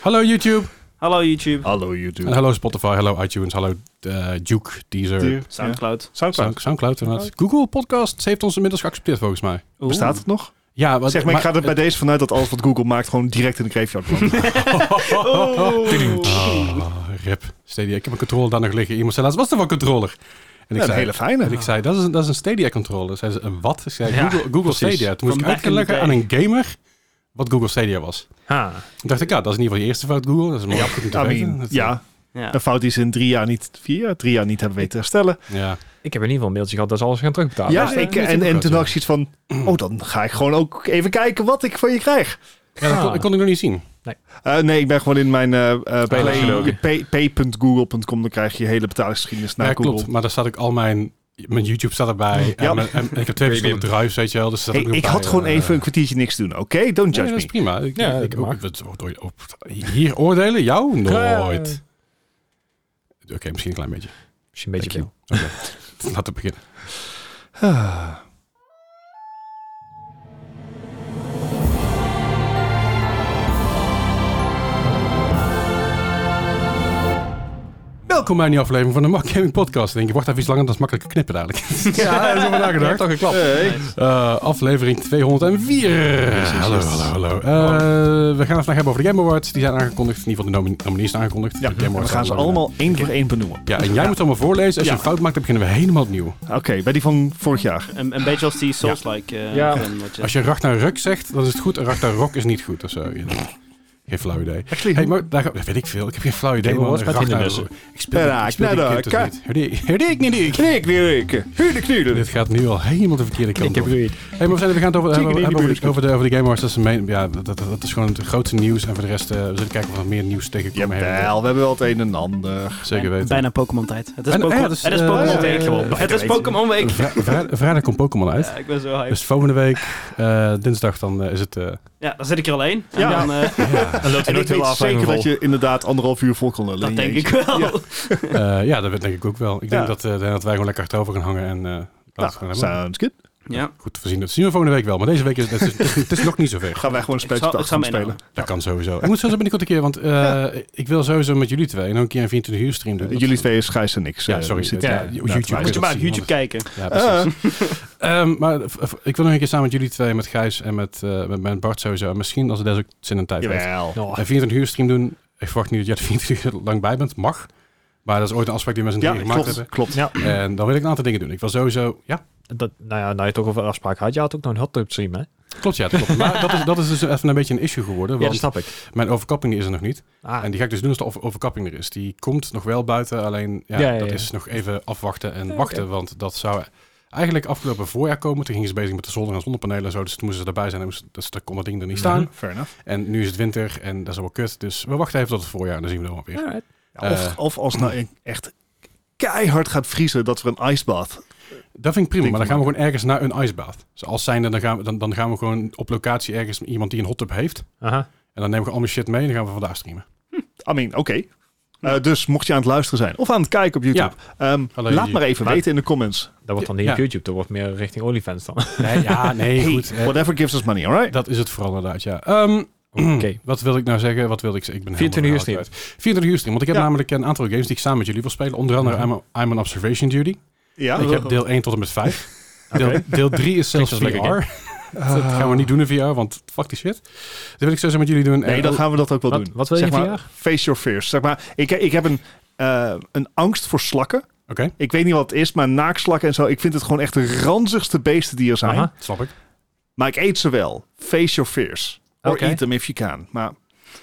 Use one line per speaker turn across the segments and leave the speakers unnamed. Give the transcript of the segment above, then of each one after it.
Hallo YouTube.
Hallo YouTube,
Hallo
En
YouTube.
hallo Spotify, hallo iTunes, hallo eh, Duke, Deezer,
Dear-
Soundcloud.
Soundcloud.
Sound- Soundcloud. inderdaad. Google Podcasts heeft ons inmiddels geaccepteerd volgens mij.
Oeh.
Bestaat het nog?
Ja, wat,
zeg maar, ik ga er bij deze vanuit dat alles wat Google maakt gewoon direct in de graveyard belandt.
Oh, rip. Stadia. Ik heb een controller daar nog liggen. Iemand zei laatst, wat is er voor controller? En ik
Ja, een
zei,
hele fijne.
en ik zei dat, is een, dat is een Stadia controller. Zei ze, een wat? Ik zei,
Ja,
Google, Google
precies.
Stadia. Toen moest ik
Van
uit gaan
back in the
leggen aan een gamer wat Google Stadia was.
Ha.
Toen dacht ik, ja, dat is in ieder geval je eerste fout Google. Dat is maar goed om te
I
weten.
mean,
Dat-
ja,
Ja.
een fout die ze in drie jaar niet, vier jaar, drie jaar niet hebben weten te herstellen.
ja.
Ik heb in ieder geval een mailtje gehad dat ze alles gaan terugbetalen. Dus
ja,
dat is-
ik,
dat is
en,
ook
en
goed,
toen
ja.
dacht ik zoiets van, oh, dan ga ik gewoon ook even kijken wat ik van je krijg.
ja dat, kon,
Ah.
dat kon ik nog niet zien.
Eh, nee, ik ben gewoon in mijn eh, eh,
Play-
je pay- pay.google.com, dan krijg je je hele betalingsgeschiedenis naar
ja,
Google.
klopt. Maar daar staat ook al mijn... Mijn YouTube staat erbij.
Ja.
En, mijn- en- en ik heb twee
Premium.
verschillende drives, weet je wel. Dus dat
Hey,
heb ook
ik
nog
had
bij,
gewoon
eh,
even een kwartiertje niks doen, oké? Don't
Nee,
judge
dat is
me.
prima. Ik,
Ja,
ik-
dat
ik,
mag.
ook- het- oh, door je- op, hier oordelen? Jou? Nooit. Oké, misschien een klein beetje.
Misschien een beetje
Dank
veel.
Oké, laten we beginnen.
Ah.
Welkom bij een nieuwe aflevering van de Mac Gaming Podcast. Ik Denk je, wordt even iets langer, dat is makkelijker knippen dadelijk. ja, dat is over nagedacht.
toch geklapt.
Nice.
Eh, aflevering 204. hallo, hallo, hallo. Eh, we gaan het vandaag hebben over de Game Awards. Die zijn aangekondigd. In ieder geval de nomi- nominees zijn aangekondigd.
Ja,
De Game
we
Awards
gaan ze
zijn
allemaal één voor één benoemen.
Ja, en jij moet het allemaal voorlezen. Als je
Ja.
een fout maakt, dan beginnen we helemaal opnieuw.
Oké, bij die van vorig jaar.
Een, een beetje als die Souls-like. eh,
Ja.
fan, wat je-
Als je Ragnar Ruk zegt, dan is het goed. En Ragnar Rok is niet goed of zo. Ja, Geen flauw idee.
Actually,
Hey, maar daar, ga- dat weet ik veel. Ik heb geen flauw idee.
Game
man.
Awards met
Ragnar-
hindernissen.
Ik speel,
Ja,
ik speel die
nou,
game dus
ka-
niet. Hoorde ik- hoorde ik niet. ik.
Knik, knik, knik, knik.
Dit gaat nu al helemaal de verkeerde kant
Ik heb
op.
weer
Hey, maar we zijn we gaan het over,
Chicken
hebben-
in
hebben
the
over, de, over, de, over de Game Awards. Dat is, een main- ja, dat, dat, dat is gewoon het grootste nieuws. En voor de rest, eh, we zullen kijken of we nog meer nieuws tegenkomen.
Jawel, we
hebben.
hebben wel het een en ander.
Zeker
Bijna-
weten.
Bijna Pokémon-tijd. Het is
En-
Pokémon-
ja, dat is,
het is
eh,
Pokémon-tijd
eh,
gewoon. Het is
weten.
Pokémon-week.
Vrij- vrij- vrijdag komt Pokémon uit.
Ja, ik ben zo hyped.
Dus volgende week, eh, dinsdag, dan eh, is het... eh,
Ja, dan zit ik er alleen. En
Ja.
dan, eh,
Dan loopt
En ik weet zeker dat je inderdaad anderhalf uur vol kon lullen.
dat
in
denk
je
ik
eentje.
wel.
Ja.
eh, ja, dat denk ik ook wel. Ik denk
Ja.
dat, eh, dat wij gewoon lekker achterover gaan hangen en... eh, laten we het gewoon
Nou,
hebben.
sounds good.
Ja.
Goed, we zien, dat zien we volgende week wel. Maar deze week is het, het is, het is nog niet zover.
Gaan wij gewoon een
Ik zal-
spelletje
ik zal
achter spelen.
meenemen.
Dat kan sowieso. Ik moet sowieso binnenkort een keer, want eh, ik wil sowieso met jullie twee nog een keer een 24 uur stream doen.
Eh, Jullie twee is Gijs en ik.
Ja,
eh,
sorry.
zitten-
ja,
ja,
laten
YouTube.
wij-
Moet je
dat
maar op
zien,
YouTube kijken.
Ja, precies.
Eh,
Ehm, maar v- v- ik wil nog een keer samen met jullie twee, met Gijs en met, eh, met, met Bart sowieso. En misschien als het deze ook zin en tijd heeft.
Jawel.
Oh,
Een 24 uur stream doen. Ik verwacht niet dat jij er 24 uur lang bij bent. Mag. Maar dat is ooit een afspraak die we met z'n
Ja,
drieën gemaakt
klopt.
hebben.
klopt.
ja,
En dan wil ik een aantal dingen doen. Ik wil sowieso... Ja,
dat, nou ja, nou je het toch over afspraak had. Je had ook nog een hot tub stream, hè?
klopt. Ja, dat klopt. maar dat is, dat is dus even een beetje een issue geworden.
Ja, dus
Want
dat snap ik.
mijn overkapping die is er nog niet.
Ah,
En die ga ik dus doen als de over- overkapping er is. Die komt nog wel buiten, alleen ja,
Ja, ja,
dat
ja.
is nog even afwachten en
Ja,
wachten.
oké.
Want dat zou eigenlijk afgelopen voorjaar komen. Toen gingen ze bezig met de zolder en zonnepanelen en zo. Dus toen moesten ze erbij zijn. En moesten, dus daar kon dat ding er niet staan.
Fair enough.
En nu is het winter en dat is wel kut. Dus we wachten even tot het voorjaar en dan zien we dan wel weer.
alright.
Ja, of,
Eh.
of als nou echt keihard gaat vriezen dat we een ijsbad.
Dat vind ik prima,
Denk
maar dan
ik
gaan we gewoon ergens naar een ijsbaat. Dus als zijnde, dan gaan, we, dan, dan gaan we gewoon op locatie ergens met iemand die een hot tub heeft.
Aha.
En dan nemen we al mijn shit mee en dan gaan we vandaag streamen.
I mean, oké. Eh, dus mocht je aan het luisteren zijn of aan het kijken op YouTube, ehm,
Hallo,
laat
YouTube.
maar even
Maar-
weten in de comments.
Dat wordt dan niet
Ja.
op YouTube. Dat wordt meer richting OnlyFans dan.
Nee, ja, nee,
Hey,
goed. hè.
Whatever gives us money, alright?
Dat is het vooral inderdaad, ja. Ehm,
Oké.
Wat wil ik nou zeggen? Wat wil ik zeggen? Ik ben
24 uur
helemaal verhaal kwijt. 24 uur stream. Want ik heb
Ja.
namelijk een aantal games die ik samen met jullie wil spelen. Onder andere I'm, a- I'm an Observation Duty.
Ja.
Ik heb deel 1 tot en met 5. Deel, deel 3 is zelfs VR.
Klinkt als een
dat gaan we niet doen in VR, want fuck die shit. Dat wil ik sowieso met jullie doen. Eh,
Nee,
En-
dan gaan we dat ook wel
Wat,
doen.
wat wil je
zeg maar,
vandaag?
Face your fears. Zeg maar, ik, ik heb een, eh, een angst voor slakken.
Oké,
Ik weet niet wat het is, maar naakslakken en zo. Ik vind het gewoon echt de ranzigste beesten die er zijn.
Aha.
snap ik.
Maar ik eet ze wel. Face your fears. Or
Oké.
eat them if you can. Maar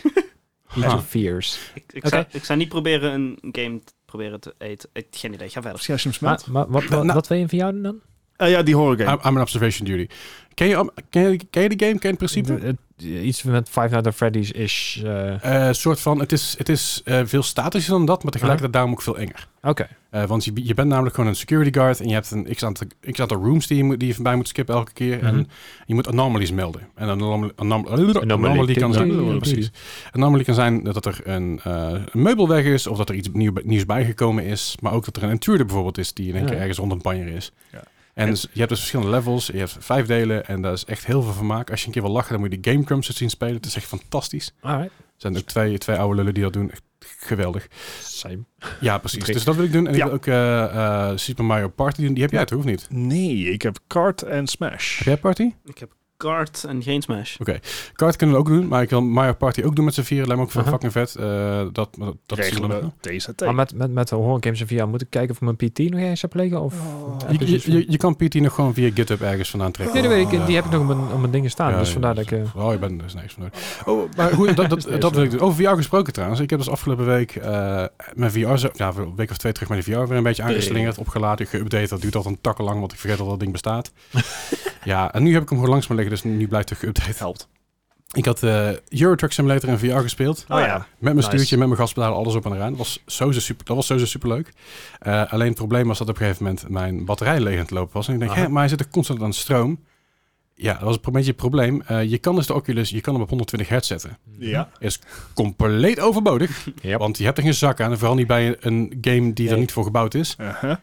Eat your
Ah.
fears.
Ik, ik,
Oké.
zou, ik zou niet proberen een game te proberen te eten. Ik, geen idee, ga verder.
misschien als je hem
Maar,
smelt.
maar wat, wat,
Nou.
wat wil je van jou doen dan?
Eh, ja, die horror
Ah.
game.
I'm, I'm an Observation Duty. Ken je, ken, je, ken je de game? Ken je het principe?
De- het- Iets met Five Nights at Freddy's is... eh,
Eh, soort van, het is, het is eh, veel statischer dan dat, maar tegelijkertijd daarom ook veel enger.
Oké.
Eh, want je, je bent namelijk gewoon een security guard en je hebt een x-aantal x-aantal rooms die je, moet- die je voorbij moet skippen elke keer.
Mhm.
En je moet anomalies melden. En een anom- anom- anomaly
Anomaly.
kan zijn...
Anomaly.
Precies. Anomaly kan zijn dat er een, eh, een meubel weg is of dat er iets nieuw, nieuws bijgekomen is. Maar ook dat er een intruder bijvoorbeeld is die in één
Ja.
keer ergens rond een panjer is.
Ja.
En s- je hebt dus verschillende levels, je hebt vijf delen en daar is echt heel veel vermaak. Als je een keer wil lachen, dan moet je de Game Crumbs het zien spelen. Het is echt fantastisch.
Alright.
Er zijn ook twee, twee oude lullen die dat doen. Echt geweldig.
Same.
Ja, precies.
Drie.
Dus dat wil ik doen. En ik
Ja.
wil ook eh, eh, Super Mario Party doen. Die heb jij toch, of niet?
Nee, ik heb Kart en Smash.
Heb jij Party?
Ik heb kart en geen smash.
Kart kunnen we ook doen, maar ik wil Mario Party ook doen met z'n vieren. Lijkt me ook veel
Aha.
fucking vet. Eh, dat, dat- dat zien
Regelen
we nog wel.
we TZT.
Maar met, met, met de horror games en VR moet ik kijken of ik mijn PT nog eens heb liggen of...
Oh. Je, je, je, je kan PT nog gewoon via GitHub ergens vandaan trekken.
Nee, dat weet ik.
Ja.
En eh, die heb ik nog op mijn, op mijn dingen staan.
Ja,
dus
ja,
vandaar
ja.
dat ik... eh,
Oh, je bent er is niks van nodig. Oh, maar goed, dat, dat, dat wil ik doen. Over VR gesproken trouwens. Ik heb dus afgelopen week eh, mijn VR, zo, ja, een week of twee terug mijn VR weer een beetje aangeslingerd, opgeladen, geüpdate. Dat duurt al een takken lang, want ik vergeet dat dat ding bestaat. ja, en nu heb ik hem gewoon langs me liggen, dus nu blijft hij geüpdate.
helpt.
Ik had eh Euro Truck Simulator in VR gespeeld.
Ah,
Oh ja.
Met mijn
Nice.
stuurtje, met mijn gaspedaal, alles op en eraan. Dat was sowieso super, dat was sowieso superleuk. Eh, alleen het probleem was dat op een gegeven moment mijn batterij leeg aan het lopen was. En ik denk,
Aha.
hè, maar hij zit er constant aan stroom. Ja, dat was een beetje het probleem. Eh, je kan dus de Oculus, je kan hem op 120 hertz zetten.
Ja.
Compleet overbodig,
Yep.
want je hebt er geen zak aan. En vooral niet bij een game die er
Nee.
niet voor gebouwd is.
Uh-huh.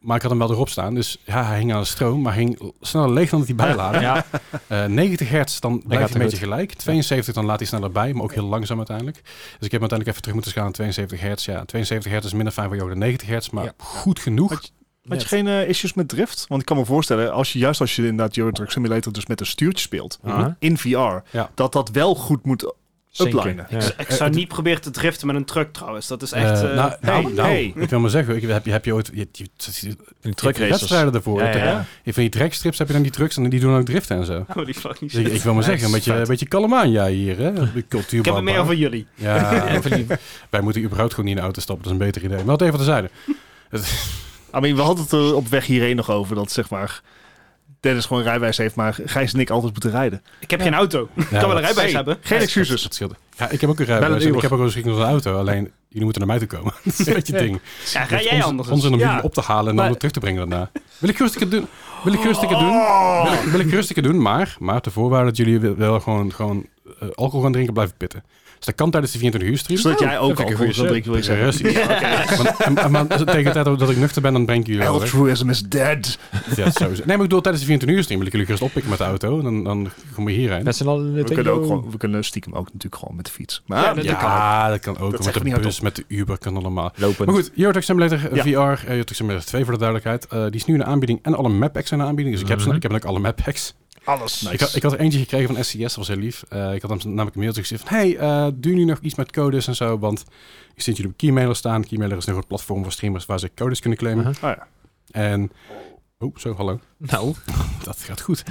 Maar ik had hem wel erop staan. Dus ja, hij hing aan de stroom, maar ging sneller leeg dan dat hij bijlaadde.
Ja.
Eh, 90 hertz, dan blijft
gaat
hij een
hij
beetje gelijk. 72, dan laat hij sneller bij, maar ook heel langzaam uiteindelijk. Dus ik heb hem uiteindelijk even terug moeten gaan aan 72 hertz. Ja, 72 hertz is minder fijn voor jou dan 90 hertz, maar
Ja.
goed genoeg.
Had Had je geen eh, issues met drift? Want ik kan me voorstellen, als je juist als je inderdaad Euro Truck Simulator dus met een stuurtje speelt,
Aha.
in VR, dat dat wel goed moet
Zinken.
uplinen.
Ja.
Dus Ik zou niet proberen te driften met een truck trouwens. Dat is echt...
Eh,
eh,
nou, nou,
hey,
nou,
hey.
ik wil maar zeggen, ik, heb, je, heb je ooit... Je, je, je, je
Die
hebt wedstrijden ervoor.
Ja, ja, ja.
Ja, Van die trackstrips heb je dan die trucks en die doen ook driften en zo.
holy fucking
Dus ik,
shit.
ik wil maar
Ja,
zeggen, een
dat is
beetje, een
vet.
beetje kalm aan jij hier, hè? De cultuur.
Ik heb het meer over jullie.
Ja, wij moeten überhaupt gewoon niet in de auto stappen, dat is een beter idee. Maar dat even terzijde.
I mean, we hadden het er op weg hierheen nog over dat zeg maar Dennis gewoon een rijwijs heeft, maar Gijs en ik altijd moeten rijden.
Ik heb geen auto. Ik
Ja,
kan wel een
dat-
rijbewijs
Hey,
hebben.
Geen
Dus
excuses.
dat scheelt. Ja, ik heb ook een
Bel
rijbewijs.
het
en
uur.
Ik heb ook een geschikking als een auto. Alleen, jullie moeten naar mij toe komen. dat is een beetje het ding.
Ja, ga jij
ons,
anders.
Ons in een
Ja.
wiel op te halen en dan
Maar-
weer terug te brengen daarna. Wil ik rustig het doen? Wil ik rustig het doen?
Oh!
Wil ik, wil ik rustig het doen, maar, maar de voorwaarde dat jullie wel- wel gewoon, gewoon eh, alcohol gaan drinken blijven pitten. Dus dat kan tijdens de 24 uur stream.
Zodat jij ook
vind ik
al
een
goed
goeie
wil drinken, wil je zeggen.
Precies. Want- en- en- Maar tegen de tijd dat ik nuchter ben, dan breng ik jullie wel. hè.
Altruism is dead.
Ja, sowieso. Nee, maar ik bedoel, tijdens de 24 uur stream wil ik jullie gerust oppikken met de auto. En dan, dan kom je hierheen.
Met z'n allen in de
We kunnen, ook
trio.
gewoon, we kunnen stiekem ook natuurlijk gewoon met de fiets. Maar
Ja, dat-
Ja, dat kan ook.
Dat
met
zegt
de
niet
bus, met de Uber kan allemaal.
Lopend.
Maar goed, Euro Truck Simulator eh,
Ja.
VR, eh, Euro Truck Simulator 2 voor de duidelijkheid. eh, die is nu in de aanbieding en alle map packs zijn in de aanbieding. Dus ik heb, ze-
Mhm.
ik heb ook alle map packs.
alles.
Nou, Ik, had, ik had er eentje gekregen van SCS, dat was heel lief. Eh, ik had hem namelijk een mailtje gezegd van... Hey, eh doen jullie nog iets met codes en zo? Want ik zit jullie op Keymailer staan. Keymailer is nog een platform voor streamers waar ze codes kunnen claimen.
Aha.
Ah, ja.
En... Oh, zo, hallo.
Nou,
Dat gaat goed.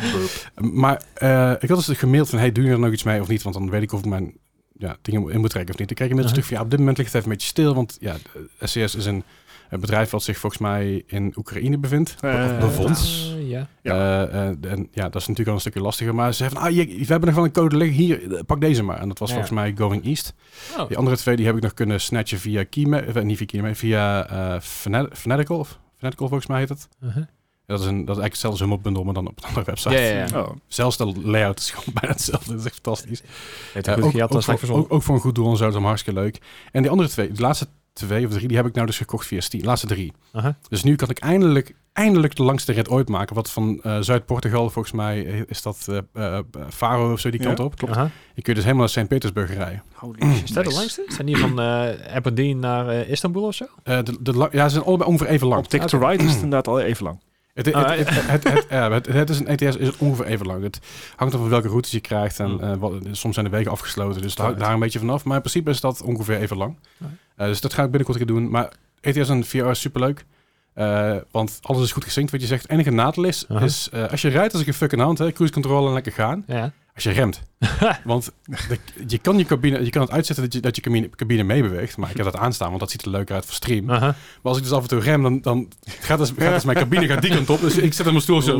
Maar eh, ik had dus gemaild van, hey, doe je er nog iets mee of niet? Want dan weet ik of ik mijn ja, dingen in moet trekken of niet. Ik kreeg inmiddels
Uh-huh.
een stuk van, ja, op dit moment ligt het even een beetje stil. Want ja, de SCS is een, een bedrijf wat zich volgens mij in Oekraïne bevindt.
Eh,
of bevond.
eh, ja.
ja.
Eh, eh, en ja, dat is natuurlijk al een stukje lastiger. Maar ze zeiden van, ah, je, we hebben nog wel een code liggen. Hier, eh, pak deze maar. En dat was
Ja.
volgens mij Going East.
Oh.
Die andere twee, die heb ik nog kunnen snatchen via Keyma- eh, niet via Keyma- via eh, Fana- Fanatical. of Fanatical volgens mij heet het.
Uh-huh.
Dat is, een, dat is eigenlijk hetzelfde Humble bundel, maar dan op een andere website.
Ja, ja, ja.
Oh.
Zelfs de layout is gewoon bijna hetzelfde. Dat is echt fantastisch.
Heeft
Ja,
hij goed
ook,
gejat,
ook
dan sta ik
voor, ook,
verzonnen.
ook voor een goed doel en zo, dat is hem hartstikke leuk. En die andere twee, de laatste twee of drie, die heb ik nou dus gekocht via Steam. De laatste drie.
Aha.
Dus nu kan ik eindelijk, eindelijk de langste rit ooit maken. Wat van eh, Zuid-Portugal, volgens mij eh, is dat eh eh, Faro of zo die
Ja,
kant op.
Aha.
Je kunt dus helemaal naar Sint-Petersburg rijden.
Holy
Is dat de
Nice.
langste? Zijn die van eh Aberdeen naar eh, Istanbul of zo?
Eh, de, de, la- ja, ze zijn allebei ongeveer even lang.
Op Tick to Ride is het inderdaad al even lang.
Het, het,
Ah,
het, het, het- ja, het- het is een ETS is ongeveer even lang. Het hangt af van welke routes je krijgt. En
Hmm.
eh, wat, soms zijn de wegen afgesloten, dus daar,
Right.
daar een beetje vanaf. Maar in principe is dat ongeveer even lang.
Right.
Eh, dus dat ga ik binnenkort een keer doen. Maar ETS en VR is superleuk. Eh, want alles is goed gesynct wat je zegt. Het enige nadeel is,
Aha.
is eh, als je rijdt als ik een fucking hand, hè, cruise control en lekker gaan.
Ja.
Als je remt. want de- je kan je cabine, je kan het uitzetten dat je, dat je cabine, cabine meebeweegt. Maar ik heb dat aanstaan, want dat ziet er leuk uit voor stream.
Aha.
Maar als ik dus af en toe rem, dan, dan gaat, dus, gaat dus mijn cabine gaat die kant op. Dus ik zit op mijn stoel zo.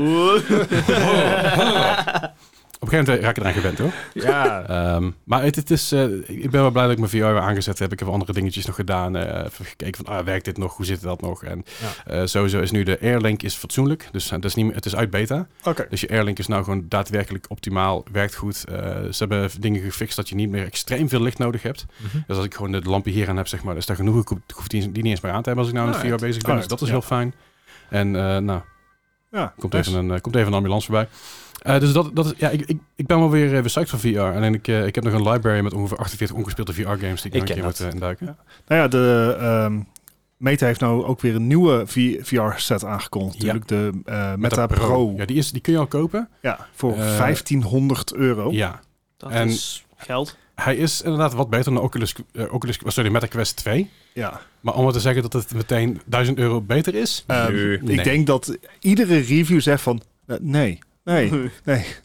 Op een gegeven moment raak ik eraan gewend hoor.
Ja.
Ehm, maar het, het is, eh, ik ben wel blij dat ik mijn VR weer aangezet heb. Ik heb andere dingetjes nog gedaan. eh, even gekeken van, ah, werkt dit nog? Hoe zit dat nog? En eh, sowieso is nu de Airlink is fatsoenlijk. Dus eh, dat is niet, meer- het is uit beta.
Oké.
Dus je Airlink is nou gewoon daadwerkelijk optimaal. Werkt goed. Eh, ze hebben dingen gefixt dat je niet meer extreem veel licht nodig hebt.
Mhm.
Dus als ik gewoon de lampje hier aan heb, zeg maar, is daar genoeg.
oh,
Ik hoef- ik hoef die, die niet eens meer aan te hebben als ik nou met VR
Alright.
bezig ben. Dus
Alright,
dat is
ja.
heel fijn. En eh, nou,
Ja,
Komt,
nice.
even een, eh, komt even een ambulance voorbij. Eh, dus dat, dat is, ja, ik, ik, ik ben wel weer eh, psyched van VR. Alleen ik, eh, ik heb nog een library met ongeveer 48 ongespeelde VR-games die ik, nog
Ik
een
ken
keer moet eh, induiken.
Nou ja, de ehm, Meta heeft nou ook weer een nieuwe VR-set aangekondigd.
Ja.
Natuurlijk de eh,
Met
Meta
dat
Pro.
Ja, die, is, die kun je al kopen.
Ja, voor
Eh,
1500 euro.
Ja.
Dat
En-
is geld.
Hij is inderdaad wat beter dan de Oculus, eh, Oculus sorry, Meta Quest 2.
Ja.
Maar om maar te zeggen dat het meteen 1000 euro beter is.
Ehm,
Nee.
Ik denk dat iedere review zegt van eh, nee, nee,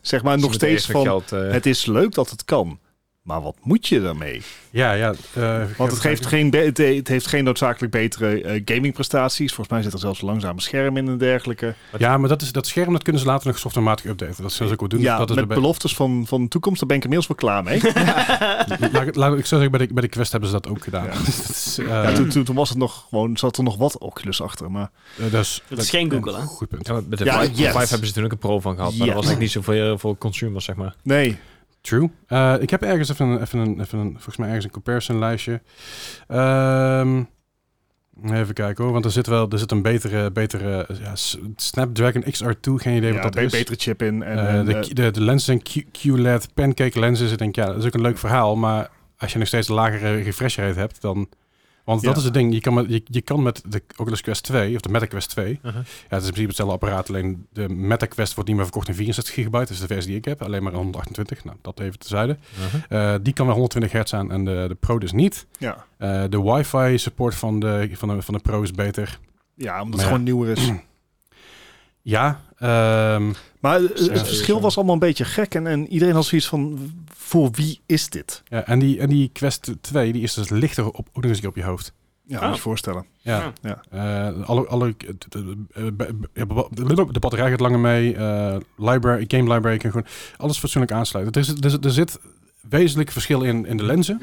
zeg maar nog steeds van
Geld, eh,
het is leuk dat het kan. Maar wat moet je daarmee?
Ja, ja. eh,
Want het, geeft geen be- het, het heeft geen noodzakelijk betere eh, gamingprestaties. Volgens mij zit er zelfs een langzaam scherm in en dergelijke.
Ja, maar dat, is, dat scherm dat kunnen ze later nog softwarematig updaten. Dat zullen ze ook wel doen.
ja,
dat dus is
met
de be-
beloftes van, van de toekomst, daar ben ik inmiddels wel klaar mee.
laat, ik- laat ik zo zeggen, bij de, bij de Quest hebben ze dat ook gedaan.
Ja.
dat is, eh,
Ja, toen, toen, toen was het nog gewoon, zat er nog wat Oculus achter. Maar
eh, dat is,
Dat is geen Google, hè?
Goed punt.
ja, maar met de
Ja,
Vive,
yes.
Vive hebben ze toen ook een pro van gehad. Maar
Ja.
dat was eigenlijk niet zoveel eh, voor consumers, zeg maar.
nee,
True. Eh, ik heb ergens even een, even een, even een, volgens mij ergens een comparison lijstje. Ehm, even kijken hoor, want er zit wel, er zit een betere, betere ja, S- Snapdragon XR2, geen idee
ja,
wat dat
be-
is.
betere chip in. En,
Eh,
en,
de,
eh,
Q- de, de lenzen en Q- QLED pancake lenzen. Ik denk, ja, dat is ook een leuk verhaal. Maar als je nog steeds een lagere refresh rate hebt, dan... Want dat
Ja.
is het ding. Je kan, met, je, je kan met de Oculus Quest 2, of de Meta Quest 2...
Uh-huh.
Ja, het is in principe hetzelfde apparaat. Alleen de Meta Quest wordt niet meer verkocht in 64 gigabyte. Dus de versie die ik heb. Alleen maar 128. Nou, dat even tezijde.
Uh-huh.
Eh die kan wel 120 hertz aan en de, de Pro dus niet.
ja.
Eh, de wifi support van de, van, de, van de Pro is beter.
ja, Mm.
Maar ja.
omdat het gewoon nieuwer is.
Ja, ehm,
Maar eh,
Ja,
het verschil
sowieso.
was allemaal een beetje gek. En, en iedereen had zoiets van, voor wie is dit?
ja en, die, en die Quest 2 die is dus lichter op, ook nog eens een keer op je hoofd.
Ja,
Ah.
moet je voorstellen.
Ja.
Ah.
Ja.
Eh, alle, alle, de, de, de- de batterij gaat langer mee. eh, library, game library kan gewoon alles fatsoenlijk aansluiten. Er, zit- er, zit- er zit wezenlijk verschil in, in de lenzen.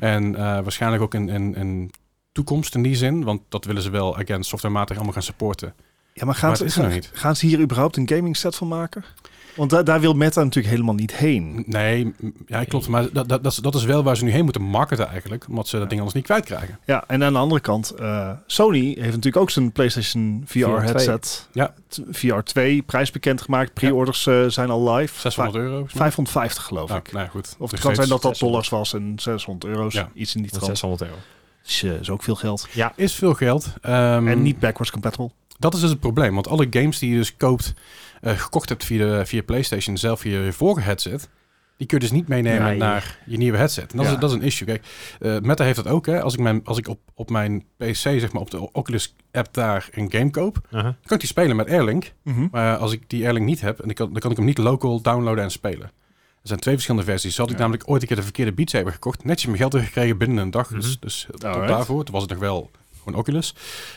en eh, waarschijnlijk ook in, in, in toekomst in die zin. Want dat willen ze wel, again, softwarematig allemaal gaan supporten.
Ja, maar gaan,
Maar het
ze,
is er nog
gaan-
niet.
gaan ze hier überhaupt een gaming set van maken? Mm. Want daar daar wil Meta natuurlijk helemaal niet heen.
Nee, m- ja, klopt. Maar dat, dat, dat is- dat is wel waar ze nu heen moeten marketen eigenlijk. Omdat ze dat ding anders niet kwijtkrijgen.
Ja, en aan de andere kant, eh, Sony heeft natuurlijk ook zijn PlayStation VR
VR2.
headset.
Ja.
T- VR 2, prijs bekendgemaakt. Pre-orders eh, zijn al live.
600
Vij-
euro.
550 geloof
Nou,
ik.
nou ja, goed.
Of het
Nog
kan zijn
steeds.
dat dat
600.
dollars was en 600 euro's.
Ja.
Iets in die
Dat
trant.
600 euro.
Is, eh, is ook veel geld.
Is veel geld. Ehm,
en niet backwards compatible.
Dat is dus het probleem. Want alle games die je dus koopt, eh, gekocht hebt via, de, via PlayStation zelf, via je vorige headset, die kun je dus niet meenemen
Nee.
naar je nieuwe headset. En dat,
Ja.
is, dat is een issue. Kijk, eh, Meta heeft dat ook. Hè. Als ik, mijn, als ik op, op mijn PC, zeg maar op de Oculus app daar een game koop,
Uh-huh.
kan ik die spelen met Airlink.
Mhm.
Maar als ik die Airlink niet heb, en ik kan, dan kan ik hem niet local downloaden en spelen. Er zijn twee verschillende versies. Had ik
Ja.
namelijk ooit een keer de verkeerde Beats hebben gekocht, netjes mijn geld teruggekregen binnen een dag. Dus,
Mhm.
dus tot
Alright.
daarvoor. Toen was het nog wel gewoon Oculus.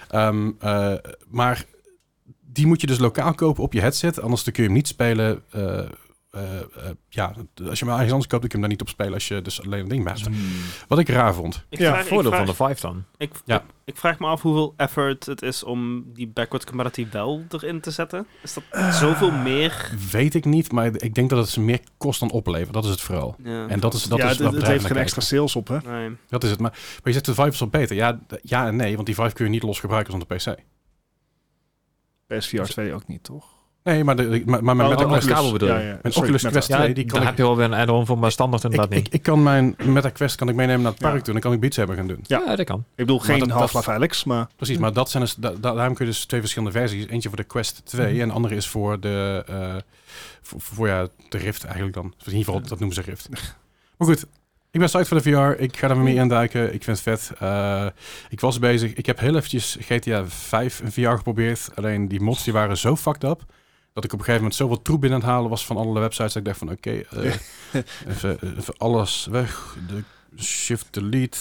Ehm, eh, maar die moet je dus lokaal kopen op je headset. Anders dan kun je hem niet spelen. eh, eh, eh, ja, als je hem ergens anders koopt, dan kun je hem daar niet op spelen als je dus alleen een ding
Mhm.
maakt. Wat ik raar vond.
Ik
Ja,
vraag,
Voordeel
ik vraag,
van de Vive dan.
Ik,
Ja.
ik, ik vraag me af hoeveel effort het is om die backward compatibility wel erin te zetten. Is dat Ah. zoveel meer?
Weet ik niet, maar ik denk dat het ze meer kost dan oplevert. Dat is het vooral.
Ja.
En dat is dat
ja,
is
het-
wat bedrijven
het heeft
naar
geen
kijken.
extra sales op, hè?
Nee.
Dat is het. Maar, maar je zegt de Vive is al beter. Ja, d- ja en nee, want die Vive kun je niet los gebruiken zonder PC.
PSVR 2 ook niet, toch?
Nee, maar, de, maar, maar mijn
Oh,
Meta
de
Quest-
Oculus kabel bedoel je?
ja.
Mijn
Sorry,
Oculus
Meta.
Quest
Ja,
2, die
daar
kan ik,
heb je wel weer een add-on voor, maar standaard inderdaad
ik, ik,
niet.
ik kan mijn Meta Quest kan ik meenemen naar het
Ja.
park toe. Dan kan ik Beats hebben gaan doen.
ja.
ja, dat kan.
Ik bedoel,
Maar
geen
dat- dat-
Half-Life Alex, maar...
Precies, maar dat zijn dus, da- da- daarom kun je dus twee verschillende versies. Eentje voor de Quest 2
Mhm.
en de andere is voor de, eh, voor, voor, ja, de Rift eigenlijk dan. Dus in ieder geval, dat noemen ze Rift. Maar goed, ik ben psyched voor de VR. Ik ga er
Mhm.
mee induiken. Ik vind het vet. Eh, ik was bezig. Ik heb heel eventjes GTA 5 in VR geprobeerd. Alleen die mods die waren zo fucked up. Dat ik op een gegeven moment zoveel troep binnen aan het halen was van alle websites. Dat ik dacht van oké, eh, even, even alles weg. De shift, delete,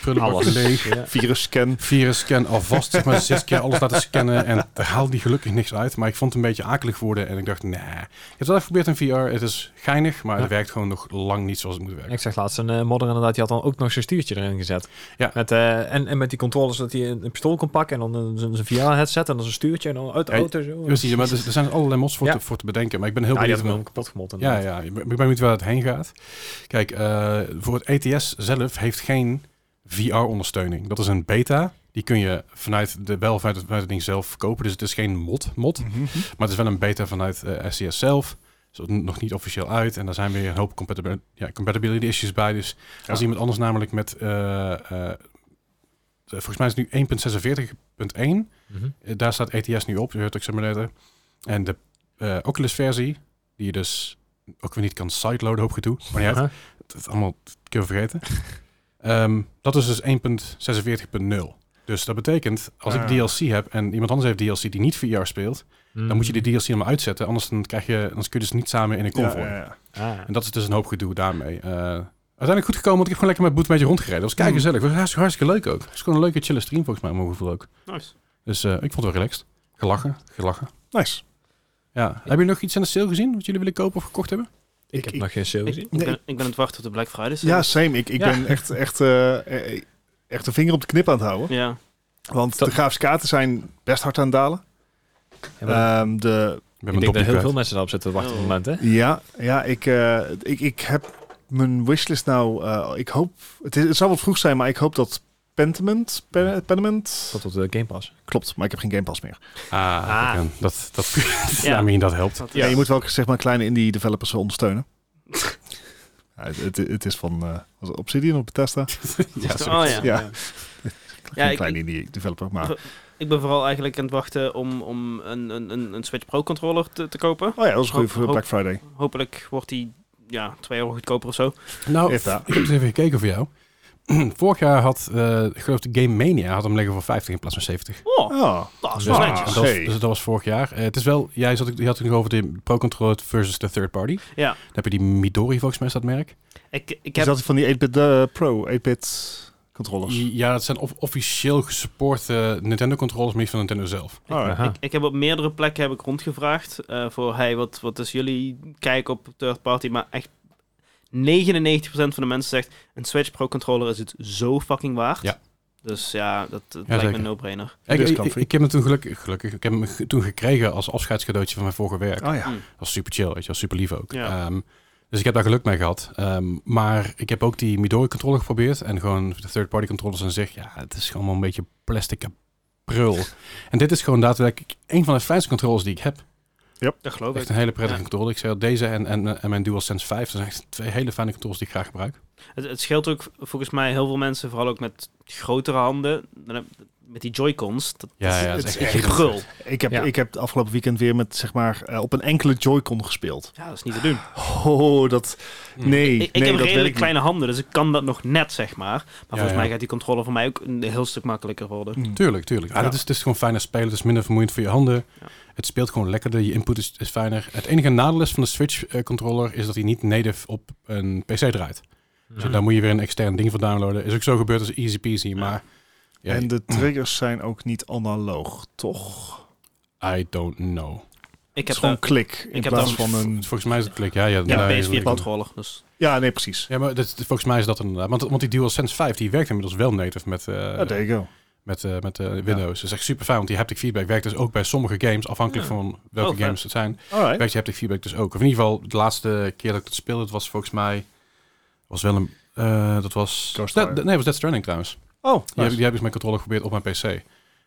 prullenbak
Alles.
leeg
Ja.
Virus scan.
virus scan alvast, zeg maar zes keer alles laten scannen en er haal die gelukkig niks uit. Maar ik vond het een beetje akelig worden en ik dacht, nee. Ik heb het wel even geprobeerd in VR, het is geinig, maar het
Ja.
werkt gewoon nog lang niet zoals het moet werken.
Ik zeg laatst een eh, modder inderdaad, die had dan ook nog zijn stuurtje erin gezet.
Ja.
Met, eh, en, en met die controllers dat hij een, een pistool kon pakken en dan een- zijn zijn VR-headset en dan zijn stuurtje en dan uit de
Ja,
auto zo.
Precies, maar er, er zijn allerlei mods voor,
Ja.
te, voor te bedenken, maar ik ben heel
Ja, die had
benieuwd.
hem
wel-
kapot gemot.
Ja,
inderdaad.
ja, ik ben ik ben benieuwd waar het heen gaat. E Kijk, eh, voor het ETS zelf heeft geen VR-ondersteuning. Dat is een beta, Die kun je vanuit de wel vanuit het, vanuit het ding zelf verkopen. Dus het is geen mod, mod.
Mhm,
Maar het is wel een beta vanuit eh, SCS zelf. Dus dat is nog niet officieel uit. En daar zijn weer een hoop compatibil- ja, compatibility issues bij. Dus als iemand anders namelijk met... eh, eh, volgens mij is het nu 1.46.1.
Mhm.
Eh, Daar staat ETS nu op, de Hurt Simulator. En de eh, Oculus versie, die je dus ook weer niet kan sideloaden, hoop gedoe. Maar ja,
Aha.
het is allemaal dat kunnen we vergeten. Ehm, dat is dus 1.46.0. Dus dat betekent, als ik
Ah.
DLC heb en iemand anders heeft DLC die niet VR speelt,
Mhm.
dan moet je die
Hmm.
DLC helemaal uitzetten. Anders dan krijg je, anders kun je dus niet samen in een convoy.
Ja, ja, ja.
Ah.
En dat is dus een hoop gedoe daarmee. Eh, uiteindelijk goed gekomen, want ik heb gewoon lekker met Boet een beetje rondgereden. Dat was kijk gezellig. was hartstikke, hartstikke leuk ook. Het is gewoon een leuke chille stream volgens mij, om mijn gevoel ook.
Nice.
Dus eh, ik vond het wel relaxed. Gelachen, gelachen.
Nice.
Ja. Hebben jullie nog iets aan de sale gezien wat jullie willen kopen of gekocht hebben?
Ik,
Ik-
heb
ik-
nog geen sale
Ik,
gezien.
ik ben, ik ben aan het wachten op de Black Friday. sale.
Ja, same. Ik, ik
Ja.
ben echt, echt, eh, eh, echt de vinger op de knip aan het houden.
Ja.
Want
Dat-
de grafische kaarten zijn best hard aan het dalen.
Ja, maar
Ehm, de,
Ik ben
ik
mijn
denk dat
dopje
heel
kwijt.
veel mensen daarop zitten te wachten op
Oh.
het moment, hè?
ja, ja ik, eh, ik, ik heb mijn wishlist nou... eh, ik hoop... Het, is, het zal wat vroeg zijn, maar ik hoop dat Pentiment... Pe- Pentiment...
Tot op de Game Pass.
Klopt, maar ik heb geen Game Pass meer.
Ah,
Ah.
kijk aan. dat, dat,
Ja.
I mean, dat helpt.
Dat-
Ja. je moet wel zeg maar kleine indie developers ondersteunen. ja, het, het, het is van eh, was het Obsidian of Bethesda.
Ja,
Oh
sorry.
ja.
Ja.
Ja,
geen
ik-
kleine indie developer, maar...
Ik ben vooral eigenlijk aan het wachten om, om een, een, een, een Switch Pro controller te, te kopen.
Oh ja, dat is goed
Hoop-
voor
hoop-
Black Friday.
Hopelijk wordt die ja, 2 euro goedkoper of zo.
Nou,
Is dat.
ik heb eens even gekeken voor jou. Vorig jaar had, eh, ik geloof de Game Mania had hem liggen voor 50 in plaats van 70.
Oh,
Oh,
dat is
Dus,
wel
Ah.
netjes.
dat was,
hey.
dus dat was vorig jaar. Eh, het is wel, jij zat, je had het nog over de Pro Controller versus de third party.
Ja.
Dan heb je die Midori volgens mij is dat merk.
Ik, ik
is
heb...
dat van die 8-bit eh, Pro, 8-bit controllers?
Ja, het zijn of- officieel gesupport eh, Nintendo controllers, maar niet van Nintendo zelf.
Alright.
Aha.
Ik heb op meerdere plekken heb ik rondgevraagd eh, voor hey, wat, wat is jullie kijk op third party, maar echt 99% van de mensen zegt een Switch Pro controller is het zo fucking waard.
Ja.
Dus ja, dat, dat lijkt me
zeker.
een no-brainer.
Ik,
Dus
ik,
comfy.
ik heb hem toen gelukkig, gelukkig, ik heb hem ge- toen gekregen als afscheidscadeautje van mijn vorige werk.
Oh ja.
Mm.
Dat was super chill, weet je, was super lief ook.
Ja.
Ehm, dus ik heb daar geluk mee gehad. Ehm, maar ik heb ook die Midori controller geprobeerd en gewoon de third party controllers aan zich. Ja, het is gewoon wel een beetje plastic prul. en dit is gewoon daadwerkelijk een van de fijnste controllers die ik heb.
Dat geloof ik.
Echt een hele prettige
Ja.
controller. Ik zei al, deze en, en, en mijn DualSense 5, dat zijn echt twee hele fijne controllers die ik graag gebruik.
Het, het scheelt ook volgens mij heel veel mensen, vooral ook met grotere handen, dan heb- met die Joy-Cons. Dat
Ja, ja,
het
dat is
is
echt
echt
heel
grul.
vet.
Ik heb,
Ja.
ik heb het afgelopen weekend weer met, zeg maar, eh, op een enkele Joy-Con gespeeld.
Ja, dat is niet te doen.
Oh, dat...
Mm.
Nee,
ik ik
nee,
heb
dat
redelijk
werkt
kleine handen, dus ik kan dat nog net, zeg maar. Maar volgens
ja.
mij gaat die controller voor mij ook een heel stuk makkelijker worden.
niet. Mm.
Tuurlijk, tuurlijk. Ah,
Ja.
dat is, het is gewoon fijner spelen. Het is minder vermoeiend voor je handen.
Ja.
Het speelt gewoon lekkerder. Je input is, is fijner. Het enige nadeel is van de Switch-controller is dat hij niet native op een PC draait. Dus daar moet je weer een extern ding voor downloaden. Is ook zo gebeurd als easy peasy, maar... Ja,
En de triggers zijn ook niet analoog, toch?
I don't know.
Ik
Het is
heb
gewoon
daar-
klik in
heb
plaats
dat-
van een...
Volgens mij is het klik. Ja, ja,
ja,
nee,
PS4 controller, dus...
Ja, nee, precies.
Ja, maar dat, volgens mij is dat inderdaad. Want, want die DualSense 5 die werkt inmiddels wel native met, eh,
Ah, there you go.
met, eh, met eh, Windows. Dat is echt super fijn, want die haptic feedback werkt dus ook bij sommige games, afhankelijk
Ja.
van welke
Oh, vet.
games het zijn.
Alright.
Werkt je haptic feedback dus ook. Of in ieder geval, de laatste keer dat ik het speelde, dat was volgens mij... was wel een... eh, dat was...
Ghost
Dat-
Rider.
nee, dat was Dead Stranding trouwens.
Oh,
Die, heb,
nice.
die heb ik dus met controller geprobeerd op mijn PC.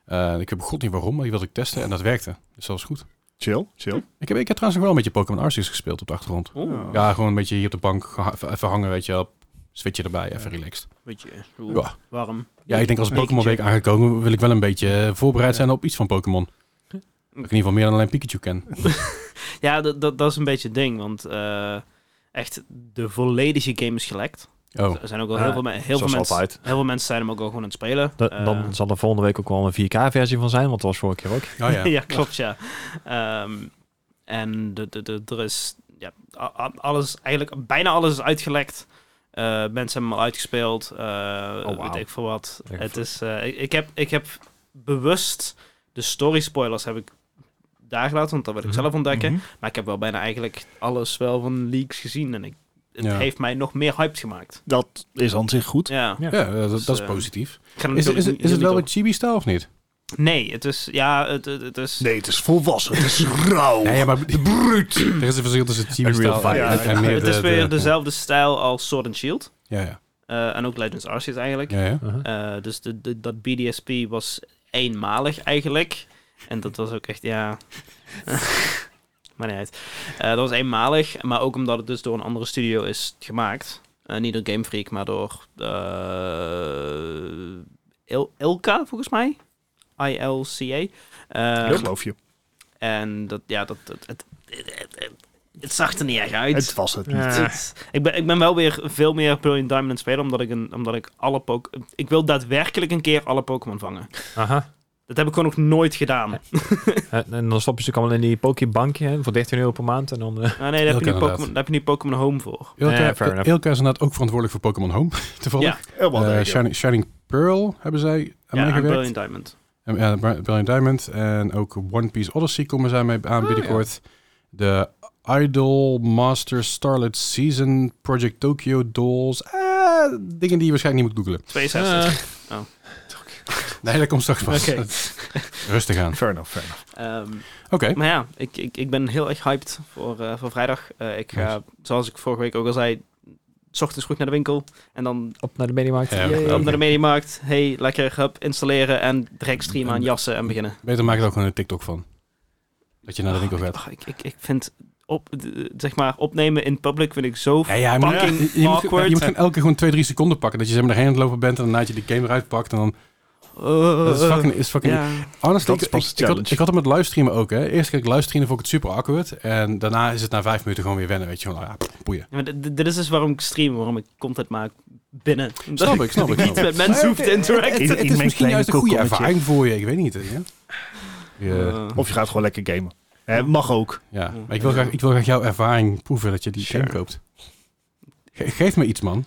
Eh, ik heb god niet waarom, maar die wilde ik testen en dat werkte. Dus dat was goed.
chill, chill.
Ik heb, ik heb trouwens nog wel een beetje Pokémon Arceus gespeeld op de achtergrond.
Oeh,
Ja.
Ja, gewoon een beetje hier op de bank geha- even even hangen, weet je wel. Switchen erbij, even relaxed.
weet je, oeh,
Ja,
warm.
ja ik denk als
Ja.
Pokémon Week aangekomen wil ik wel een beetje eh, voorbereid zijn op iets van Pokémon. Dat ik in ieder geval meer dan alleen Pikachu ken.
Ja, dat, dat, dat is een beetje het ding, want eh, echt de volledige game is gelekt.
Oh,
Er zijn ook al
Ah,
heel, veel, me- heel, veel
Zoals
mensen,
altijd.
heel veel mensen zijn hem ook al gewoon aan het spelen.
Da-
Eh,
dan zal er volgende week ook wel een 4K-versie van zijn, want dat was vorige keer ook.
nou ja.
ja. klopt, ja. Ehm, en de, de, de, er is ja, a- a- alles, eigenlijk bijna alles is uitgelekt. Eh, mensen hebben hem al uitgespeeld. eh,
wauw.
Oh,
Weet ik veel wat.
Ik
Het
voor-
is, eh, ik, ik heb, ik heb bewust de story spoilers heb ik daar gelaten, want dat wil ik
Mhm.
zelf ontdekken.
Mhm.
Maar ik heb wel bijna eigenlijk alles wel van leaks gezien. En ik, het
Ja.
heeft mij nog meer hyped gemaakt.
Dat is aan zich goed.
Ja.
Ja.
Ja, eh, dat,
Dus,
dat is
eh,
positief.
Ik ga er
Is,
natuurlijk
is, het-
niet-
is het wel
niet
wat chibi-stijl of niet?
over- Nee, het is... Ja, het, het, het is...
Nee, het is volwassen. Het is rauw.
Nee, ja, maar bruut. Er is een verschil tussen chibi-stijl
Unreal
en,
Fight.
en meer
het is
de-
weer
de-
dezelfde stijl als Sword and Shield.
Ja, ja.
Eh, en ook Legends Arceus eigenlijk.
Ja, ja.
Uh-huh.
Eh, dus de, de- dat BDSP was eenmalig eigenlijk. En dat was ook echt, ja. maar niet uit. Eh, dat was eenmalig, maar ook omdat het dus door een andere studio is gemaakt. Eh, niet door Game Freak, maar door eh, Il- Ilka, volgens mij. ILCA. Eh,
Ik geloof je.
en dat, ja, dat, dat- het, het, het, het zag er niet echt uit.
Het was het niet.
Ja.
Het- ik, ben, ik ben wel weer veel meer Brilliant Diamond aan het spelen, omdat ik, een, omdat ik alle Pok- Ik wil daadwerkelijk een keer alle Pokémon vangen.
Aha.
Dat heb ik gewoon nog nooit gedaan.
En, en dan stop je ze allemaal in die Pokébankje hè, voor 13 euro per maand. En dan, eh,
Ah, nee, daar heb,
Heel
je nu
inderdaad.
Pokémon- daar heb je nu Pokémon Home voor.
Ilka,
Ja, fair enough.
Ilka is inderdaad ook verantwoordelijk voor Pokémon Home, toevallig.
Ja,
Eh, wel,
Eh,
nee, ja.
Shining, Shining Pearl hebben zij aan
ja, aan
meegewerkt.
Brilliant Diamond.
En, ja, Bri- Brilliant Diamond. En ook One Piece Odyssey komen zij mee aan binnenkort. De Idol Master Starlet Season Project Tokyo Dolls. Eh, dingen die je waarschijnlijk niet moet googlen.
62.
Nee, dat komt straks pas.
Oké.
Rustig aan.
Fair enough, fair enough.
Ehm,
Oké.
maar ja, ik, ik, ik ben heel erg hyped voor, eh, voor vrijdag. Eh, ik ga, zoals ik vorige week ook al zei, s ochtends goed naar de winkel. En dan
op naar de Mediamarkt.
Ja,
Yay.
wel.
op naar de mediamarkt. Hey, lekker hub installeren en direct streamen aan jassen en beginnen.
Beter maak er ook gewoon een TikTok van. Dat je naar de winkel gaat.
Oh, ik, ik, ik vind op, d- zeg maar, opnemen in public vind ik zo.
Ja, ja, maar je,
Fucking
je moet, je
awkward.
moet gewoon elke keer gewoon twee, drie seconden pakken. Dat je zeg maar erheen aan het lopen bent en daarna je die game eruit pakt. En dan, dat is fucking, is fucking
Eh, Oh. ja.
Honestly,
Dat
ik,
is pas
ik-
de
ik had,
challenge.
ik had hem met livestreamen ook. Hè. Eerst keek ik livestreamen, vond ik het super awkward. En daarna is het na vijf minuten gewoon weer wennen. Weet je wel, ah, pff, boeien.
Ja, maar dit- dit is dus waarom ik stream, waarom ik content maak binnen. Omdat
Snap ik, snap ik.
niet
snap ik.
met mensen hoef te interacten.
Het, het
In
is
mijn
misschien
kleine
juist een goede
kokonnetje.
ervaring voor je. Ik weet niet. hè, Ja, ja.
Eh,
Of je gaat gewoon lekker gamen. Eh, mag ook.
ja. Maar ik wil, graag, ik wil graag jouw ervaring proeven dat je die
Sure.
game koopt. Ge- geef me iets, man.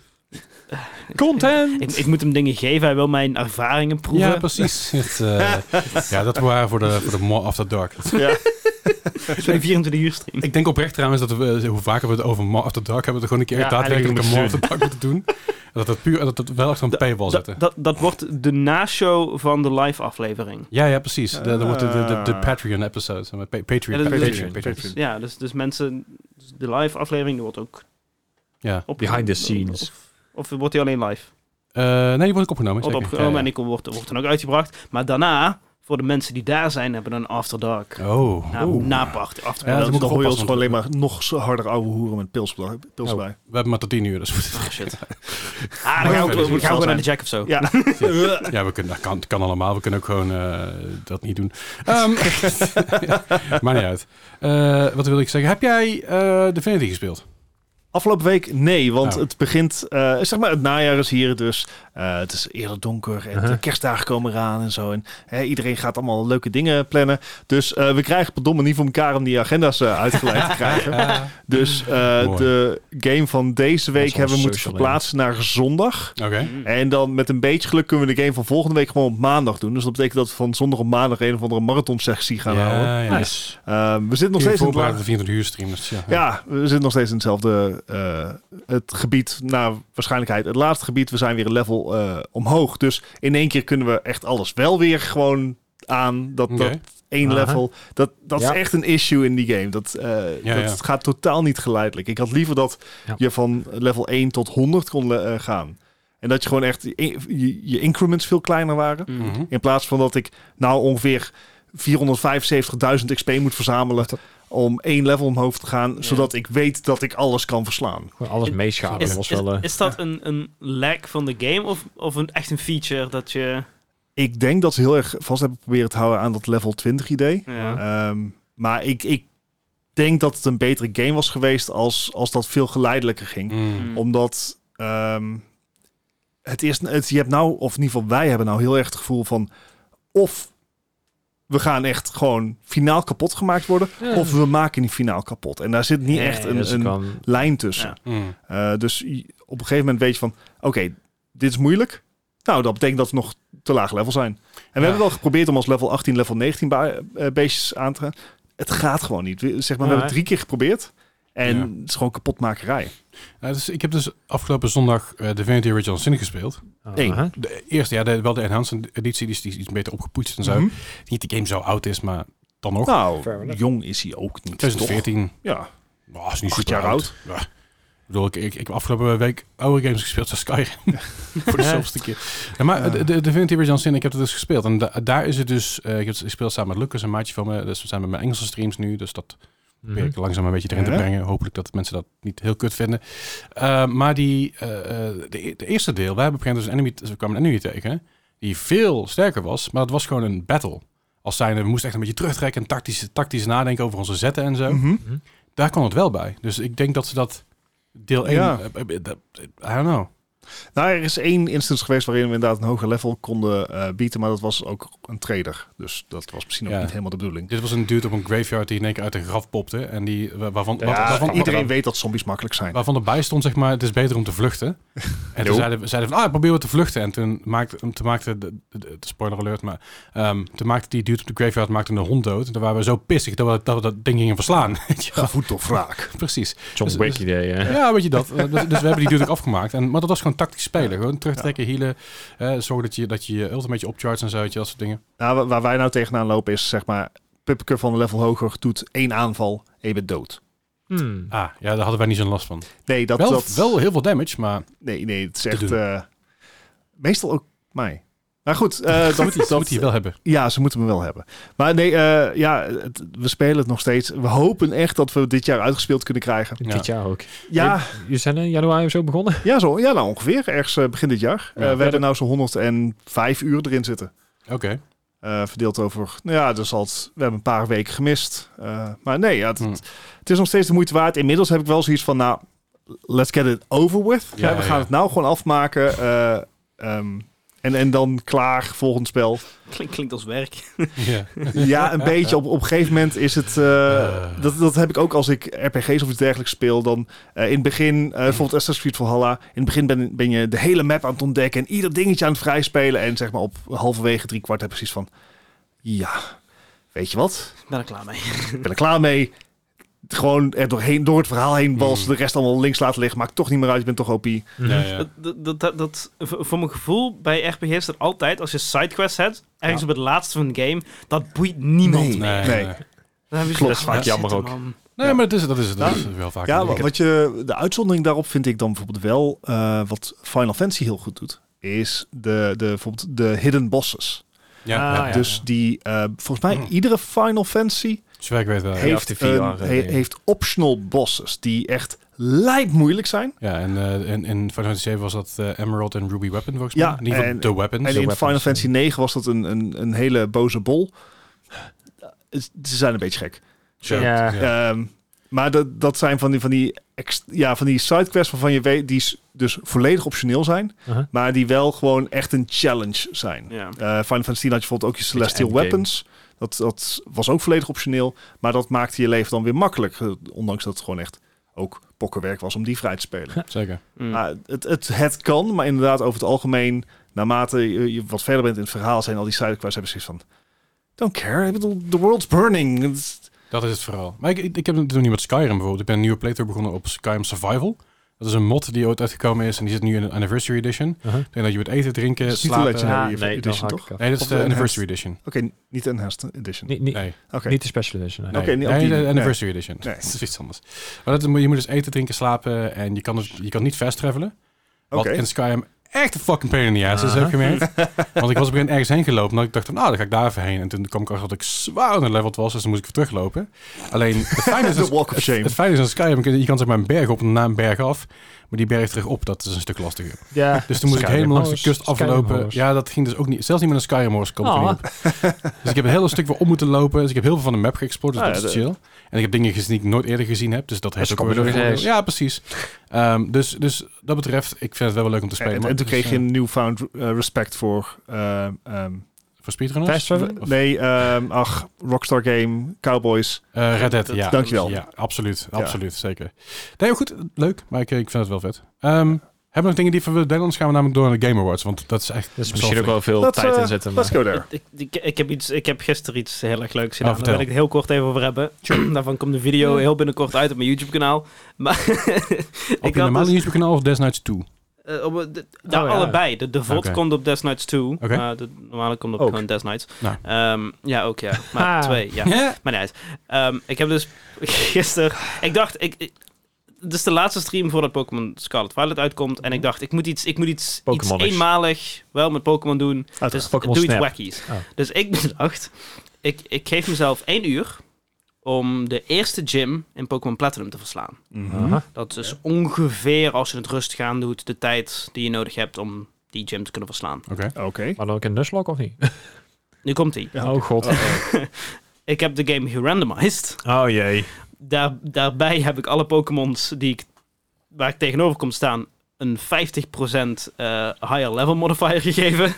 Content!
ik, ik moet hem dingen geven, hij wil mijn ervaringen proeven.
Ja, precies. Het, eh, ja, dat waren voor de, voor de More After Dark.
Het is een 24 uur stream.
Ik denk oprecht trouwens dat we, eh, hoe vaker we het over More After Dark hebben, we er gewoon een keer
Ja,
daadwerkelijk een More
eigenlijk
After Dark moeten doen. En Dat het puur, dat het wel echt een paywall
Dat,
zetten.
dat, dat wordt de nashow van de live aflevering.
Ja, ja, precies. De, dan wordt de, de, de- de
Ah.
Patreon episode. zeg maar. Pa- Patreon.
Ja, dat is-
Patreon.
Patreon.
Patreon.
Ja, dus, dus mensen, dus de live aflevering die wordt ook
Ja.
op
Behind the scenes.
Of, of wordt die alleen live?
Eh, nee, die wordt ook opgenomen.
Wordt
zeker.
opgenomen en
Ja,
die wordt, wordt dan ook uitgebracht. Maar daarna, voor de mensen die daar zijn, hebben we een After Dark.
ja. Oh.
Na, na party, After
Ja,
Dark.
dat
dan
moet ik
hoor je
oppassen,
ons
want-
gewoon alleen maar nog zo harder ouwe hoeren met pils, bij- pils
Oh.
bij.
We hebben maar tot tien uur, dus we-
Oh, shit. Ah, dan gaan we,
verder
we
moet
gaan
wel
gewoon naar
zijn.
de jack of zo.
Ja.
ja, we kunnen, dat kan, kan allemaal. We kunnen ook gewoon eh, dat niet doen. Ehm ja, maakt niet uit. Eh, wat wil ik zeggen? Heb jij eh Divinity gespeeld?
Afgelopen week nee, want
Oh.
het begint, eh, zeg maar, het najaar is hier dus. Eh, het is eerder donker en de
Uh-huh.
kerstdagen komen eraan en zo. En hè, iedereen gaat allemaal leuke dingen plannen. Dus eh, we krijgen verdomme niet voor elkaar om die agenda's eh, uitgeleid te krijgen.
Eh,
Dus eh,
Mooi.
de game van deze
Dat is
week
ons
hebben we moeten
social
verplaatsen naar zondag.
Oké.
En dan met een beetje geluk kunnen we de game van volgende week gewoon op maandag doen. Dus dat betekent dat we van zondag op maandag een of andere marathonsectie gaan houden.
Ja, ja.
Nice.
Eh, we zitten nog
Nog
steeds in het
voorbereid op
la-
de 24 uur stream. Dus ja.
ja, we zitten nog steeds in hetzelfde eh, het gebied, naar waarschijnlijkheid. Het laatste gebied, we zijn weer een level eh, omhoog. Dus in één keer kunnen we echt alles wel weer gewoon aan. Dat,
Oké.
dat één
Aha.
level, dat, dat
Ja.
is echt een issue in die game. Dat, eh,
Ja,
dat
ja.
gaat totaal niet geleidelijk. Ik had liever dat
Ja.
je van level 1 tot 100 kon le- eh, gaan. En dat je gewoon echt, je, je increments veel kleiner waren.
Mm.
Mhm.
In plaats van dat ik nou ongeveer 475.000 XP moet verzamelen
Dat-
om één level omhoog te gaan,
Ja.
zodat ik weet dat ik alles kan verslaan.
Gewoon alles
Is-
meeschalen.
Mm. Is,
was
is-
wel, eh,
is dat een, een lag van de game of, of een, echt een feature dat je...
Ik denk dat ze heel erg vast hebben proberen te houden aan dat level 20 idee.
Ja.
Ehm, maar ik, ik denk dat het een betere game was geweest als, als dat veel geleidelijker ging.
Mm.
Omdat ehm, het is, het, je hebt nou, of in ieder geval wij hebben nou heel erg het gevoel van of we gaan echt gewoon finaal kapot gemaakt worden,
Ja.
of we maken die finaal kapot. En daar zit niet
Ja,
echt
ja,
een,
dus
een
kan-
lijn tussen.
Ja.
Mm.
Eh, dus je- op een gegeven moment weet je van, oké, dit is moeilijk. Nou, dat betekent dat we nog te laag level zijn. En we
Ja.
hebben wel geprobeerd om als level 18, level 19 ba- eh, beestjes aan te gaan. Het gaat gewoon niet. We, zeg maar,
Ja,
we
hè?
hebben het drie keer geprobeerd. En
Ja.
het is gewoon kapotmakerij.
Nou, dus ik heb dus afgelopen zondag eh, Divinity Original Sin gespeeld.
één.
Aha.
De eerste, ja, de, wel de enhanced editie, die is, die is iets beter opgepoetst en zo.
Mhm.
Niet dat de game zo oud is, maar dan nog.
Nou,
Fair enough.
jong is hij ook niet. toch?
2014.
Ja.
Oh, is niet
Acht
super
jaar
oud. Ja. bedoel, ik, ik, ik heb afgelopen week oude games gespeeld, zoals Skyrim. Voor de
Ja.
zoveelste keer. Ja, maar
Ja.
de, de Divinity Original Sin, ik heb het dus gespeeld. En da- daar is het dus... eh, ik, heb, het- ik speel samen met Lucas, een maatje van me. Dus we zijn met mijn Engelse streams nu. Dus dat probeer ik langzaam een beetje erin te
Mhm. Ja.
brengen. Hopelijk dat mensen dat niet heel kut vinden. Eh, maar die, eh, eh, de, de eerste deel, we hebben op een gegeven moment dus een enemy, dus we kwamen een enemy tegen. Die veel sterker was, maar het was gewoon een battle. Als zijnde, we moesten echt een beetje terugtrekken en tactisch, tactisch nadenken over onze zetten en zo
Mhm.
daar kon het wel bij. Dus ik denk dat ze dat deel eh, 1...
Ja.
I don't know.
Nou, er is één instance geweest waarin we inderdaad een hoger level konden eh, bieden, maar dat was ook een trader. Dus dat was misschien ook
Ja.
niet helemaal de bedoeling.
Dit was een dude op een graveyard die in één keer uit een graf popte. En die, wa- waarvan,
Ja,
wat- waarvan,
iedereen weet dat zombies makkelijk zijn.
waarvan erbij stond, zeg maar, het is beter om te vluchten. En toen
Jo.
zeiden, we- zeiden we van, ah, probeer we te vluchten. En toen maakte, toen maakte de, de- de- spoiler alert, maar ehm, toen maakte die dude op de graveyard maakte een hond dood. En toen waren we zo pissig dat we dat, we dat ding gingen verslaan. Ja,
Gevoed door wraak.
Precies.
John
Dus-
Wick
dus-
idee, hè?
Ja, weet je dat. Eh, Dus, dus we hebben die natuurlijk afgemaakt. En, maar dat was gewoon tactisch spelen.
Ja.
Gewoon terugtrekken, healen. eh, zorgen dat je, dat je je ultimate opcharge en zo, weet je, dat soort dingen.
Nou, wa- waar wij nou tegenaan lopen is, zeg maar, Pupke van een level hoger doet één aanval en je bent dood.
Hmm.
Ah, ja, daar hadden wij niet zo'n last van.
Nee, dat...
wel,
dat
wel heel veel damage, maar
Nee, nee, het is
te
echt...
doen.
eh, meestal ook mij. Maar goed, eh,
dat, moet
dat,
hij,
dat,
moet hij wel hebben.
Ja, ze moeten me wel hebben. Maar nee, eh, ja, het- we spelen het nog steeds. We hopen echt dat we dit jaar uitgespeeld kunnen krijgen.
Ja.
Dit jaar ook.
Ja,
Je zijn
eh,
in januari of zo begonnen?
ja, zo, ja nou ongeveer. Ergens eh, begin dit jaar.
Ja.
Eh, we
Ja,
hebben nou zo'n 105 uur erin zitten.
Oké.
Eh, verdeeld over, nou ja, dus al het- we hebben een paar weken gemist. Eh, maar nee, ja, het,
Hm.
het is nog steeds de moeite waard. Inmiddels heb ik wel zoiets van, nou, let's get it over with.
Ja,
Hè, we gaan
ja.
het nou gewoon afmaken. eh, ehm, en, en dan klaar, volgend spel.
Klink, klinkt als werk.
Ja.
Ja, een beetje. Op, op een gegeven moment is het... eh,
Eh.
dat, dat heb ik ook als ik RPG's of iets dergelijks speel. Dan eh, in het begin, eh, bijvoorbeeld Assassin's Creed Valhalla. In het begin ben, ben je de hele map aan het ontdekken. En ieder dingetje aan het vrijspelen. En zeg maar op halverwege, drie kwart heb je precies van... Ja, weet je wat?
Ik ben er klaar mee.
Ik ben er klaar mee. Gewoon er doorheen, door het verhaal heen was.
Mm.
De rest allemaal links laten liggen. Maakt toch niet meer uit. Je bent toch OP.
Ja, ja.
Dat, dat, dat, dat- voor voor mijn gevoel bij RPG's is dat altijd, als je sidequests hebt, ergens
Ja.
op het laatste van de game, dat boeit niemand
Nee.
meer.
Nee, nee.
Nee.
Dan hebben ze
Klopt.
zoiets van,
Dat is vaak
zitten,
jammer
man.
Nee, maar dat is, dat is, dat is wel vaak.
Ja,
een
wat,
ding.
wat je, de uitzondering daarop vind ik dan bijvoorbeeld wel, eh, wat Final Fantasy heel goed doet, is de, de, bijvoorbeeld de hidden bosses.
ja,
Ah,
ja.
ja.
dus
dus die, eh, volgens mij,
Mm.
iedere Final Fantasy
zover ik weet wel. Eh, Ja,
heeft,
of die vier
een-
waren,
he-
ja.
heeft optional bosses die echt lijp moeilijk zijn.
Ja, en eh, in, in Final Fantasy 7 was dat eh, Emerald en Ruby Weapon, volgens mij.
Ja,
Ja, in ieder geval
en-
de weapons.
En
De
in
weapons.
Final Fantasy 9 was dat een, een, een hele boze bol. Het- Ze zijn een beetje gek.
Zo,
Ja.
ja.
Ehm, maar dat, dat zijn van die, van die, ex- ja, van die sidequests waarvan je weet, die s- dus volledig optioneel zijn,
Uh-huh.
maar die wel gewoon echt een challenge zijn. Eh
Ja.
Final Fantasy X had je bijvoorbeeld ook je Celestial
endgame.
Weapons. Dat, dat was ook volledig optioneel, maar dat maakte je leven dan weer makkelijk. eh, Ondanks dat het gewoon echt ook pokkenwerk was om die vrij te spelen.
Zeker.
Mm.
Maar het, het, het kan, maar inderdaad over het algemeen, naarmate je, je wat verder bent in het verhaal, zijn al die sidequests hebben zoiets van, don't care, ik bedoel, the world's burning. Het is-
Dat is het verhaal. Maar ik, ik, ik heb het nu met Skyrim bijvoorbeeld. Ik ben een nieuwe playthrough begonnen op Skyrim Survival. Dat is een mod die ooit uitgekomen is en die zit nu in een Anniversary Edition.
Uh-huh.
Ik denk dat je moet eten, drinken,
is niet de
slapen.
Legendary
Ja, nee, dan
Edition,
hak ik
toch?
af.
Nee, dat is
Of
de
de
Anniversary Edition.
Oké, niet de Enhanced Edition.
Niet, niet,
Nee,
Oké.
niet de special edition. nee.
nee.
Oké, niet op
nee,
die-
de
nee.
Anniversary Edition.
Nee.
Dat is iets anders. Maar dat, je moet dus eten, drinken, slapen en je kan, dus, je kan niet fast travelen. Wat
Oké.
in Skyrim echt een fucking pain in the ass is, heb ik gemerkt. Want ik was op een gegeven moment ergens heen gelopen en ik dacht van, nou, dan ga ik daar even heen. En toen kwam ik achter dat ik zwaar onderleveld was, dus dan moest ik weer teruglopen. Alleen, het fijne is, dus
De walk of shame.
het fijne is aan Skyrim, je kan zeg maar een berg op en na een berg af. Maar die berg terug op, dat is een stuk lastiger.
Ja.
Dus toen moest ik
Skyrim
helemaal langs de
Horse,
kust
Skyrim
aflopen.
Horse.
Ja, dat ging dus ook niet. Zelfs niet met een Skyrim horse komt er
Ah.
Oh.
niet op. Dus ik heb een heel stuk weer om moeten lopen. Dus ik heb heel veel van de map geëxploreerd. Dus dat
Ah, ja,
is
de-
chill. En ik heb dingen gezien die ik nooit eerder gezien heb. Dus dat heeft
is
ook weer
computer
een
games.
voordeel. Ja, precies. Ehm, dus, dus dat betreft, ik vind het wel wel leuk om te
En,
spelen.
en
maar-
toen kreeg
dus,
je
eh,
een newfound eh, respect voor... eh, ehm,
Voor speedrunners?
Fast travel?
Of-
nee, ehm, ach, Rockstar Game, Cowboys.
Eh, Red Dead, ja.
Dankjewel.
Ja, absoluut. Absoluut, zeker. Nee, goed. Leuk. Maar ik, ik vind het wel vet. Ehm, hebben we nog dingen die van willen delen? Anders gaan we namelijk door naar de Game Awards. Want dat is echt...
Er is
best
misschien ook
flink.
wel veel
Let's,
tijd
eh,
in zitten.
Let's
maar-
go there.
Ik, ik, ik heb iets, ik heb gisteren iets heel erg leuks gedaan.
Nou,
Daar
vertel.
wil ik het heel kort even over hebben. Daarvan komt de video heel binnenkort uit op mijn YouTube-kanaal. Maar
Op
ik
je
had
normale
dus,
YouTube-kanaal of Death Nights 2?
eh, op, de, nou,
ja.
allebei. De, de VOD
Oh, Oké.
komt op Death Nights 2.
Oké.
Eh, de normale komt op
Ook.
gewoon Death Nights.
Nou.
Ehm, ja, ook ja. Maar
Ha.
twee, ja. Maar niet uit. Ehm, ik heb dus gisteren... Ik dacht... Ik, ik- dit is de laatste stream voordat Pokémon Scarlet Violet uitkomt.
Mhm.
En ik dacht, ik moet iets, ik moet iets, iets
Pokémonisch.
eenmalig wel met Pokémon doen.
Uiteraard.
Dus
Pokémon
doe iets
Snap.
wackies.
Oh.
Dus ik bedacht, ik, ik geef mezelf één uur om de eerste gym in Pokémon Platinum te verslaan.
Uh-huh.
Mhm.
Aha.
Dat is ongeveer, als je het rustig aan doet, de tijd die je nodig hebt om die gym te kunnen verslaan.
Oké.
Maar dan ook een Nuzlocke of niet?
Nu komt die.
Ja.
Oh god.
Ik heb de game gerandomized.
Oh jee.
Daar, daarbij heb ik alle Pokémons die ik, waar ik tegenover kom staan een 50% eh, higher level modifier gegeven.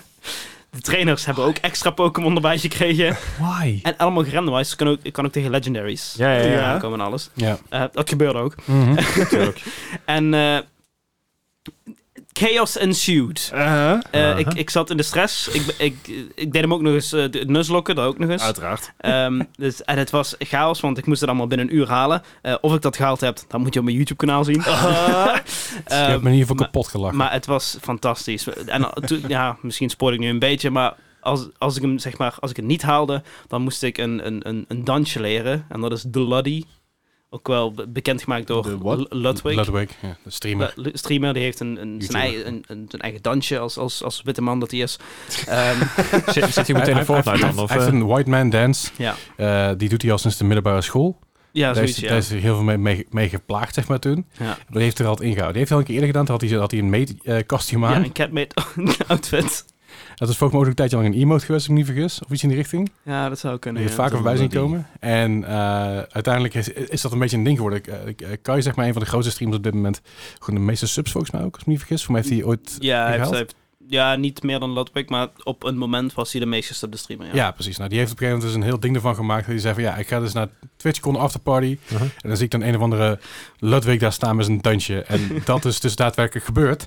De trainers hebben ook extra Pokémon erbij gekregen.
Why?
En allemaal gerandomized. Dus ik kan ook, ik kan ook tegen legendaries
Ja, ja, ja.
Ja.
aankomen en alles.
Ja. Mhm.
Eh, dat gebeurde ook. En eh, chaos ensued.
Eh,
Eh,
Aha.
ik, ik zat in de stress. Ik, ben- ik, ik deed hem ook nog eens, eh, de nuzlokken, dat ook nog eens.
Uiteraard.
Ehm, dus, en het was chaos, want ik moest het allemaal binnen een uur halen. Eh, of ik dat gehaald heb, dat moet je op mijn YouTube-kanaal zien.
Ah.
Je
Ehm,
hebt me in ieder geval
maar-
kapot gelachen.
maar het was fantastisch. En al- toen, ja, misschien spoor ik nu een beetje, maar als, als ik hem zeg maar, als ik het niet haalde, dan moest ik een, een, een, een dansje leren. En dat is de Luddy. Ook wel be- bekendgemaakt door
De wat?
L- Ludwig.
Ludwig, ja, de streamer.
Lu- streamer, die heeft een, een, zijn,
YouTuber.
eigen, een, een, zijn eigen dansje als, als, als witte man dat hij is. Ehm,
Zit, zit hij meteen een
Hij- hij-
Fortnite
hij-
dan? Of,
Hij heeft
eh?
een white man dance.
ja,
Eh, die doet hij al sinds de middelbare school. daar,
ja
is,
zoiets. Ja.
daar is hij heel veel mee, mee, mee geplaagd, zeg maar, toen. Maar
Ja.
die heeft er altijd ingehouden. Die heeft hij al een keer eerder gedaan. Toen had hij, had hij een meet-costume
ja,
aan.
een catmate outfit.
Dat is volgens mij ook een tijdje lang een emote geweest, als ik me niet vergis. Of iets in die richting.
Ja, dat zou kunnen.
Die
ja.
heeft vaker
dat
voorbij zien
wel die-
komen. En eh, uiteindelijk is, is dat een beetje een ding geworden. Eh, ik- eh, Kai is zeg maar een van de grootste streamers op dit moment. Gewoon de meeste subs volgens mij ook, als ik me niet vergis. Voor mij heeft hij ooit...
Ja, hij heeft,
gehaald?
hij heeft- ja, niet meer dan Ludwig, maar op een moment was hij de meest gestopte streamer. Ja.
Ja, precies. Nou, die heeft op een gegeven moment dus een heel ding ervan gemaakt. Die zei van, ja, ik ga dus naar TwitchCon afterparty.
Uh-huh.
En dan zie ik dan een of andere Ludwig daar staan met zijn dansje. En dat is dus daadwerkelijk gebeurd.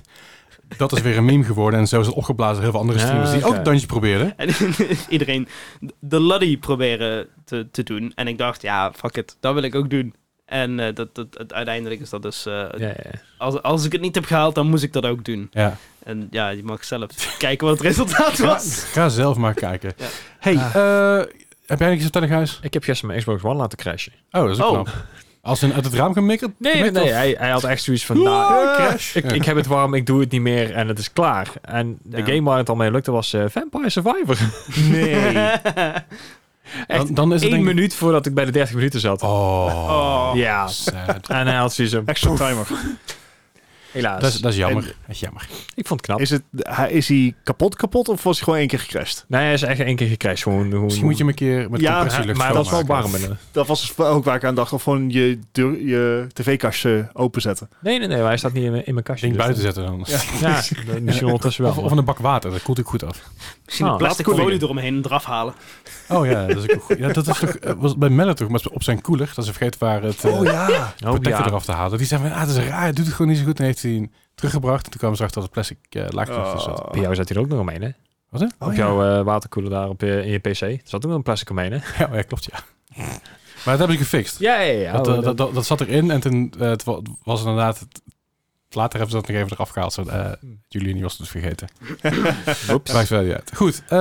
Dat is weer een meme geworden. En zo is het opgeblazen door heel veel andere
Ja,
streamers die ook
oké.
een dansje probeerden.
En iedereen de Luddy proberen te, te doen. En ik dacht, ja, fuck it, dat wil ik ook doen. En eh, dat, dat, het- uiteindelijk is dat dus... eh,
Ja, ja, ja.
als, als ik het niet heb gehaald, dan moest ik dat ook doen.
Ja.
En ja, je mag zelf kijken wat het resultaat
Ga,
was.
ga zelf maar kijken.
Ja.
Hey, eh, heb jij niks op telling huis?
Ik heb gisteren mijn Xbox One laten crashen.
Oh, dat is ook
Oh.
knap. Als een uit het raam gemikkeld?
Nee, nee, hij, hij had echt zoiets van... nou, ik, ik heb het warm, ik doe het niet meer en het is klaar. En de
Ja.
game waar het al mee lukte was eh, Vampire Survivor.
Nee.
Dan, dan is het
Eén
denk ik-
minuut voordat ik bij de 30 minuten zat.
Oh, eh,
Oh.
Ja.
sad.
En hij had zoiets van,
Extra timer.
helaas.
Dat is, dat is jammer. Dat is jammer.
ik vond het knap.
Is, het, hij- is hij kapot kapot of was hij gewoon één keer gecrashed?
Nee, hij is echt één keer gecrashed. Gewoon, gewoon,
Misschien moet je hem een keer met
Ja,
compressie lucht
Maar dat is wel warm. eh.
schoonmaken.
hè.
Dat was dus ook waar ik aan dacht. Of gewoon je, deur- je tv-kastje openzetten.
Nee, nee, nee. Hij staat niet in, mijn- in mijn kastje.
Ding
dus
buiten
dat-
zetten dan.
Ja, dan misschien ondertussen dus wel.
Of, of in een bak water, dat koelt ook goed af.
Misschien
Oh,
een plastic
dat kon ik
folie
niet.
eromheen en eraf halen.
Oh ja, dat is ook goed. Ja, dat is toch, eh, was het bij Melle toch, maar op zijn koeler, dat ze vergeet waar het eh
ja.
Oh,
protector
ja.
eraf te halen. Die zei van, ah, dat is raar, hij doet het gewoon niet zo goed. En heeft hij hem teruggebracht. En toen kwamen ze achter dat het plastic eh laagje
Oh.
erachter zat.
Bij jou zat hij er ook nog omheen, hè?
Wat, hè?
Oh. op jouw eh, waterkoeler daar op, je- in je pc. Er zat ook nog een plastic omheen, hè?
Ja, oh ja, klopt, ja. Maar dat hebben ze gefixt.
Ja, ja, ja.
dat,
Oh,
eh, dat, dat, dat zat erin en toen eh, het wa- was het inderdaad... het- later hebben ze dat nog even eraf gehaald. Zo, eh Julian was het dus vergeten.
Oeps.
Maakt verder niet uit. Goed, eh,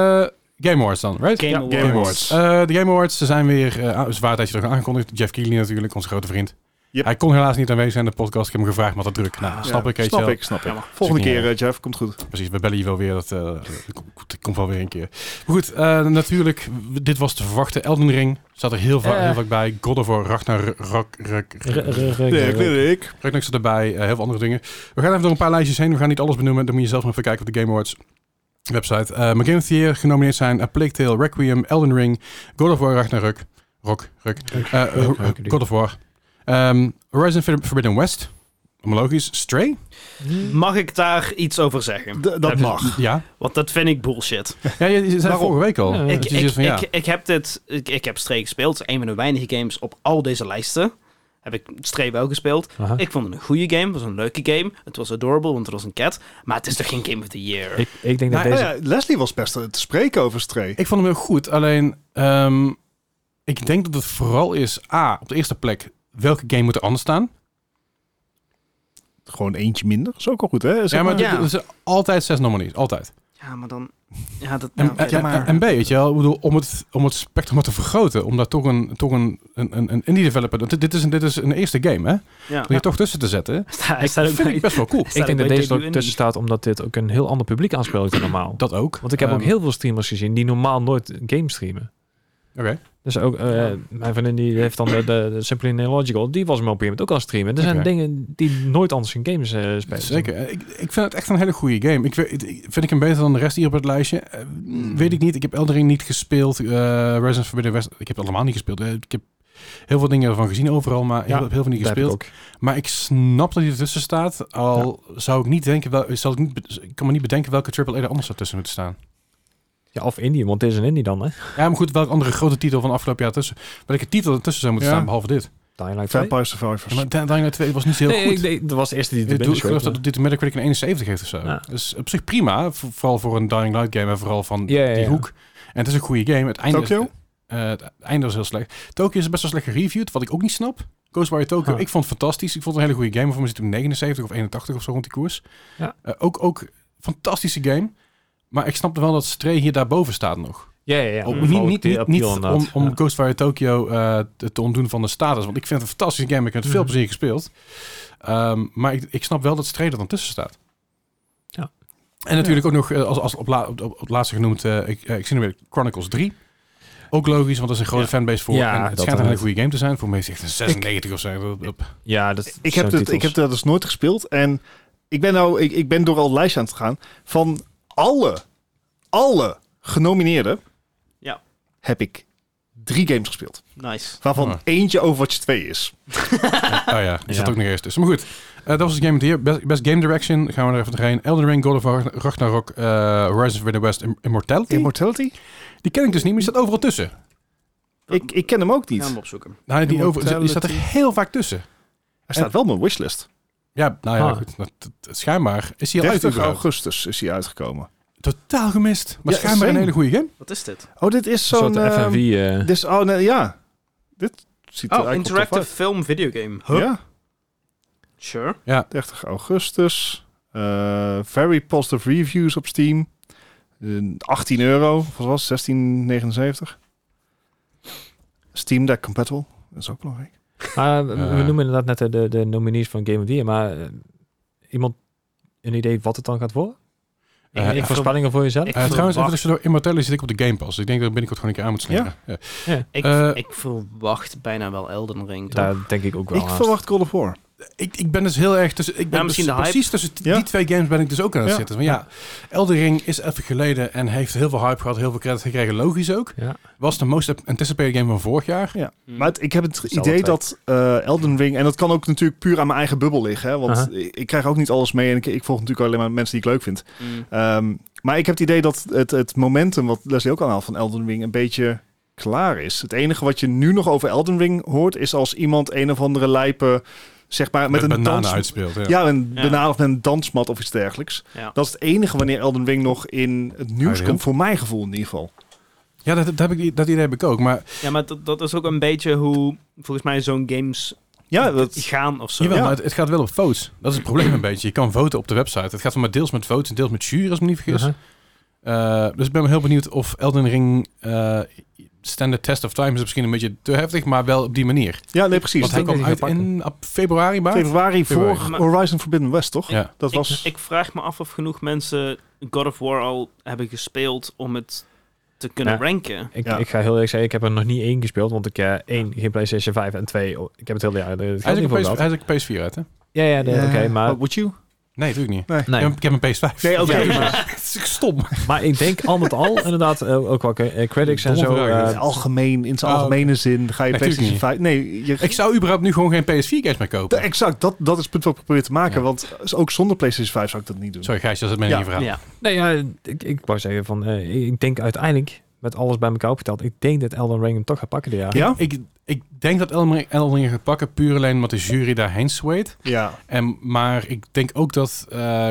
Game Awards dan, right?
Game, Awards.
Game Awards.
Eh, de Game Awards ze zijn weer eh, aan- zwaar tijdje terug aangekondigd. Jeff Keighley natuurlijk, onze grote vriend.
Yep.
Hij kon helaas niet aanwezig zijn in de podcast. Ik heb hem gevraagd, maar dat druk. Nou,
Ja,
snap ik, weet je
Snap
wel.
ik, snap ik.
Jammer.
Volgende
Is ook
keer,
niet
eh, Jeff, komt goed.
Precies, we bellen je wel weer. Dat, eh, dat komt wel weer een keer. Maar goed, eh, natuurlijk, w- dit was te verwachten. Elden Ring zat er heel, va-
Eh.
heel vaak bij. God of War, Ragnarok, Ruk-
Nee, ik weet ik.
Ragnarok zat erbij. eh, heel veel andere dingen. We gaan even door een paar lijstjes heen. We gaan niet alles benoemen. Dan moet je zelf maar even kijken op de Game Awards website. Eh maar Game of the Year genomineerd zijn A Plague Tale, Requiem, Elden Ring, God of War, Ragnarok, Rock, Ruk, eh, eh, God of War. Ehm, Horizon Forbid- Forbidden West. Logisch. Stray?
Mag ik daar iets over zeggen?
D- dat
Heb-
mag.
Ja.
Want dat vind ik bullshit.
Ja, je, je zei
Waarom?
vorige week al.
Ja,
Dat
Ik,
je
ik,
zegt van, ja.
ik, ik heb dit, ik, ik heb Stray gespeeld. Het is een van de weinige games op al deze lijsten. Heb ik Stray wel gespeeld.
Aha.
Ik vond het een goede game. Het was een leuke game. Het was adorable, want het was een cat. Maar het is toch geen Game of the Year?
Ik, ik denk dat
Nou,
deze...
Nou ja, Leslie was best te spreken over Stray.
Ik vond hem heel goed. Alleen, ehm, ik denk dat het vooral is... A, op de eerste plek, welke game moet er anders staan?
Gewoon eentje minder. Is ook al goed, hè? Zeg
Ja, maar
maar-
d- d- er zijn altijd zes nominees. Altijd.
Ja, maar dan... Ja, dat,
En,
nou, oké,
en-
dat-
en- en B, weet je wel, ik bedoel, om het, om het spectrum wat te vergroten, om daar toch een, toch een, een, een, een indie developer, want dit, dit, is een, dit is een eerste game, hè? Om
ja.
je toch tussen te zetten,
Sta- Hij staat ook
vind ik
bij.
best wel cool.
staat
Ik
ook
denk dat
bij
deze er
debut
ook
in.
tussen staat omdat dit ook een heel ander publiek aanspreekt dan normaal.
Dat ook.
Want ik heb ook
Ehm,
heel veel streamers gezien die normaal nooit games streamen.
Oké.
Dus ook, eh, mijn vriendin die heeft dan de, de, de Simply Neological, die was me op een gegeven moment ook aan het streamen. Er zijn
Oké.
dingen die nooit anders in games eh, spelen.
Zeker. Eh, Ik, ik vind het echt een hele goede game. Ik, weet- ik- vind ik hem beter dan de rest hier op het lijstje? Eh,
Hmm.
Weet ik niet. Ik heb Eldering niet gespeeld. eh Resident Forbidden West. Ik heb het allemaal niet gespeeld. Eh, ik heb heel veel dingen ervan gezien overal, maar ik
Ja,
heb heel veel niet
Dat heb ik
gespeeld.
ook.
Maar ik snap dat hij ertussen staat. Al zou ik niet denken, wel, zou ik, niet, be- ik kan me niet bedenken welke AAA er anders zou tussen moeten staan.
Ja, of indie, want het is een indie dan, hè?
Ja, maar goed, welke andere grote titel van afgelopen jaar tussen? Welke titel er tussen zou moeten
Ja.
staan, behalve dit?
Dying Light 2.
Vampire
Ja,
Survivors.
maar Dying Light 2 was niet zo heel
Nee,
goed.
ik, nee, dat was de eerste die er
Ik
binnen
bedoel, ik geloof dat
schoot, maar-
dit Metacritic een 71 heeft of zo.
Ja.
Dus op zich prima, voor- vooral voor een Dying Light game en vooral van
Ja, ja,
die
ja.
hoek. En het is een goede game. Het einde,
Tokyo?
Is, eh, het einde was heel slecht. Tokyo is best wel slecht gereviewd, wat ik ook niet snap. Ghostwire Tokyo,
Ah.
ik vond het fantastisch. Ik vond het een hele goede game. Voor me zit hem 79 of 81 of zo rond die koers.
Ja.
Eh, ook, ook fantastische game. Maar ik snapte wel dat Stray hier daarboven staat nog.
Ja, ja, ja.
Ook
Mm.
niet
Ook
niet,
die
niet, niet
appeal
om,
inderdaad.
om
Ja.
Ghostwire Tokyo eh, te, te ontdoen van de status. Want ik vind het een fantastische game. Ik heb het veel
Mhm.
plezier gespeeld. Ehm, maar ik, ik snap wel dat Stray er dan tussen staat.
Ja.
En natuurlijk ook nog, eh, als, als op, la, op, op het laatste genoemd, eh ik, eh, ik zie nu weer Chronicles 3. Ook logisch, want dat is een grote
Ja.
fanbase voor.
Ja,
en het schijnt
dat
een hele
inderdaad.
goede game te zijn. Voor mij is het echt een 96 of zo. Op- op-
Ja, dat
Ik heb,
zijn
dit, ik heb
titels.
dat dus nooit gespeeld. En ik ben, nou, ik, ik ben door al het lijstje aan het gaan. Van alle, alle genomineerden
Ja.
heb ik drie games gespeeld.
Nice.
Waarvan
Oh.
eentje Overwatch 2 is.
Oh ja, die zat
Ja.
ook nog eerst tussen. Maar goed, eh, dat was het Game of the Year. Best, best Game Direction, gaan we er even doorheen. Elden Ring, God of Ragn- Ragnarok, eh Horizon Forbidden West, Im- Immortality.
Immortality?
die ken ik dus niet, maar die staat overal tussen.
Ik, ik ken hem ook
Gaan we hem
niet.
opzoeken.
Nou, die, over, die
Immortality.
staat er heel vaak tussen.
Hij staat wel op mijn wishlist.
Ja, nou ja,
Ah.
goed. Dat- dat- schijnbaar is hij al uit
30
überhaupt.
augustus is hij uitgekomen.
Totaal gemist. Maar
Ja,
schijnbaar een
same.
hele goede game.
Wat is dit?
Oh, dit is
Een
zo'n...
soort
ehm,
FNV. eh,
dit is, oh, nee, ja. Dit ziet er
Oh,
eigenlijk wel
interactive
tof
film video game.
uit.
Huh?
Ja.
Sure.
30 augustus. Eh, very positive reviews op Steam. Eh, 18 euro, of wat was het? 16,79. Steam Deck compatible. Dat is ook belangrijk.
maar we, we
Eh.
noemen inderdaad net de- de, de nominees van Game of the Year, maar eh, iemand een idee wat het dan gaat worden?
Eh,
Enige
ik
voorspellingen voor jezelf?
Ik
Eh, trouwens, even
verwacht-
tussendoor, Immortality zit ik op de Game Pass. Ik denk dat ik binnenkort gewoon een keer aan moet slingeren. Ja?
Ik,
Eh,
ik verwacht bijna wel Elden Ring. toch?
Daar denk ik ook wel
ik
haast.
verwacht God of War.
Mm.
Ik, ik ben dus heel erg tussen... Ik ben
misschien
dus
de hype.
precies tussen t-
Ja.
die twee games ben ik dus ook aan het
Ja.
zitten. Maar ja, Elden Ring is even geleden en heeft heel veel hype gehad. Heel veel credit gekregen, logisch ook.
Ja.
Was de most anticipated game van vorig jaar.
Hmm.
Maar het- ik heb het
Zelfde
idee
tijd.
dat eh, Elden Ring... En dat kan ook natuurlijk puur aan mijn eigen bubbel liggen. Hè, want
Aha.
ik, ik krijg ook niet alles mee. En ik, ik volg natuurlijk alleen maar mensen die ik leuk vind.
Hmm.
Ehm, maar ik heb het idee dat het, het momentum, wat Leslie ook aanhaalt van Elden Ring, een beetje klaar is. Het enige wat je nu nog over Elden Ring hoort, is als iemand een of andere lijpe, zeg maar, met, een
bananen
dans...
uitspeelt. Ja.
Ja, een
Ja.
banaan of met een dansmat of iets dergelijks.
Ja.
Dat is het enige wanneer Elden Ring nog in het nieuws
Ariel?
komt, voor mijn gevoel in ieder geval.
Ja, dat, dat, heb ik, dat idee heb ik ook. Maar
Ja, maar dat, dat is ook een beetje hoe volgens mij zo'n games
Ja, dat,
gaan of zo.
Jawel,
Ja.
maar het, het gaat wel op votes. Dat is het probleem een beetje. Je kan voten op de website. Het gaat maar deels met votes en deels met jury, als ik me niet vergis.
Uh-huh.
Uh-huh.
Eh, dus ik ben heel benieuwd of Elden Ring eh, standard test of time is misschien een beetje te heftig, maar wel op die manier.
ja nee, precies.
Want hij
denk
kwam
dat
uit
hij gaat
in ap- februari, maar.
Februari voor
Februari.
Maar-
Horizon Forbidden West, toch?
Ja.
Dat
Ik-
was...
ik, vraag me af of genoeg mensen God of War al hebben gespeeld om het te kunnen
Ja.
ranken.
Ik,
Ja.
ik ga heel eerlijk zeggen, ik heb er nog niet één gespeeld, want ik eh één, geen PlayStation 5 en twee, oh, ik heb het hele jaar. Het
Hij
geldt
is
niet
ook
voor
een PS-
gehad.
hij is ook een PS4 uit, hè?
Ja, ja, nee, oké, maar,
But would you?
Nee, natuurlijk niet.
nee.
Ik, heb, ik heb een PS5.
Nee, oké,
Ja,
maar-
Het is stom.
maar ik denk al met al, inderdaad, eh, ook wel eh, critics en
Domme
zo.
vraag,
eh,
dit.
In het algemeen, in zijn
Oh, oké.
algemene zin, ga je
Nee,
PlayStation
tuurlijk
5... Nee, je,
Ik zou überhaupt nu gewoon geen PS4-games meer
Da-
kopen.
exact, dat, dat is het punt wat ik probeer te maken.
Ja.
Want ook zonder PlayStation 5 zou ik dat niet doen.
Sorry, Gijsje, dat is mijn
Ja.
enige vraag.
Ja.
nee, ja, ik, ik wou zeggen van, eh, ik denk uiteindelijk, met alles bij elkaar opgeteld, ik denk dat Elden Ring hem toch gaat pakken dit jaar.
Ja?
Ik, ik denk dat Elden Ring- Elden Ring gaat pakken puur alleen omdat de jury daarheen zweet.
Ja.
En, maar ik denk ook dat eh,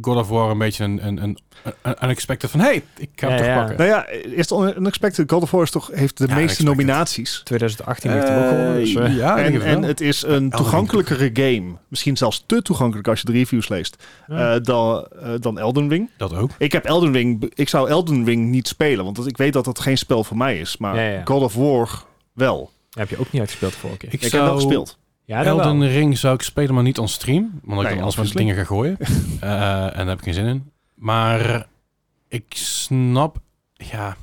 God of War een beetje een, een, een, een unexpected van... hey, ik ga hem
Ja,
toch
ja.
pakken.
Nou ja, eerst Unexpected. God of War is toch, heeft de
Ja,
meeste
Unexpected.
nominaties.
2018 heeft hem ook
Eh,
gewonnen. Dus, eh,
ja, ik denk
en,
het wel.
en het is een toegankelijkere game. Misschien zelfs te toegankelijk als je de reviews leest.
Ja.
eh, dan, eh, dan Elden Ring.
dat ook.
Ik heb Elden Ring. be- Ik zou Elden Ring niet spelen. Want ik weet dat dat geen spel voor mij is. Maar
Ja, ja.
God of War wel.
heb je ook niet uitgespeeld de vorige keer.
Ik
Ik, heb wel gespeeld.
ja, dat wel.
Elden Ring zou ik spelen, maar niet on stream. Want ik
Nee,
dan alles met
obviously.
dingen ga gooien. Eh, en daar heb ik geen zin in. Maar ik snap... Ja...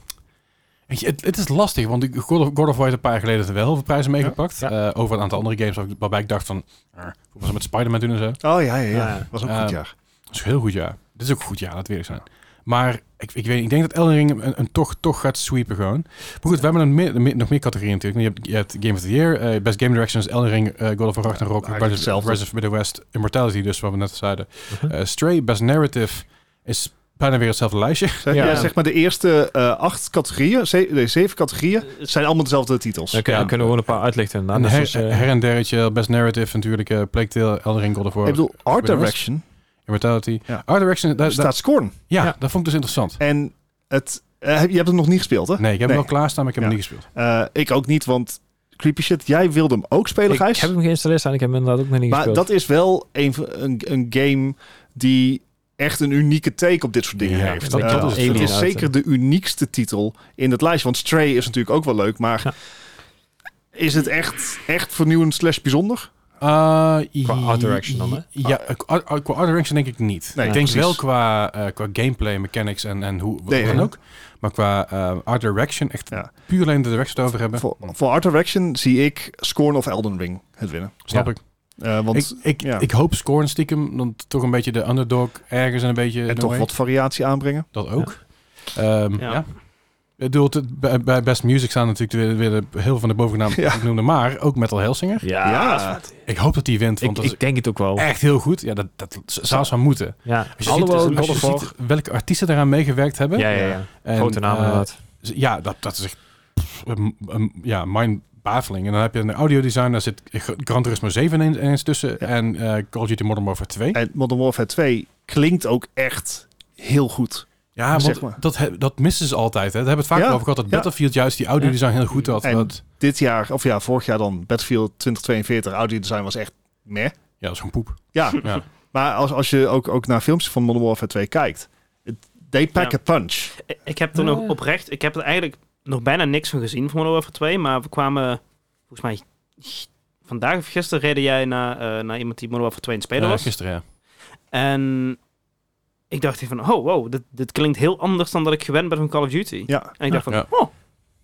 Weet je, Het, het is lastig, want ik- God of, God of War heeft een paar jaar geleden wel heel veel prijzen meegepakt.
Ja,
Eh, over een aantal andere games waar ik- waarbij ik dacht van... eh, Hoe was het met Spider-Man doen en zo?
Oh ja, ja, ja.
Ja.
Was ook
Eh,
goed jaar.
Dat is een heel goed jaar. Dit is ook een goed jaar, laten we eerlijk zijn. Maar ik, ik, weet, ik denk dat Elden Ring een, een toch, toch gaat sweepen gewoon. Maar goed, we hebben een meer- meer- nog meer categorieën natuurlijk. Je hebt, je hebt Game of the Year, eh, Best Game Direction is Elden Ring, eh, God of War Ragnarok,
eigenlijk
Rise of-
hetzelfde.
Rise of the West, Immortality dus, wat we net zeiden.
Mhm.
Eh, Stray, Best Narrative is bijna weer hetzelfde lijstje.
Zeg,
ja.
Eh, ja, zeg maar de eerste eh, acht categorieën, ze- nee, zeven categorieën,
Het-
zijn allemaal dezelfde titels.
Dan kunnen-
ja.
dan kunnen we gewoon een paar uitlichten. Nou,
en
dus,
her,
dus, eh,
her en derretje, Best Narrative natuurlijk, eh Plague Tale, Elden Ring, God of War,
ik bedoel, Art
Voor de rest-
Direction
Immortality.
Ja.
Art Direction, daar-
daar
daar-
staat Scorn.
ja,
Ja.
dat vond ik dus interessant.
En het, eh, heb- je hebt het nog niet gespeeld, hè?
Nee, ik heb
Nee.
hem wel klaarstaan, maar ik heb hem niet gespeeld.
Eh, ik ook niet, want Creepy Shit, jij wilde hem ook spelen,
ik
Gijs.
heb hem geïnstalleerd staan. Ik heb hem inderdaad ook nog niet
maar
gespeeld.
dat is wel een, van- een, een game die echt een unieke take op dit soort dingen
Ja,
heeft.
dat-
Eh,
dat is
het
het
is
inderdaad,
zeker de uniekste titel in het lijstje. Want Stray is natuurlijk ook wel leuk, maar
Ja.
is het echt, echt vernieuwend slash bijzonder?
Eh,
Qua
i-
art direction dan, hè? Ah,
Ja, eh, qua art- qua art direction denk ik niet.
Nee,
ik denk
precies.
wel qua, eh, qua gameplay, mechanics en, en hoe wat
Nee,
dan
ja.
ook. Maar qua eh, art direction, echt
Ja.
puur alleen de direction het over hebben,
Voor, voor Art Direction zie ik Scorn of Elden Ring het winnen.
snap
Ja.
ik.
Eh, want
Ik, ik,
ja.
ik hoop scoren stiekem, dan toch een beetje de underdog ergens en een beetje...
En
eh, no
toch
way.
wat variatie aanbrengen.
Dat ook. Ehm, ja.
Ja.
Ik bedoel, het- bij- bij Best Music staan natuurlijk weer, weer de, heel veel van de bovennaam
Ja.
ik noemde, maar ook Metal Helsinger.
ja,
Ja.
dat is vet.
Ik hoop dat die wint, want
Ik,
dat is
ik denk het ook wel.
echt heel goed. Ja, dat, dat zou ze moeten.
Ja.
Als je,
Alhoewel,
ziet, als
God
je
of War-
ziet welke artiesten daaraan meegewerkt hebben.
Ja, ja, ja.
Ja.
En,
Grote namen
eh,
inderdaad.
z- ja, dat, dat is echt pff, een, een- ja, mind-baffling. En dan heb je een audiodesign, daar zit G- Gran Turismo 7 in- ineens tussen.
Ja.
En eh, Call of Duty Modern Warfare 2.
En Modern Warfare 2 klinkt ook echt heel goed.
ja, want
zeg maar.
dat, he- dat missen ze altijd. Hè. Daar hebben we het vaak
Ja,
over gehad, dat
ja.
Battlefield juist die audiodesign heel goed had.
En-
dat,
Dit jaar, of ja, vorig jaar dan, Battlefield 2042, audio design was echt meh.
ja, dat is gewoon poep.
Ja,
Ja.
maar als, als je ook, ook naar filmpjes van Modern Warfare 2 kijkt, het- they pack
Ja.
a punch.
Ik- Ik heb er nog oprecht, ik heb er eigenlijk nog bijna niks van gezien van Modern Warfare 2, maar we kwamen, volgens mij, g- vandaag of gisteren reden jij naar, eh, naar iemand die Modern Warfare 2 aan het spelen
Eh,
was.
gisteren, ja.
En ik dacht hier van, oh wow, dit, dit klinkt heel anders dan dat ik gewend ben van Call of Duty.
Ja,
En ik dacht van,
Ja.
oh,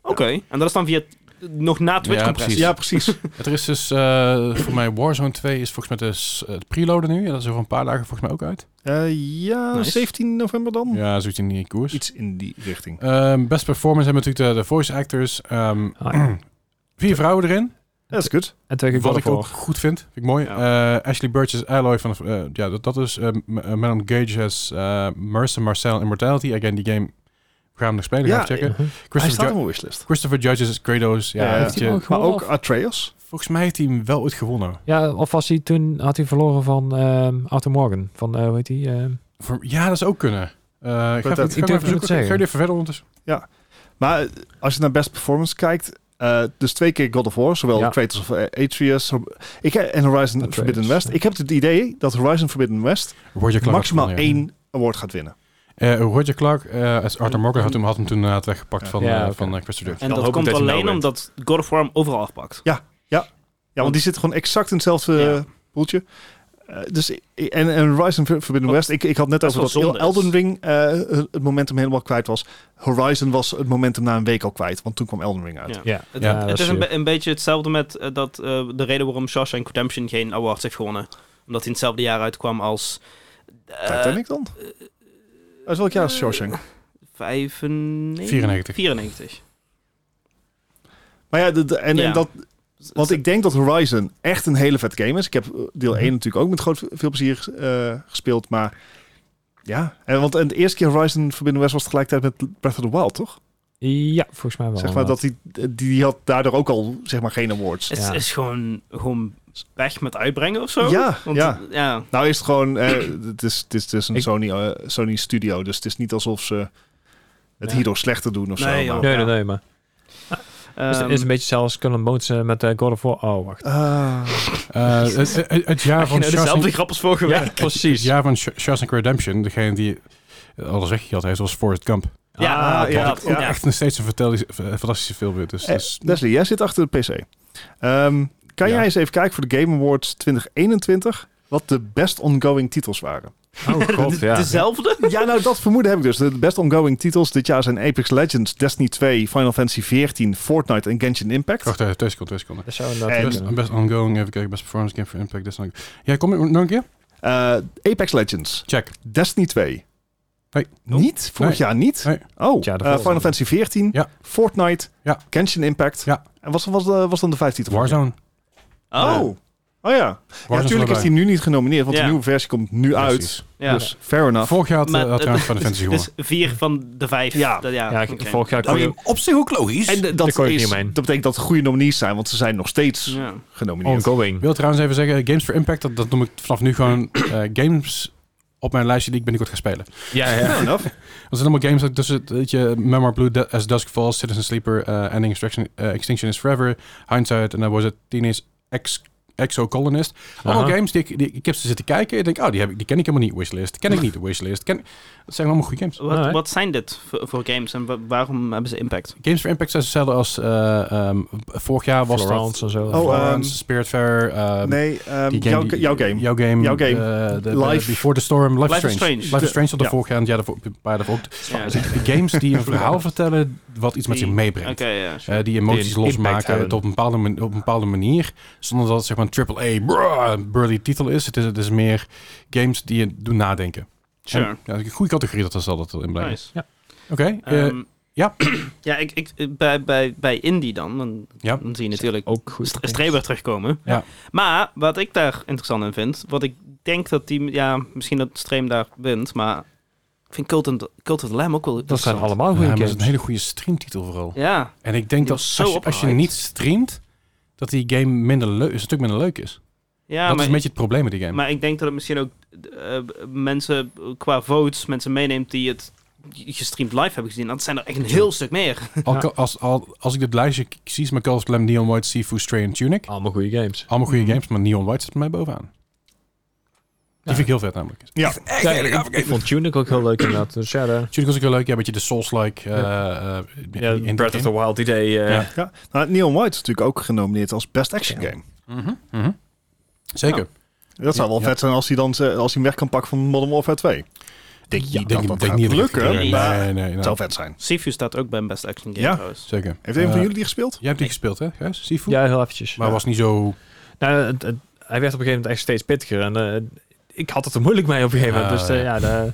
oké. En dat is dan via, nog na Twitch compressie.
precies.
ja precies.
Het is dus, eh, voor mij Warzone 2 is volgens mij dus eh, het preloaden nu. Ja, dat is over een paar dagen volgens mij ook uit.
Eh, ja,
Nice.
17 november dan?
Ja, zoiets in die koers.
Iets in die richting.
Ehm, best performance hebben natuurlijk de, de voice actors. ehm,
Ah, ja.
vier vrouwen erin.
Dat is goed.
En twee keer
Wat
God
ik
of
ook
War.
goed vind, vind ik mooi. Eh, Ashley Burch is Alloy van... eh, ja, dat, dat is... eh, M- eh, Madame Gage as eh Mercer, Marcel en Immortality. Again, die game gaan we nog spelen.
Ja,
gaan we checken.
Mhm.
Hij
Christopher,
staat op
Ju-
mijn wishlist.
Christopher Judge is Kratos. Ja,
Ja,
heeft
Heeft hij
je-
hem ook
Maar
gewonnen,
ook
of-
Atreus.
volgens mij heeft hij hem wel ooit gewonnen.
Ja, of was hij toen, had hij verloren van ehm Arthur Morgan. Van, eh hoe heet die? ehm,
Voor- ja, dat zou ook kunnen. Eh, ga ik ga
dat-
even-
ik
ga ik
durf
even
het niet
zoeken.
te zeggen.
Ga je even verder ondertussen?
Maar eh, als je naar best performance kijkt, eh, dus twee keer God of War, zowel
Ja.
Kratos of eh, Atreus Hor- ik, he- en Horizon
Atreus,
Forbidden West.
ja.
Ik heb het idee dat Horizon Forbidden West
Roger Clark.
maximaal
had gewonnen, ja.
één award gaat winnen.
Eh, Roger Clark, eh, als Arthur Morgan, had hem, had hem toen inderdaad weggepakt van,
Ja,
eh,
oké.
van eh, Christopher Judge.
En
Dan
dat
hoop ik
komt
dat hij nou
alleen
wint.
omdat God of War hem overal afpakt.
Ja, want die zit gewoon exact in hetzelfde
Ja.
eh, poeltje. Eh, dus, i- i- en, en Horizon Ver- Forbidden
Wat
West, ik, ik had net
best
over dat
wel zonde is.
Elden Ring eh, het momentum helemaal kwijt was. Horizon was het momentum na een week al kwijt, want toen kwam Elden Ring uit.
Ja.
ja.
Het,
Ja,
het is
dat
een,
zie je.
be- een beetje hetzelfde met eh, dat, eh, de reden waarom Shawshank Redemption geen awards heeft gewonnen. Omdat hij in hetzelfde jaar uitkwam als... eh,
Titanic dan? Uit welk jaar is Shawshank?
95?
94.
94.
Maar ja, de, de- en, en
Ja.
dat,
Dus
want ik denk dat Horizon echt een hele vet game is. Ik heb eh, deel 1 natuurlijk ook met groot veel plezier eh, gespeeld, maar ja. En, want en de eerste keer Horizon Forbidden West was tegelijkertijd met Breath of the Wild, toch?
ja, volgens mij wel.
Zeg maar
inderdaad.
dat die, die had daardoor ook al zeg maar geen awards.
Het
Ja.
is gewoon, gewoon weg met uitbrengen of zo?
Ja,
Want,
ja.
ja.
Nou is het gewoon, eh, het is, het is, het is een
Ik-
Sony, eh, Sony studio, dus het is niet alsof ze het
Ja.
hierdoor slechter doen of
Nee,
zo.
joh.
maar-
Nee, nee, nee, maar... is,
Ehm,
is een beetje zelfs Cullen Bones eh, met eh, God of War. Oh, wacht.
Ah.
Eh, het, het- het jaar
nou,
van Shawshank-
dezelfde grap als vorige week.
het
precies.
jaar van Sh- Shawshank Redemption, degene die alles weggejat heeft, was Forrest Gump.
Ja,
Ah, ja,
dat-
ja.
Echt nog steeds een vertel- een fantastische film. Dus,
Eh,
dus
Leslie, jij zit achter de PC. Ehm, kan
Ja.
jij eens even kijken voor de Game Awards 2021 wat de best ongoing titels waren?
Oh, god, ja.
Dezelfde?
Ja, nou dat vermoeden heb ik dus. De best ongoing titels dit jaar zijn Apex Legends, Destiny 2, Final Fantasy 14, Fortnite en Genshin Impact.
wacht even, twee seconden, twee seconden.
Dat zou inderdaad
En-
Best,
kunnen.
best ongoing, even kijken, best performance game for impact. Best ongoing. Ja, kom je nog een keer?
Eh, Apex Legends,
Check.
Destiny 2.
Nee.
Niet? Vorig
Oh. Nee.
jaar niet?
Nee.
Oh,
Het jaar
eh,
daarvoor
Final
dan.
Fantasy 14,
Ja.
Fortnite,
Ja.
Genshin Impact.
Ja.
En wat was, de- was dan de vijfde titel?
Warzone.
Oh,
Oh. Oh ja. Ja,
Warzone
natuurlijk is
erbij.
die nu niet genomineerd, want
Ja.
de nieuwe versie komt nu uit.
Precies.
ja.
Dus fair enough.
Vorig jaar had,
Maar,
eh, had
eh,
trouwens Final Fantasy gewonnen.
Dus vier van de vijf.
Ja.
Dat- ja,
Ja,
oké.
ik- vorig jaar kon je...
Oké.
Op zich ook logisch.
En de- dat,
Daar kon je
is,
niet omheen.
dat betekent dat het goede nominees zijn, want ze zijn nog steeds
Ja.
genomineerd.
Ik
Ongoing.
wil trouwens even zeggen, Games for Impact, dat, dat noem ik vanaf nu gewoon eh, games op mijn lijstje die ik binnenkort ga spelen.
Ja, ja.
Fair enough.
Dat zijn allemaal games dat tussen, weet je, Memoir Blue, Du- As Dusk Falls, Citizen Sleeper, eh, Ending Extraction, eh, Extinction is Forever, Hindsight, en dan was het Teenage Ex Exocolonist. Allemaal
Aha.
games die ik, die ik heb ze zitten kijken. Ik denk, oh, die, heb ik, die ken ik helemaal niet, Wishlist. Ken ik niet, Wishlist. Ken, dat zijn allemaal goede games.
Wat,
Alright.
wat zijn dit voor, voor games en wa- waarom hebben ze impact?
Games for Impact zijn hetzelfde als eh, ehm, vorig jaar was
Florence en zo.
dat...
Oh, eh,
Florence, Spiritfair, ehm,
Nee, ehm,
Die game
jouw,
die-
jouw game.
Jouw game.
Jouw game.
eh, de- de-
Life-
Before the Storm. Life,
Life
is
is
Strange.
Strange.
Life is Strange op de
Ja.
vorige en ja, daarvoor, bij daarvoor ook.
Ja.
Dus Games die een verhaal vertellen wat iets met
Die-
zich meebrengt.
Oké, ja.
Eh, die
Die
emoties
een impact
losmaken
hebben.
het op een, bepaalde, man- op een bepaalde manier. Zonder dat het zeg maar een AAA brrr, burly titel is. Het, is. het is meer games die je doen nadenken.
Sure.
En, ja, een goede categorie dat er zal dat in blijven.
Nice.
Oké.
nou,
eh,
Ehm,
ja.
ja, ik, ik, bij, bij, bij Indie dan, dan,
Ja.
dan zie je natuurlijk
Ook goed.
st- Streber terugkomen.
Ja.
Maar wat ik daar interessant in vind, wat ik denk dat die, ja, misschien dat Stream daar wint, maar ik vind Cult, and, Cult of the Lamb ook wel
Dat zijn
interessant.
allemaal
ja,
goede
maar het is een
games.
hele goede streamtitel vooral.
Ja,
En ik denk
Die
dat
was zo
als, je, als je
opgehyped.
niet streamt, dat die game minder leuk, een stuk minder leuk is.
ja
dat
maar,
is een beetje het probleem met die game.
maar ik denk dat het misschien ook eh, mensen qua votes, mensen meeneemt die het gestreamd live hebben gezien. Dat zijn er echt een heel stuk meer.
Al,
Ja.
kan- als, al, als ik dit lijstje k- kies, maar Call of Clem, Neon White, Sifu, Stray en Tunic.
Allemaal goede games.
Allemaal goede
Mhm.
games, maar Neon White zit bij mij bovenaan. Die
Ja.
vind ik heel vet namelijk.
Ja.
Echt
Ja,
hele
ik,
gaaf
ik
game.
vond Tunic ook heel leuk inderdaad. Dus ja, de,
Tunic was ook heel leuk. Ja, een beetje de Souls-like. eh eh, in- in
Breath of the Wild idee. eh,
Ja.
Ja. Nou, Neon White is natuurlijk ook genomineerd als Best Action Game.
Mhm, mhm. Zeker.
Dat zou wel
Ja.
vet zijn als hij dan ze- als hij hem weg kan pakken van Modern Warfare 2. Denk, ja,
Ik
dat,
denk-
dat
denk
gaat
niet dat het
lukken,
gaat gebeuren.
maar
Nee, nee, nee.
het zou vet zijn.
Sifu staat ook bij een best action game
Ja.
trouwens.
Zeker.
Heeft een
Eh,
van jullie die gespeeld?
Jij hebt die gespeeld, hè, Gijs? Sifu?
ja, heel eventjes.
Maar
Ja.
was niet zo...
Nou, het- het- hij werd op een gegeven moment echt steeds pittiger. En eh, ik had het er moeilijk mee op een gegeven moment.
Ah,
dus eh,
ja.
ja, de-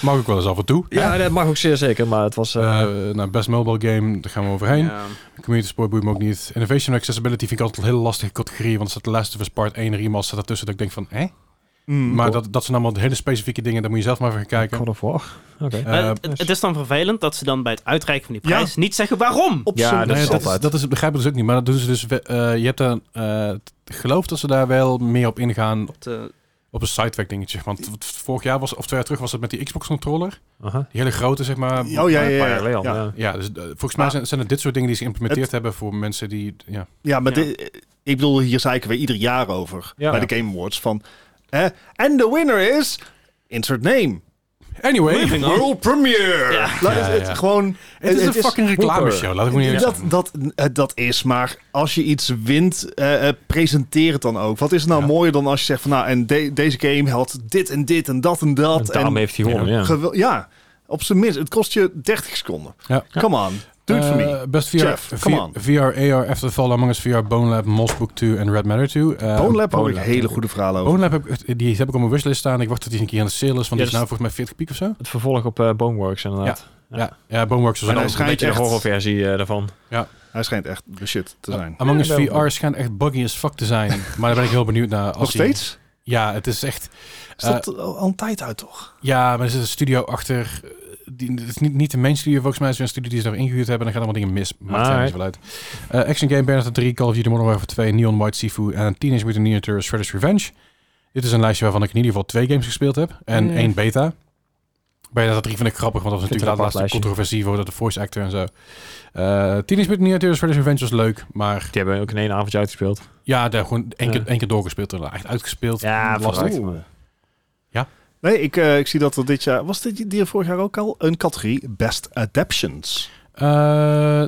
Mag ik wel eens af en toe.
ja, dat mag ook zeer zeker. Maar het was... eh,
Eh, nou, best mobile game, daar gaan we overheen.
Ja.
Community support boeit me ook niet. Innovation en accessibility vind ik altijd een hele lastige categorie. Want er staat de Last of Us Part 1 remaster ertussen. Dat ik denk van, hè?
Mm.
Maar dat, dat zijn allemaal hele specifieke dingen. Daar moet je zelf maar voor gaan kijken.
God of War. Oké.
Eh,
Maar het, het- het is dan vervelend dat ze dan bij het uitreiken van die prijs niet zeggen waarom.
op
ja,
zijn
dat
nou ja,
is
dat,
altijd.
is, dat is het begrijpen dus ook niet. Maar dat doen ze dus. we- eh, je hebt dan eh, t- geloof dat ze daar wel meer op ingaan
Op de-
op een sidetrack dingetje. Want v- vorig jaar was, of twee jaar terug was het met die Xbox controller.
Aha.
Die hele grote, zeg maar.
Oh ja, ja, ja.
Parallel,
ja.
ja.
Ja, dus eh, volgens mij
Maar-
zijn, zijn het dit soort dingen die ze geïmplementeerd
Het-
hebben voor mensen die. Ja.
Ja, maar
Ja.
dit- ik bedoel, hier zeiken we ieder jaar over
Ja.
bij de Game Awards van. eh, En de winner is. Insert name.
Anyway,
Moving on.
World Premiere.
Ja.
La-
Ja,
het-
ja.
Gewoon.
het is een fucking reclame
proper.
show. Laat ik me niet eens
Dat, dat, eh, dat is, maar als je iets wint, eh, eh, presenteer het dan ook. Wat is er nou
Ja.
mooier dan als je zegt van nou, en de- deze game had dit en dit en dat en
En
dat. En
daarmee heeft hij gewonnen, ja.
gewel- ja, op zijn minst. Het kost je 30 seconden.
Ja.
Come on, doe het voor
Eh,
me.
Best VR,
Jeff,
VR,
come on.
VR, AR, After the Fall, Among Us VR, Bone Lab, Moss Book 2 en Red Matter 2. Eh,
Bone Lab oh hoor ik
Lab.
hele goede verhalen over.
Bone Lab heb ik, die heb ik op mijn wishlist staan. Ik wacht tot die een keer aan de sale is, want die
Ja,
is
dus-
nou volgens mij 40 piek of zo.
Het vervolg op eh, Boneworks inderdaad.
Ja, ja, Boneworks is ook
Maar hij
een
Een
schijnt
beetje de
echt-
horrorversie eh, daarvan.
Hij schijnt echt de shit te zijn.
Among Us
Ja, wel.
VR schijnt echt buggy as fuck te zijn. maar daar ben ik heel benieuwd naar. Als Eh,
Nog
die-
steeds?
Ja, het is echt...
Is dat al al een tijd uit, toch?
Ja, maar er zit een studio achter. eh, die, het is niet, niet de main studio volgens mij. Het is weer een studio die ze daar ingehuurd hebben. Dan gaan allemaal dingen mis. Maakt er niet
Alright.
zoveel uit. Eh, action Game, Bayonetta 3, Call of Duty Modern Warfare 2, Neon White Sifu en Teenage Mutant Ninja Turtles Shredder's Revenge. Dit is een lijstje waarvan ik in ieder geval twee games gespeeld heb. En
Ja.
één beta. Bayonetta 3 vind ik grappig, want dat was
Mm. Vind
natuurlijk
het een
laatst
apart
controversie voor de voice actor en zo. Eh Teenage Mutant Ninja Turtles Shredder's Revenge was leuk, maar
Die hebben we ook in één avondje uitgespeeld.
ja, daar gewoon één,
Ja.
keer, één keer doorgespeeld. er Echt uitgespeeld.
vooruit.
lastig.
Nee, ik, eh, ik zie dat er dit jaar... Was dit die er vorig jaar ook al? Een categorie Best Adaptions.
Eh,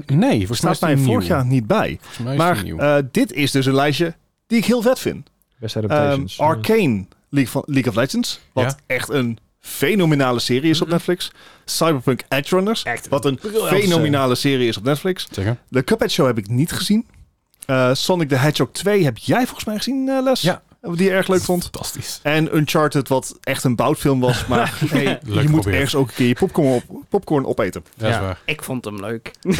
nee, volgens mij
Staat
is die
mij
nieuw.
vorig jaar niet bij.
Volgens mij is die
Maar
nieuw.
eh, dit is dus een lijstje die ik heel vet vind.
Best
Ehm,
adaptations.
Arcane League, van, League of Legends. Wat
Ja.
echt een fenomenale serie is op Netflix. Cyberpunk Edgerunners.
Echt.
Wat een
briljant,
fenomenale serie is op Netflix.
Zeg hè?
De Cuphead Show heb ik niet gezien. Eh, Sonic the Hedgehog 2 heb jij volgens mij gezien, eh, Les?
Ja.
Die je erg leuk vond.
Fantastisch.
En Uncharted, wat echt een boutfilm was. Maar hey, je moet
geprobeerd.
ergens ook een keer je popcorn, op, popcorn opeten.
Dat is
Ja.
waar.
Ik vond hem leuk. ik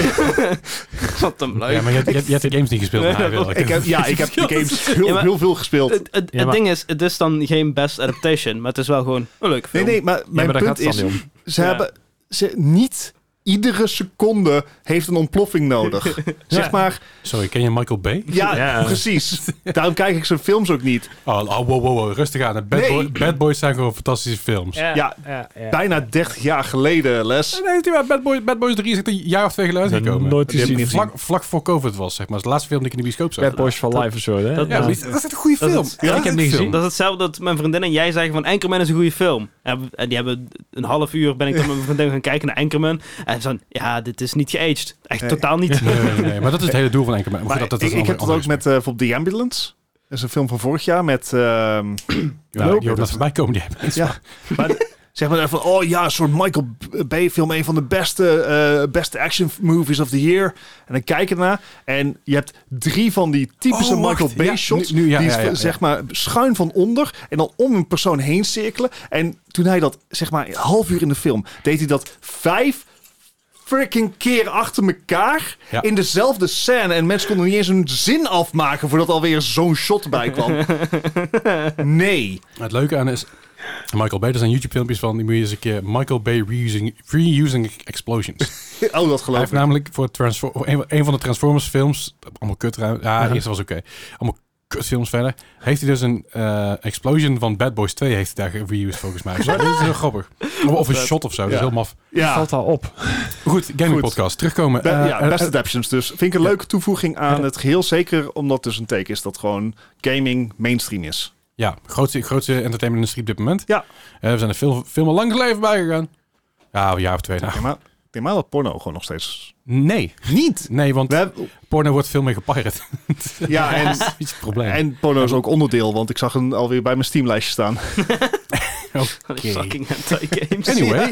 vond hem leuk.
Ja, maar je, je, je hebt de games niet gespeeld.
Nee,
maar hij wil.
Ik heb, ja, ik heb de games heel,
Ja, maar-
heel veel gespeeld.
Het, het,
Ja,
het
maar-
ding is, het is dan geen best adaptation, maar het is wel gewoon een leuke
Nee,
film.
nee, maar mijn
ja, maar daar
punt
gaat het
is,
dan niet om.
ze
Ja.
hebben ze niet iedere seconde heeft een ontploffing nodig. Zeg maar,
Sorry, ken je Michael Bay?
ja,
Ja.
precies. Daarom kijk ik zijn films ook niet.
Oh, oh, wow, wow, wow, rustig aan. Bad,
Nee.
Boy- Bad Boys zijn gewoon fantastische films.
Ja,
ja, ja.
bijna 30 jaar geleden, Les.
Nee, natuurlijk, maar Bad, Boy, Bad Boys 3 is echt een jaar of twee geleden
Ik heb
uitgekomen.
nooit
Die heb ik
gezien.
Vlak, vlak voor COVID was, zeg maar. Dat is de laatste film die ik in de bioscoop zag.
Bad Boys for
dat-
Life of zo, hè?
dat-
Ja, maar die- dat is echt een goede
Dat
film.
is-
Ja,
ja,
ik heb
dat
niet
is-
gezien.
Dat is hetzelfde dat mijn vriendin en jij zeggen van Anchorman is een goede film. En en die hebben een half uur ben ik dan met mijn vriendin gaan kijken naar Anchorman. En zo, ja, dit is niet geaged. Echt
Nee.
totaal niet.
Nee, nee, nee, maar dat is het hele doel van Enkel.
Maar
dat, dat is
ik,
een
ik heb dat
andere-
ook met eh bijvoorbeeld The Ambulance. Dat is een film van vorig jaar met... ehm,
Ja, die
Nope.
horen dat voorbij komen, die hebben iets.
ja, maar zeg maar van, oh ja, een soort Michael Bay film. Een van de beste, eh, beste action movies of the year. En dan kijk je ernaar en je hebt drie van die typische
Oh, wacht.
Michael Bay
Ja,
shots.
nu- nu- ja,
die
ja, ja, ja.
zeg maar schuin van onder en dan om een persoon heen cirkelen. En toen hij dat, zeg maar, een half uur in de film, deed hij dat vijf freaking keer achter elkaar
Ja.
in dezelfde scène. En mensen konden niet eens een zin afmaken voordat alweer zo'n shot bij kwam. Nee.
Maar Het leuke aan is, Michael Bay, er zijn YouTube filmpjes van, die moet je eens een keer Michael Bay reusing, reusing explosions.
Oh, dat
Hij
geloof
heeft
ik.
namelijk voor Transfor- voor een, een van de Transformers films, allemaal kut, ja, ja. eerste was oké, allemaal kutfilms verder, heeft hij dus een eh, explosion van Bad Boys 2 heeft hij daar gereused volgens mij. Dus dat is heel grappig. Of, of een shot of zo, dat is
Ja.
heel maf.
Ja.
Valt al op.
Goed, gaming
Goed.
podcast, terugkomen.
Be-
Eh,
ja,
eh,
best
eh,
adaptions dus. Vind ik een leuke toevoeging aan het geheel. Zeker omdat dus een teken is dat gewoon gaming mainstream is.
Ja, grootste, grootste entertainmentindustrie op dit moment.
Ja.
Eh, we zijn er veel, veel lang geleden bij gegaan. Ja, een jaar of twee nou.
Ja, maar ik denk maar dat porno gewoon nog steeds...
Nee,
Niet!
nee, want
We hebben,
porno wordt veel meer gepirate.
ja, en,
Dat is het probleem.
en porno is ook onderdeel, want ik zag hem alweer bij mijn Steam-lijstje staan.
Oké.
Fucking hentai games.
Anyway,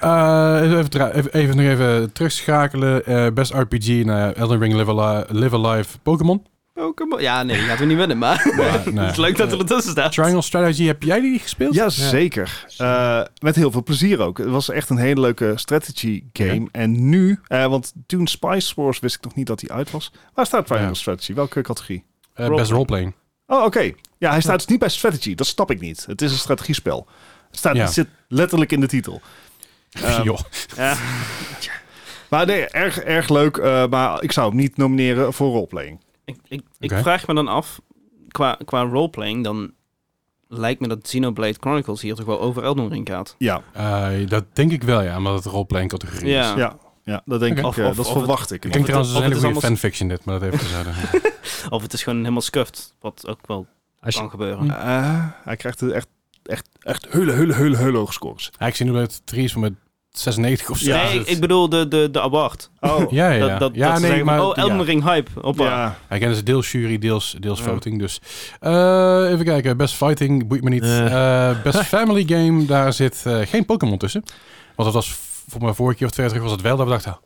Ja.
eh, even, tra- even, even nog even terugschakelen. Eh, best RPG naar Elden Ring Live, Ali- Live Alive Pokémon.
Pokémon. Ja, nee, die gaat we niet winnen, maar
Maar, nee.
het is leuk dat er ertussen staat.
Triangle Strategy, heb jij die gespeeld?
Ja, zeker. Eh, met heel veel plezier ook. Het was echt een hele leuke strategy game. En nu, eh, want Dune Spice Wars wist ik nog niet dat die uit was. Waar staat Triangle
Ja.
Strategy? Welke categorie?
Eh, best Roleplaying.
Oh, oké. Ja, hij staat dus niet bij strategy. Dat snap ik niet. Het is een strategiespel. Het, staat,
Ja.
het zit letterlijk in de titel. Ehm,
Joh.
maar nee, erg, erg leuk. eh, maar ik zou hem niet nomineren voor roleplaying.
Ik, ik, ik
Oké.
vraag me dan af, qua, qua roleplaying, dan lijkt me dat Xenoblade Chronicles hier toch wel over Elden Ring gaat.
Ja,
Eh, dat denk ik wel, ja, omdat het roleplaying categorie is.
Ja.
ja. ja dat denk
Oké.
ik.
Of-
eh,
of-
dat
of
verwacht ik.
Ik denk
Of het-
trouwens, dat is
of
een hele
het is
goede fanfiction dit, maar dat even terzijde.
Of het is gewoon helemaal scuffed, wat ook wel
Als je-
kan gebeuren.
Eh, hij krijgt er echt, echt, echt hele, hele, hele, hele hoge scores.
Ja, ik zie nu dat het 3 is van met 96 of zo.
nee, ik, ik bedoel de, de, de award.
Oh,
Ja, ja, ja.
Dat, dat,
ja,
dat ze
nee,
zeggen,
maar...
van, oh, Elden
ja.
Ring hype. Hoppa.
ja.
Hij kent dus deels jury, deels, deels
Ja.
voting. Dus Eh, even kijken. Best fighting, boeit me niet. Eh, best family game, daar zit eh, geen Pokémon tussen. Want dat was v- voor mijn vorige keer of twee jaar terug was het wel. Dat we dachten, ah,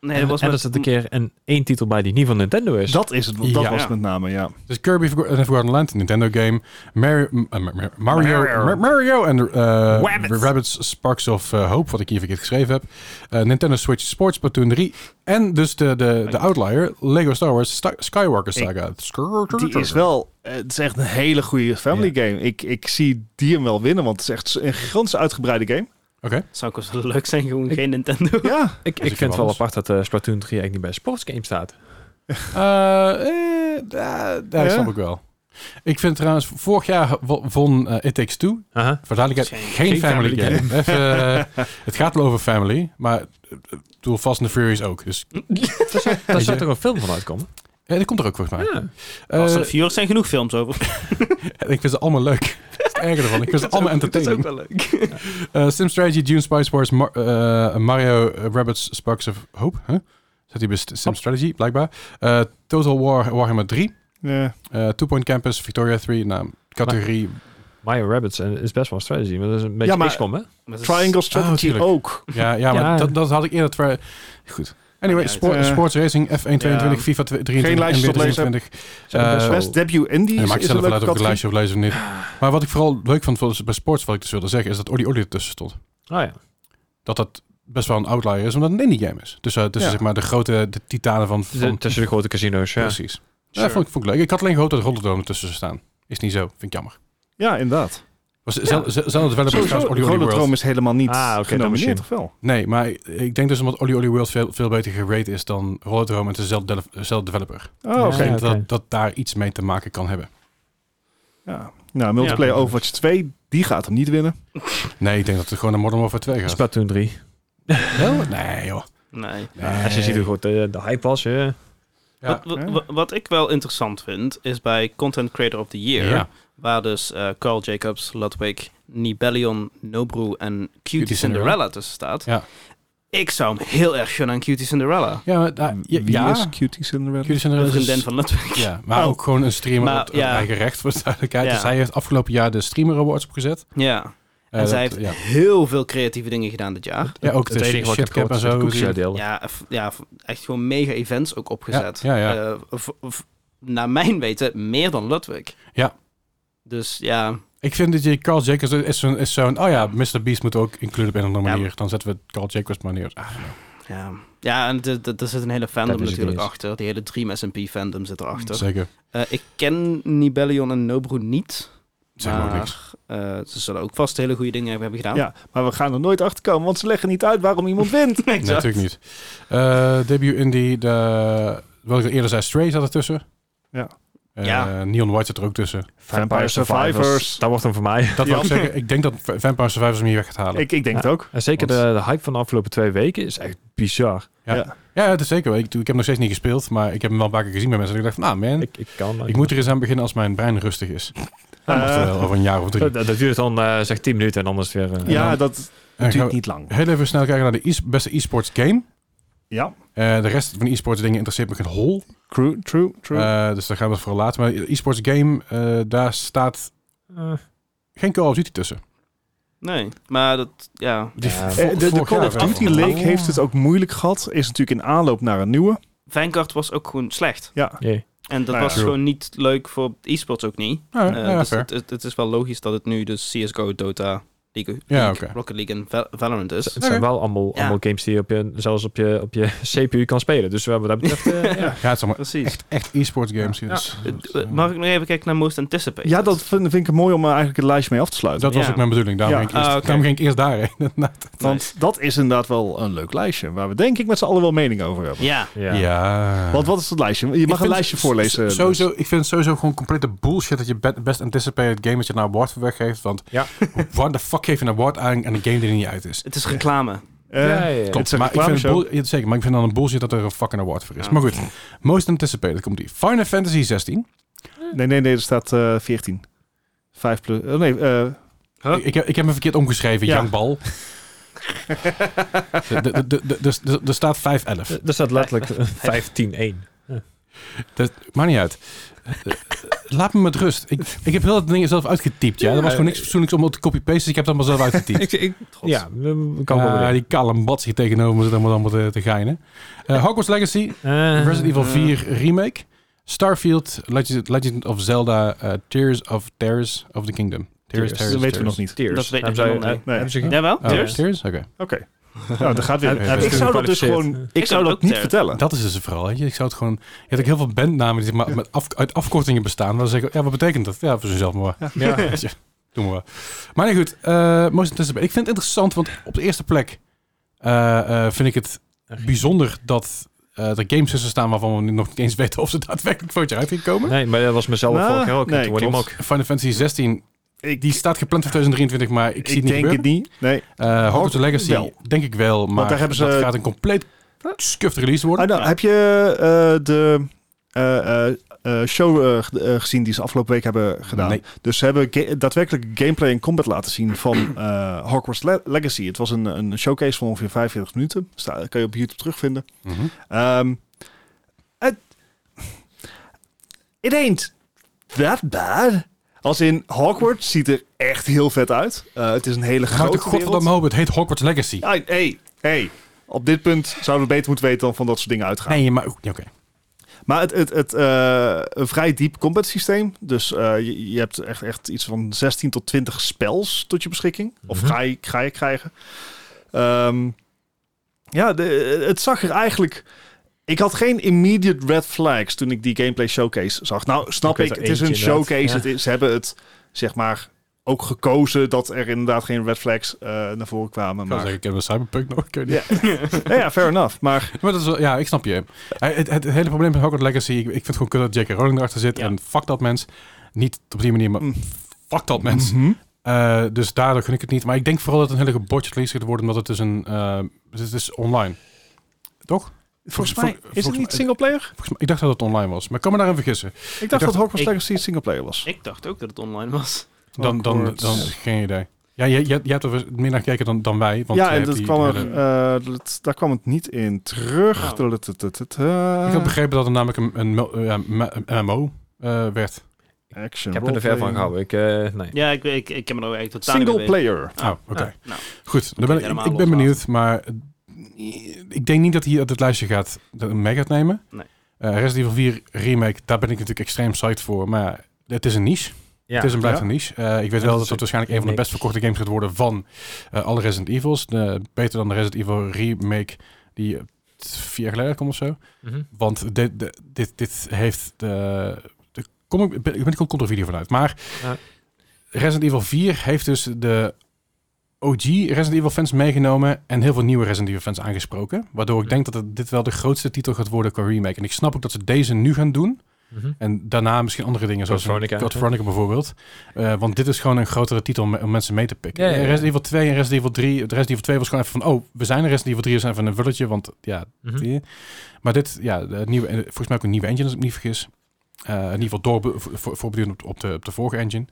Nee,
En,
dat was
en er
met-
zit een keer een, één titel bij die niet van Nintendo is.
Dat is het. want Dat
Ja.
was het met name, ja.
dus Kirby and the Forgotten Land, een Nintendo game. Mari- m- eh, Mar- Mario, Mar- Mario en eh
Rabbids.
Rabbids Sparks of eh, Hope, wat ik hier verkeerd geschreven heb. Eh, Nintendo Switch Sports Splatoon 3. En dus de, de, de outlier, Lego Star Wars Sta- Skywalker Saga.
Die is wel... eh, Het is echt een hele goede family game. Ik, ik zie die hem wel winnen, want het is echt een gigantisch uitgebreide game.
Oké.
Zou ook wel zo leuk zijn, gewoon geen Nintendo.
Ja,
Ik,
ik
ik vind het wel
alles.
apart dat eh, Splatoon 3 eigenlijk niet bij sportsgames staat.
Eh, eh, da- daar
Ja.
snap ik wel. Ik vind trouwens, vorig jaar wo- won eh, It Takes Two.
Aha.
Voor duidelijkheid, geen, family, game. Even, eh, het gaat wel over family, maar eh, doe Fast and the Furious ook. Dus,
Daar
Weet
zou
je?
toch een film van uitkomen?
eh, dat komt er ook volgens mij.
Ja.
Eh,
Als er vier uur zijn genoeg films over.
ik vind ze allemaal leuk. Dat is het erge ervan. Ik vind ze allemaal entertaining.
wel leuk.
Eh, Sim Strategy, Dune, Spice Wars, Mar- eh, Mario, eh, Rabbids, Sparks of Hope. Huh? Zat hij bij St- Sim Strategy, blijkbaar. Eh, Total War, Warhammer 3.
ja.
eh Two Point Campus, Victoria 3. Nou, categorie...
Mario Rabbits eh, is best wel een strategy, maar dat is een beetje
maar-
XCOM, hè?
Triangle Dus- Strategy
Ah, tuurlijk. Oh.
ook.
ja, ja, maar
Ja.
Dat, dat had ik eerder... twa- Goed. Anyway,
Maakt niet
sport-
uit. Eh,
Sports Racing, F1 22,
ja.
FIFA 23,
Geen lijstjes
NBA
op lezen.
23.
Zijn er
Eh,
best wel-
Best debut indie
Ja,
is,
maak ik
is een
zelf wel uit
leuke
of ik een
categorie.
lijstje of lezen of niet. Maar wat ik vooral leuk vond voor- bij sports, wat ik dus wilde zeggen, is dat Oli Oli ertussen stond.
Oh ja.
Dat dat best wel een outlier is, omdat het een indie game is. Dus, eh, dus
Ja.
zeg maar de grote de titanen van...
Dus,
van
eh, Tussen de grote casino's, ja.
Precies. Ja, vond ik, vond ik leuk. Ik had alleen gehoopt dat Rotterdam ertussen zou staan. Is niet zo. Vind ik jammer.
Ja, inderdaad.
Was zel- zel- Zelfde developer
Sowieso,
trouwens Oli Oli
Rododroom
World.
is helemaal niet
Ah, oké, dan
genomineerd,
misschien.
toch wel?
Nee, maar ik denk dus omdat Oli Oli World veel, veel beter gerate is dan Rollerdrome. Het is dezelfde, dele- dezelfde developer.
Oh, oké.
Ik denk
Ja. oké.
dat, dat daar iets mee te maken kan hebben.
Ja. Nou, multiplayer
Ja.
Overwatch 2, die gaat hem niet winnen.
Nee, ik denk dat het gewoon naar Modern Warfare 2 gaat.
Splatoon 3.
Wel? Nee joh.
Nee.
Nee.
Als je ziet hoe goed eh, de hype was, eh.
Ja.
Wat, wat, wat- wat ik wel interessant vind, is bij Content Creator of the Year,
Ja.
waar dus eh, Carl Jacobs, Ludwig, Nibelion, Nobru en Cutie,
Cutie
Cinderella,
Cinderella
tussen staat.
Ja. Eh,
Ik zou hem heel erg gunnen aan Cutie Cinderella.
Ja, maar, daar- Ah, ja,
Wie
ja.
is Cutie Cinderella?
Jullie zijn er
Een
dus-
vriendin van Ludwig.
Ja, maar
Oh.
ook gewoon een streamer
Maar,
op op
ja.
eigen recht, voor de duidelijkheid.
Ja.
Dus hij heeft afgelopen jaar de Streamer Awards opgezet.
Ja.
Eh,
en zij
dat-
heeft
ja.
heel veel creatieve dingen gedaan dit jaar.
ja, ook
Het enige
de
wat ik heb
shitcap
gehoord
en
is het
zo.
koekje delen.
Ja, f- ja, f- echt gewoon mega events ook opgezet.
Ja, ja,
Eh, v- v- naar mijn weten meer dan Ludwig.
Ja.
Dus ja,
Ik vind dat je Carl Jacobs is zo'n, is zo'n... Oh ja, Mr. Beast moet ook included op een of andere
Ja.
manier. Dan zetten we Carl Jacobs maar neer. Ah,
ja. ja en de- de- er zit een hele fandom
Dat is het
natuurlijk
ding.
achter. Die hele Dream SMP fandom zit erachter.
zeker.
Eh, ik ken Nibelion en Nobru niet.
Zeg maar ook niks.
eh, ze zullen ook vast hele goede dingen hebben gedaan.
Ja, maar we gaan er nooit achter komen, want ze leggen niet uit waarom iemand wint.
Nee, natuurlijk niet. Eh, debut Indie, de, wat ik al eerder zei, Stray zat ertussen.
Ja.
Eh,
Ja.
Neon White zat er ook tussen.
Vampire Survivors.
Dat wordt hem voor mij.
Dat wil ik
Ja.
zeggen. Ik denk dat Va- Vampire Survivors hem hier weg gaat halen.
Ik, ik denk
Ja.
het ook.
En zeker de,
Want-
de hype van de afgelopen twee weken is echt bizar.
Ja. Ja, dat is zeker. Ik, ik heb hem nog steeds niet gespeeld, maar ik heb hem wel een paar keer gezien bij mensen. En ik dacht van, nou man, ik,
Ik, ik kan...
moet er eens aan beginnen als mijn brein rustig is.
Eh,
Oftewel, over een jaar of drie.
dat, dat duurt dan eh, zeg 10 minuten en anders weer... eh,
ja, dat
En gaan
duurt
we
niet lang.
heel even snel kijken naar de e- beste e-sports game.
Ja,
Eh, de rest van de e-sports dingen interesseert me geen hol.
true, true, true.
Eh, dus daar gaan we het voor laten. Maar e-sports game, eh, daar staat
eh,
geen Call of Duty tussen.
Nee, maar dat, ja.
Die
Ja.
vo-
Eh, de, de
vorig
Call
jaar
of
wel. Oh.
Duty League heeft het ook moeilijk gehad. Is natuurlijk in aanloop naar een nieuwe.
Vanguard was ook gewoon slecht.
Ja,
jee.
En dat
Nou ja.
was gewoon niet leuk voor e-sports ook niet.
Ja,
Eh,
ja,
dus
fair.
het, het, het is wel logisch dat het nu dus CSGO, Dota, League, of-
Ja,
League,
oké.
Rocket League en Val- Valorant is.
Het zijn wel allemaal,
Ja.
allemaal games die je op je, zelfs op je, op je CPU kan spelen. Dus wat dat betreft... eh, ja.
Ja, het is allemaal
Precies.
echt, echt e-sports games. hier, dus-
Eh,
dat,
eh,
eh,
Mag ik nog even kijken naar Most Anticipated?
ja dat vind, vind ik mooi om eh, eigenlijk het lijstje mee af te sluiten.
dat was
Ja.
ook mijn bedoeling. Daarom,
Ja.
ging, ik eerst,
Ah, oké.
daarom ging ik eerst daarheen. Nou,
Want dat is inderdaad wel een leuk lijstje. Waar we denk ik met z'n allen wel mening over hebben.
Ja,
Ja.
ja.
Want wat is het lijstje? Je
Ik
mag een
vind
lijstje
s-
voorlezen. dus.
s- Sowieso, ik vind het sowieso gewoon complete bullshit dat je be- best anticipated game dat je naar een award voor weggeeft. Want
Ja.
waar de fuck geef je een award aan aan een game die er niet uit is?
het is reclame.
Eh,
Ja, ja, ja.
Klopt. is een
maar ik vind het
reclameshow.
bull- ja, zeker, maar ik vind dan een bullshit dat er een fucking award voor is.
Ja.
Maar goed, most anticipated komt die. Final Fantasy 16.
Nee, nee, nee, er staat eh 14. 5 plus. oh, nee, eh,
Ik, ik, heb, ik heb me verkeerd omgeschreven,
Ja.
Jankbal. de, de, de, de, de, de- er staat 5-11.
Er staat letterlijk eh, 15-1.
Maakt niet uit. Eh, eh, Laat me met rust. Ik, ik heb heel dat ding zelf uitgetypt. Ja. Er was gewoon niks fatsoenlijks om op te copy-pasten. dus Ik heb het allemaal zelf uitgetypt.
Ik, ik,
Trots.
ja, we- kan wel
Ja,
weer.
die kale bats hier tegenover me zit allemaal, allemaal te, te geinen. Eh, Hogwarts Legacy,
Eh,
Resident Evil 4 Remake, Starfield, Legend, Legend of Zelda, eh, Tears of Tears of the Kingdom. Tears,
Tears,
Tears,
dat weten we nog niet.
Tears.
Dat weet ik
Hebben zij-
helemaal niet.
eh, hebben ze-
Jawel,
Oh,
Tears?
Tears? Oké.
Oké. Nou, dat gaat
Heb-
weer.
heb
ik
je
zou dat dus
gekwalificeerd?
gewoon. Ik
Ik
zou
heb
dat
ook eh,
niet
ter-
vertellen.
Dat is dus het vooral. Weet je. Ik zou het gewoon. Je had ook heel veel bandnamen die maar met af, uit afkortingen bestaan. Dan zeggen, ja, wat betekent dat? Ja, voor zichzelf maar.
Ja.
Ja. Doe maar. wel. Maar nee, goed. eh Most Anticipated. Ik vind het interessant, want op de eerste plek eh, eh, vind ik het bijzonder dat eh er games tussen staan waarvan we nu nog niet eens weten of ze daadwerkelijk voor het jaar uitgekomen.
Nee, maar dat was mezelf
Nou,
vorig jaar ook.
nee,
Nee, toen
klopt.
ook.
Final Fantasy 16,
Ik,
die staat gepland voor 2023, maar ik,
ik
zie het niet
denk het
gebeuren.
niet. Nee.
Eh, Hogwarts Legacy,
wel.
denk ik wel, maar
daar hebben ze-
dat gaat een compleet scuffed release worden.
Ah, nou, Heb je eh, de eh, eh, eh, show eh, g- eh, gezien die ze afgelopen week hebben gedaan?
Nee.
Dus ze hebben ga- daadwerkelijk gameplay en combat laten zien van eh, Hogwarts Le- Legacy. Het was een, een showcase van ongeveer 45 minuten. Sta, kan je op YouTube terugvinden.
Mhm.
Ehm, het it ain't that bad. Als in Hogwarts ziet er echt heel vet uit. Eh, het is een hele
Houd de
grote wereld.
godverdomme hoop, het heet Hogwarts Legacy.
Ja, hey, hey. Op dit punt zouden we beter moeten weten dan van dat soort dingen uitgaan.
Nee, maar... Oké.
Maar het, het, het eh, een vrij diep combat systeem. Dus eh, je, je hebt echt, echt iets van 16 tot 20 spels tot je beschikking. Of
Mhm.
ga je, ga je krijgen. Ehm, ja, de, het zag er eigenlijk... Ik had geen immediate red flags toen ik die gameplay showcase zag. Nou, snap
Ik weet
ik,
er
het is een
eentje inderdaad,
showcase.
ja.
Het is, ze hebben het, zeg maar, ook gekozen dat er inderdaad geen red flags eh, naar voren kwamen.
Ik wil
Maar,
zeggen, ik heb een cyberpunk nog. Ik weet niet.
Ja. ja, ja, fair enough. Maar
Maar dat is wel- ja, ik snap je. Eh, Het, het hele probleem met Hogwarts Legacy, ik, ik vind het gewoon kut dat J.K. Rowling erachter zit.
Ja.
En fuck dat mens. Niet op die manier, maar
Mm.
fuck dat mens.
Mhm.
Eh, dus daardoor gun ik het niet. Maar ik denk vooral dat het een hele gebotched release gaat worden, omdat het is een... eh, het is online. Toch?
volgens
Vol-
mij
vol-
is het
volgens
niet
mij-
singleplayer?
Volgens mij, ik dacht dat het online was, maar ik kan me daarin vergissen.
Ik dacht
dacht-
dat Hogwarts
ik-
Legacy singleplayer was.
Ik dacht ook dat het online was.
Dan, dan, dan,
Oh, Hogwarts.
geen idee. Ja, je, je, je hebt er meer naar gekeken dan, dan wij. Want
ja,
jij
en
hebt
dat
die
kwam er,
hele-
eh, dat- daar kwam het niet in terug.
Nou.
Oh.
Tudutututu.
Ik had begrepen dat er namelijk een, een, mil- ja, ma- een MMO eh, werd.
Action,
Ik heb er de
roleplaying.
ver van gehouden. Ik, eh, nee.
Ja, ik, ik, ik heb me er ook eigenlijk totaal
Single
niet mee
player.
Oh, oké.
nou.
Goed, dan ben
je
ik,
helemaal
ik ben
loslaten.
benieuwd, maar eh, ik denk niet dat hij uit het lijstje gaat de- mee gaat nemen.
Nee.
Eh, Resident Evil 4 remake, daar ben ik natuurlijk extreem psyched voor, maar het is een niche.
Ja.
het is een blijft
Ja.
een niche. Eh, ik weet
Ja,
wel
dat
dat
is
het waarschijnlijk een van de
niks.
best verkochte games gaat worden van eh, alle Resident Evils. De- beter dan de Resident Evil remake die eh, vier jaar geleden kwam of zo.
Mhm.
Want dit, de- dit, dit heeft de... de kom ik, ben, ben ik ook contra video vanuit. Maar
Ja.
Resident Evil 4 heeft dus de OG Resident Evil fans meegenomen... en heel veel nieuwe Resident Evil fans aangesproken. Waardoor ik denk dat het, dit wel de grootste titel gaat worden qua remake. En ik snap ook dat ze deze nu gaan doen.
Mhm.
En daarna misschien andere dingen zoals
Code Veronica.
Code Veronica bijvoorbeeld. Eh, want dit is gewoon een grotere titel om, om mensen mee te pikken.
Ja, ja, ja.
Resident Evil 2 en Resident Evil 3... Resident Evil 2 was gewoon even van... oh, we zijn er. Resident Evil 3 is even een vulletje. Want ja,
Mhm.
die- Maar dit, ja, het nieuwe, eh, volgens mij ook een nieuwe engine, als ik me niet vergis. Eh, in ieder geval door, voor, voor- voortbedurend op, op, de, op de vorige engine.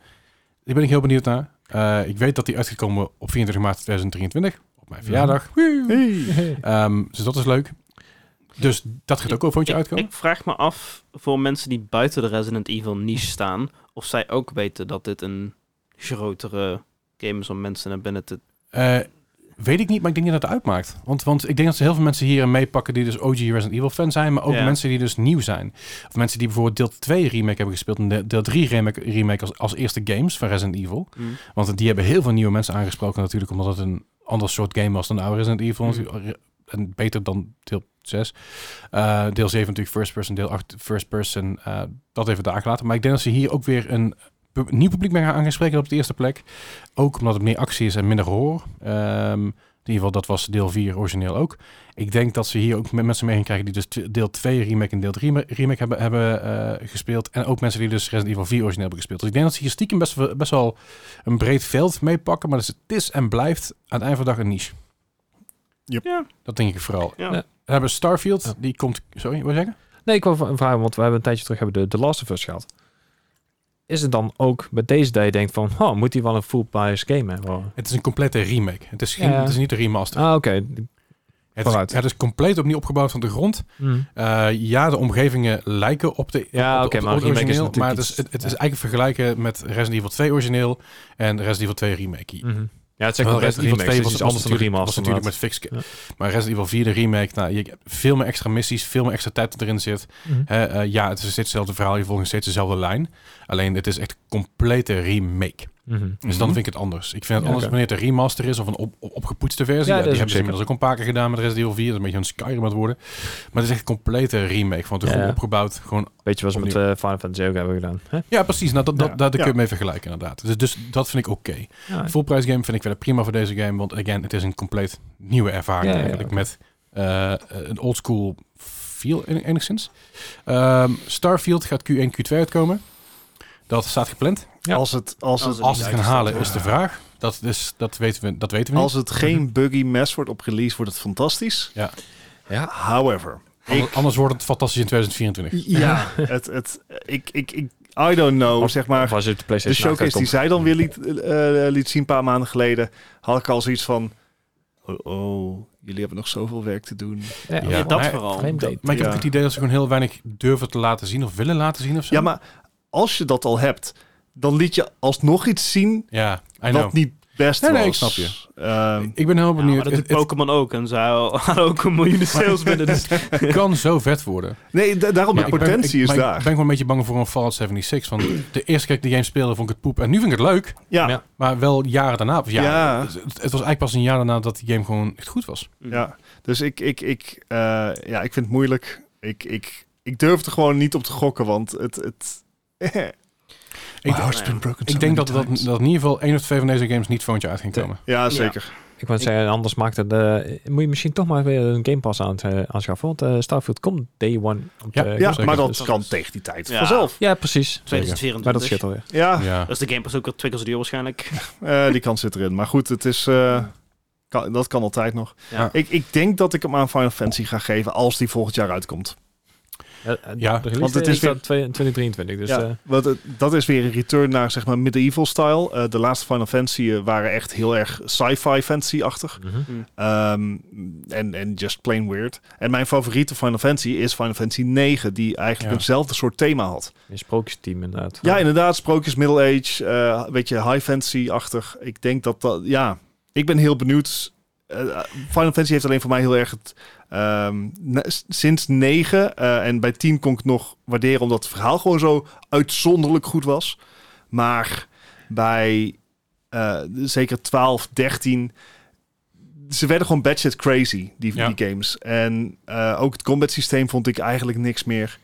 Daar ben ik heel benieuwd naar. Eh, ik weet dat die uitgekomen op 24 maart 2023, op mijn
Mhm.
Ja.
verjaardag.
Hey.
Ehm, dus dat is leuk. Dus dat gaat ook wel voor je
Ik-
uitkomen.
Ik vraag me af voor mensen die buiten de Resident Evil niche staan, of zij ook weten dat dit een grotere game is om mensen naar binnen te.
Eh, weet ik niet, maar ik denk niet dat het uitmaakt. Want, want ik denk dat ze heel veel mensen hierin meepakken die dus OG Resident Evil fan zijn, maar ook
Ja.
mensen die dus nieuw zijn. Of mensen die bijvoorbeeld deel 2 remake hebben gespeeld en de- deel 3 remake, remake als, als eerste games van Resident Evil.
Hm?
Want die hebben heel veel nieuwe mensen aangesproken natuurlijk, omdat het een ander soort game was dan de oude Resident Evil. En beter dan deel 6. Eh, deel 7 natuurlijk first person, deel 8 first person. eh, dat even daar gelaten. Maar ik denk dat ze hier ook weer een pu- nieuw publiek mee gaan aangespreken op de eerste plek. Ook omdat het meer actie is en minder horror. Ehm, in ieder geval, dat was deel 4 origineel ook. Ik denk dat ze hier ook met mensen mee gaan krijgen die dus tw- deel 2 remake en deel 3 me- remake hebben, hebben eh, gespeeld. En ook mensen die dus Resident Evil 4 origineel hebben gespeeld. Dus ik denk dat ze hier stiekem best, wel- best wel een breed veld mee pakken. Maar dus het is en blijft aan het eind van de dag een niche.
Yep.
Ja.
Dat denk ik vooral.
Ja.
Dan hebben we Starfield,
Ja.
die komt... Sorry, wat zeggen?
Nee, ik wou v- vragen, want we hebben een tijdje terug hebben de, de Last of Us gehad. Is het dan ook bij deze dat je denkt van, oh, moet die wel een full price game hebben? Oh.
Het is een complete remake. Het is, geen,
Ja.
het is niet een remaster.
Ah, oké.
het, is,
vooruit.
het is compleet opnieuw opgebouwd van de grond.
mhm.
Eh, ja, de omgevingen lijken op de
Ja,
op de-
oké,
op de
maar remake is
origineel,
natuurlijk
maar het is,
iets-
het, het is
ja.
eigenlijk vergelijken met Resident Evil 2 origineel en Resident Evil 2 remake.
Mhm. Ja, het is echt
Wel,
een Resident Evil 2 was iets anders dan de
natuurlijk-
remaster.
was natuurlijk met fix. Maar Resident Evil 4 de remake, nou, je hebt veel meer extra missies, veel meer extra tijd dat erin zit.
Mhm.
Eh, eh, ja, het is steeds hetzelfde verhaal, je volgt nog steeds dezelfde lijn. Alleen het is echt complete remake.
Mhm.
Dus dan vind ik het anders. Ik vind het
Ja,
anders
oké.
wanneer het een remaster is of een op, op- opgepoetste versie.
Ja,
Ja,
dat
die
is
hebben ze
ook
inmiddels ook een paar keer gedaan met Resident Evil 4. Dat is een beetje een Skyrim aan het worden. Maar het is echt een complete remake. Van het
Ja,
goed
ja.
opgebouwd. Gewoon,
Weet je wat ze met eh Final Fantasy ook hebben gedaan? Hè?
ja, precies. Nou, dat, dat,
Ja.
Daar, daar kun
Ja.
je mee vergelijken inderdaad. Dus, dus dat vind ik oké.
Ja,
Volprijsgame vind ik wel prima voor deze game. Want again, het is een compleet nieuwe ervaring
Ja, ja,
eigenlijk.
oké.
Met eh, een oldschool feel en- enigszins. Ehm, Starfield gaat Q1, Q2 uitkomen. Dat staat gepland.
Ja.
Als het, als
Als
het,
Als ze het gaan halen
ja.
is de vraag. Dat, is, dat, weten we, dat weten we niet.
als het geen buggy mess wordt op release, wordt het fantastisch.
Ja.
Ja.
However,
Ander-
ik,
Anders wordt het fantastisch in 2024.
ja, het, het, ik, ik, ik, I don't know,
Of-
zeg maar.
Of als je op de
de
PlayStation
showcase die zij dan weer liet, eh, eh, liet zien een paar maanden geleden, had ik al zoiets van, oh, oh, jullie hebben nog zoveel werk te doen.
Ja,
Ja,
dat
maar-
vooral.
Frame date.
Maar ik heb
Ja.
ook het idee dat ze gewoon heel weinig durven te laten zien of willen laten zien of zo.
Ja, maar als je dat al hebt, dan liet je alsnog iets zien
Ja, I
wat
know.
niet best
Nee,
was.
nee, ik snap je.
Ehm,
Ik ben heel
Ja, maar
benieuwd.
dat doet
het, het
Pokémon ook. En zij hadden ook een miljoen sales binnen. Dus
kan zo vet worden.
nee, da- daarom,
Maar
de Oh, potentie
ik ben,
is
ik- maar
daar.
Ik ben gewoon een beetje bang voor een Fallout 76. Want de eerste keer ik die game speelde, vond ik het poep. En nu vind ik het leuk.
ja,
Ja.
ja.
Maar wel jaren daarna. Of ja,
Ja.
Het, het was eigenlijk pas een jaar daarna dat die game gewoon echt goed was.
dus ik, ik, ik, eh, ja, ik vind het moeilijk. Ik, ik, ik durf er gewoon niet op te gokken, want het... het My
Ik,
heart's
nee.
been broken so
ik denk
many
dat, dat,
times.
dat in ieder geval één of twee van deze games niet volgend jaar uit ging
Ja.
komen.
Ja, zeker.
Ik wou zeggen, anders maakt het... eh, moet je misschien toch maar weer een Game Pass aan, eh, aanschaffen. Want eh, Starfield komt day one. Op
Ja,
de
Ja,
Game Pass.
zeker.
maar dat
Dus-
kan tegen die tijd
Ja.
vanzelf.
Ja, precies. Maar dat
2024.
shit alweer.
Ja,
Ja.
Dat is de Game Pass ook al twee keer zo duur waarschijnlijk.
Eh, die kans zit erin. Maar goed, het is, eh, kan- dat kan altijd nog.
Ja.
Ik, ik denk dat ik hem aan Final Fantasy ga geven als die volgend jaar uitkomt.
Ja,
Ja,
want het is
weer-
weer 2023. Dus
ja,
eh,
want het- dat is weer een return naar zeg maar medieval-style. Eh, de laatste Final Fantasy eh, waren echt heel erg sci-fi fantasy-achtig.
mhm.
Ehm, En en just plain weird. En mijn favoriete Final Fantasy is Final Fantasy 9, die eigenlijk
Ja.
hetzelfde soort thema had.
een sprookjesteam inderdaad.
Ja, inderdaad, sprookjes, middle age, eh, een beetje high fantasy-achtig. Ik denk dat dat, ja, ik ben heel benieuwd. Eh, Final Fantasy heeft alleen voor mij heel erg het, ehm, na- s- sinds 9 eh, en bij 10 kon ik het nog waarderen omdat het verhaal gewoon zo uitzonderlijk goed was. Maar bij eh, zeker 12, 13, ze werden gewoon batshit crazy, die,
Ja.
die games. En eh, ook het combat systeem vond ik eigenlijk niks meer.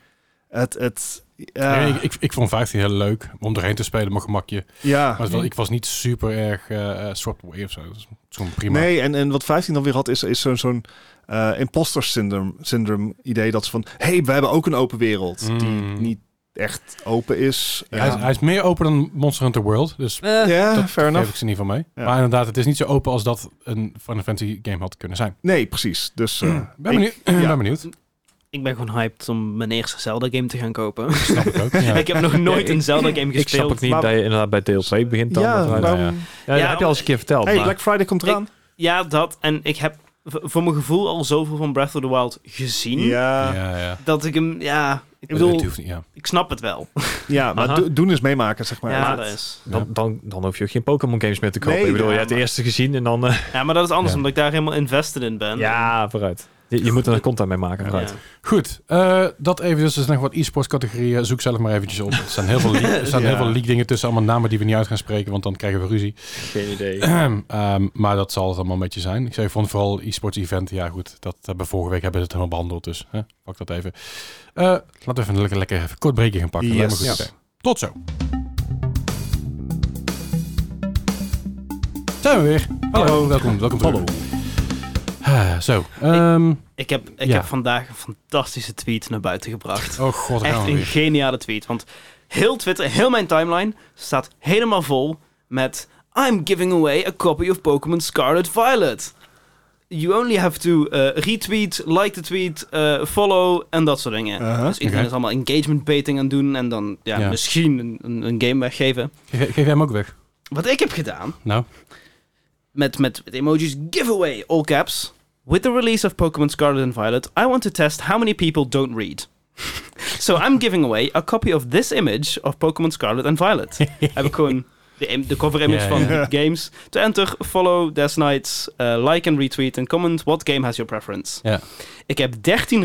Het, het, ja,
Nee, ik, ik, ik vond 15 heel leuk om erheen te spelen, mijn gemakje.
ja.
Maar het was- ik was niet super erg eh eh, swept away of zo. Dat is gewoon prima.
Nee, en, en wat 15 dan weer had, is, is zo'n zo'n eh, imposter syndrome, syndrome idee. Dat ze van, hey, we hebben ook een open wereld. Die
Mm.
niet echt open is.
Hij, is,
Eh,
hij is meer open dan Monster Hunter World, dus
Eh,
Ja,
dat
Ah, fair
geef
enough.
ik ze niet van mee.
Ja.
Maar inderdaad, het is niet zo open als dat een Final Fantasy game had kunnen zijn.
Nee, precies. Dus eh,
Hmm. Ben
ik-
benieuwd. Ik,
ja.
ben benieuwd.
Ik ben gewoon hyped om mijn eerste Zelda-game te gaan kopen.
Snap ik ook. Ja.
ik heb nog nooit
Ja,
een Zelda-game
Ik snap
gespeeld.
ook niet
maar-
dat je inderdaad bij deel 2 begint dan.
ja,
Ja,
maar-
ja,
waarom-
ja.
dat
Ja,
heb je al eens een keer verteld.
Hey,
maar-
Black Friday komt eraan.
Ja, dat. En ik heb v- voor mijn gevoel al zoveel van Breath of the Wild gezien.
Ja, ja.
Ja, ja.
Dat ik hem, ja... Ik bedoel,
Het hoeft niet, ja.
ik snap het wel.
maar
Aha.
do- doen is meemaken, zeg maar.
Ja,
Maar-
dat is.
Ja.
Dan, dan, dan hoef je ook geen Pokémon games meer te kopen.
Nee,
ik bedoel,
ja,
je hebt de
maar-
eerste gezien en dan... eh,
Ja, maar dat is anders,
Ja.
omdat ik daar helemaal invested in ben.
ja, vooruit. Je, je moet er een content mee maken,
Ja.
vooruit.
Goed, eh, dat even. Dus er zijn nog wat e-sports categorieën. Zoek zelf maar eventjes op. Er staan heel veel, leak- er staan
Ja.
heel veel leak dingen tussen. Allemaal namen die we niet uit gaan spreken, want dan krijgen we ruzie.
Geen idee.
Ehm, maar dat zal het allemaal een beetje zijn. Ik zei, ik vond vooral e-sports event. Ja goed, dat hebben we vorige week hebben we het helemaal behandeld. Dus hè, pak dat even. Eh, laten we even een lekker, lekker even kort breekje gaan pakken. Dat lijkt me
Yes.
een goed idee. Tot zo. Zijn we weer. Hallo,
Hallo.
welkom. Welkom terug.
Hallo.
Ah, zo. Ehm,
Ik, heb, ik
Ja.
heb vandaag een fantastische tweet naar buiten gebracht.
oh god, daar gaan
Echt
we
een
weer.
geniale tweet. Want heel Twitter, heel mijn timeline staat helemaal vol met... I'm giving away a copy of Pokémon Scarlet Violet. You only have to eh, retweet, like the tweet, eh, follow en dat soort dingen.
Uh-huh.
Dus iedereen
Oké.
is allemaal engagement baiting aan het doen en dan ja,
Ja.
misschien een, een, een game weggeven.
Geef, geef jij hem ook weg?
Wat ik heb gedaan,
Nou.
met, met, met emojis giveaway, all caps. With the release of Pokémon Scarlet and Violet, I want to test how many people don't read. so I'm giving away a copy of this image of Pokémon Scarlet and Violet. heb ik gewoon de, im- de cover image
Ja,
van
ja.
de games. To enter, follow Death Knights, eh, like and retweet and comment what game has your preference.
Ja.
Ik heb 13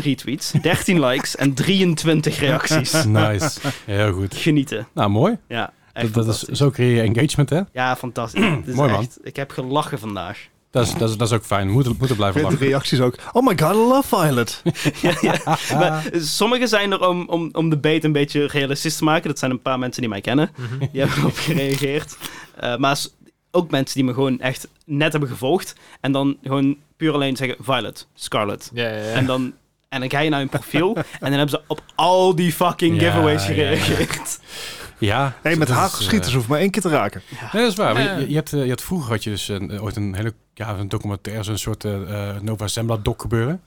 retweets, 13 likes en 23 reacties.
Nice. Heel goed.
Genieten.
Nou, mooi.
Ja.
dat,
Echt
dat is,
fantastisch.
zo creëer je engagement, hè?
Ja, fantastisch. Het is
Mooi, man.
echt, ik heb gelachen vandaag.
Dat is, dat is, dat is ook fijn. We moeten, moeten blijven
Met de
lachen.
reacties ook. Oh my god, I love Violet.
ja, ja. Maar sommige zijn er om, om, om de bait een beetje realistisch te maken. Dat zijn een paar mensen die mij kennen.
Mhm.
Die hebben erop gereageerd. Eh, maar s- ook mensen die me gewoon echt net hebben gevolgd. En dan gewoon puur alleen zeggen Violet, Scarlet.
Ja, ja,
En dan... En dan ga je naar hun profiel en dan hebben ze op al die fucking
Ja,
giveaways
ja, ja.
gereageerd.
Ja.
Hey, met
Dat is,
hagelschieters hoeft maar één keer te raken.
eh, nee, dat is waar. Maar Je, je, hebt, eh, je had, vroeger had je dus een, eh, ooit een hele ja, een documentaire, zo'n soort eh, eh, Nova Zembla doc gebeuren.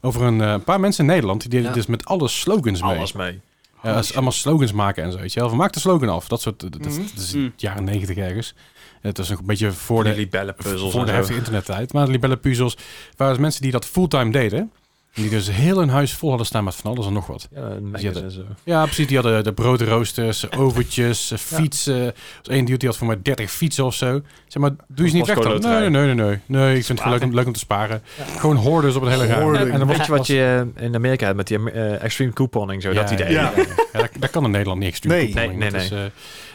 Over een eh, paar mensen in Nederland. Die deden
Ja.
dus met alle slogans mee.
Alles mee.
Ja, als- allemaal slogans maken en zo. Weet je wel. Van, maak de slogan af. Dat soort. Dat, dat-
Mhm.
dat is
Mm.
jaren negentig ergens. Het was nog een beetje voor
Voor
de
de libellenpuzzels
voor de
en zo.
heftige internettijd. Maar de libellenpuzzels waren dus mensen die dat fulltime deden. Die dus heel hun huis vol hadden staan met van alles en nog wat.
Ja, en
Ja, dat-
mekkers en zo.
Ja, precies. Die hadden de broodroosters, overtjes, fietsen. Er was één dude die had voor mij 30 fietsen of zo. Zeg maar, doe je ze niet weg
Postcode
dan? Nee,
loterij.
nee, nee, nee. Nee, ik vind het leuk om, leuk om te sparen. Gewoon hordes op het hele raam.
Hoarding.
En dan
Weet
was
je wat je eh, in Amerika hebt met die eh, extreme couponing, zo, dat idee.
Ja, ja, ja. Ja, dat, dat kan in Nederland niet. Extreme
Nee.
couponing.
Nee,
Dat
nee,
is, eh,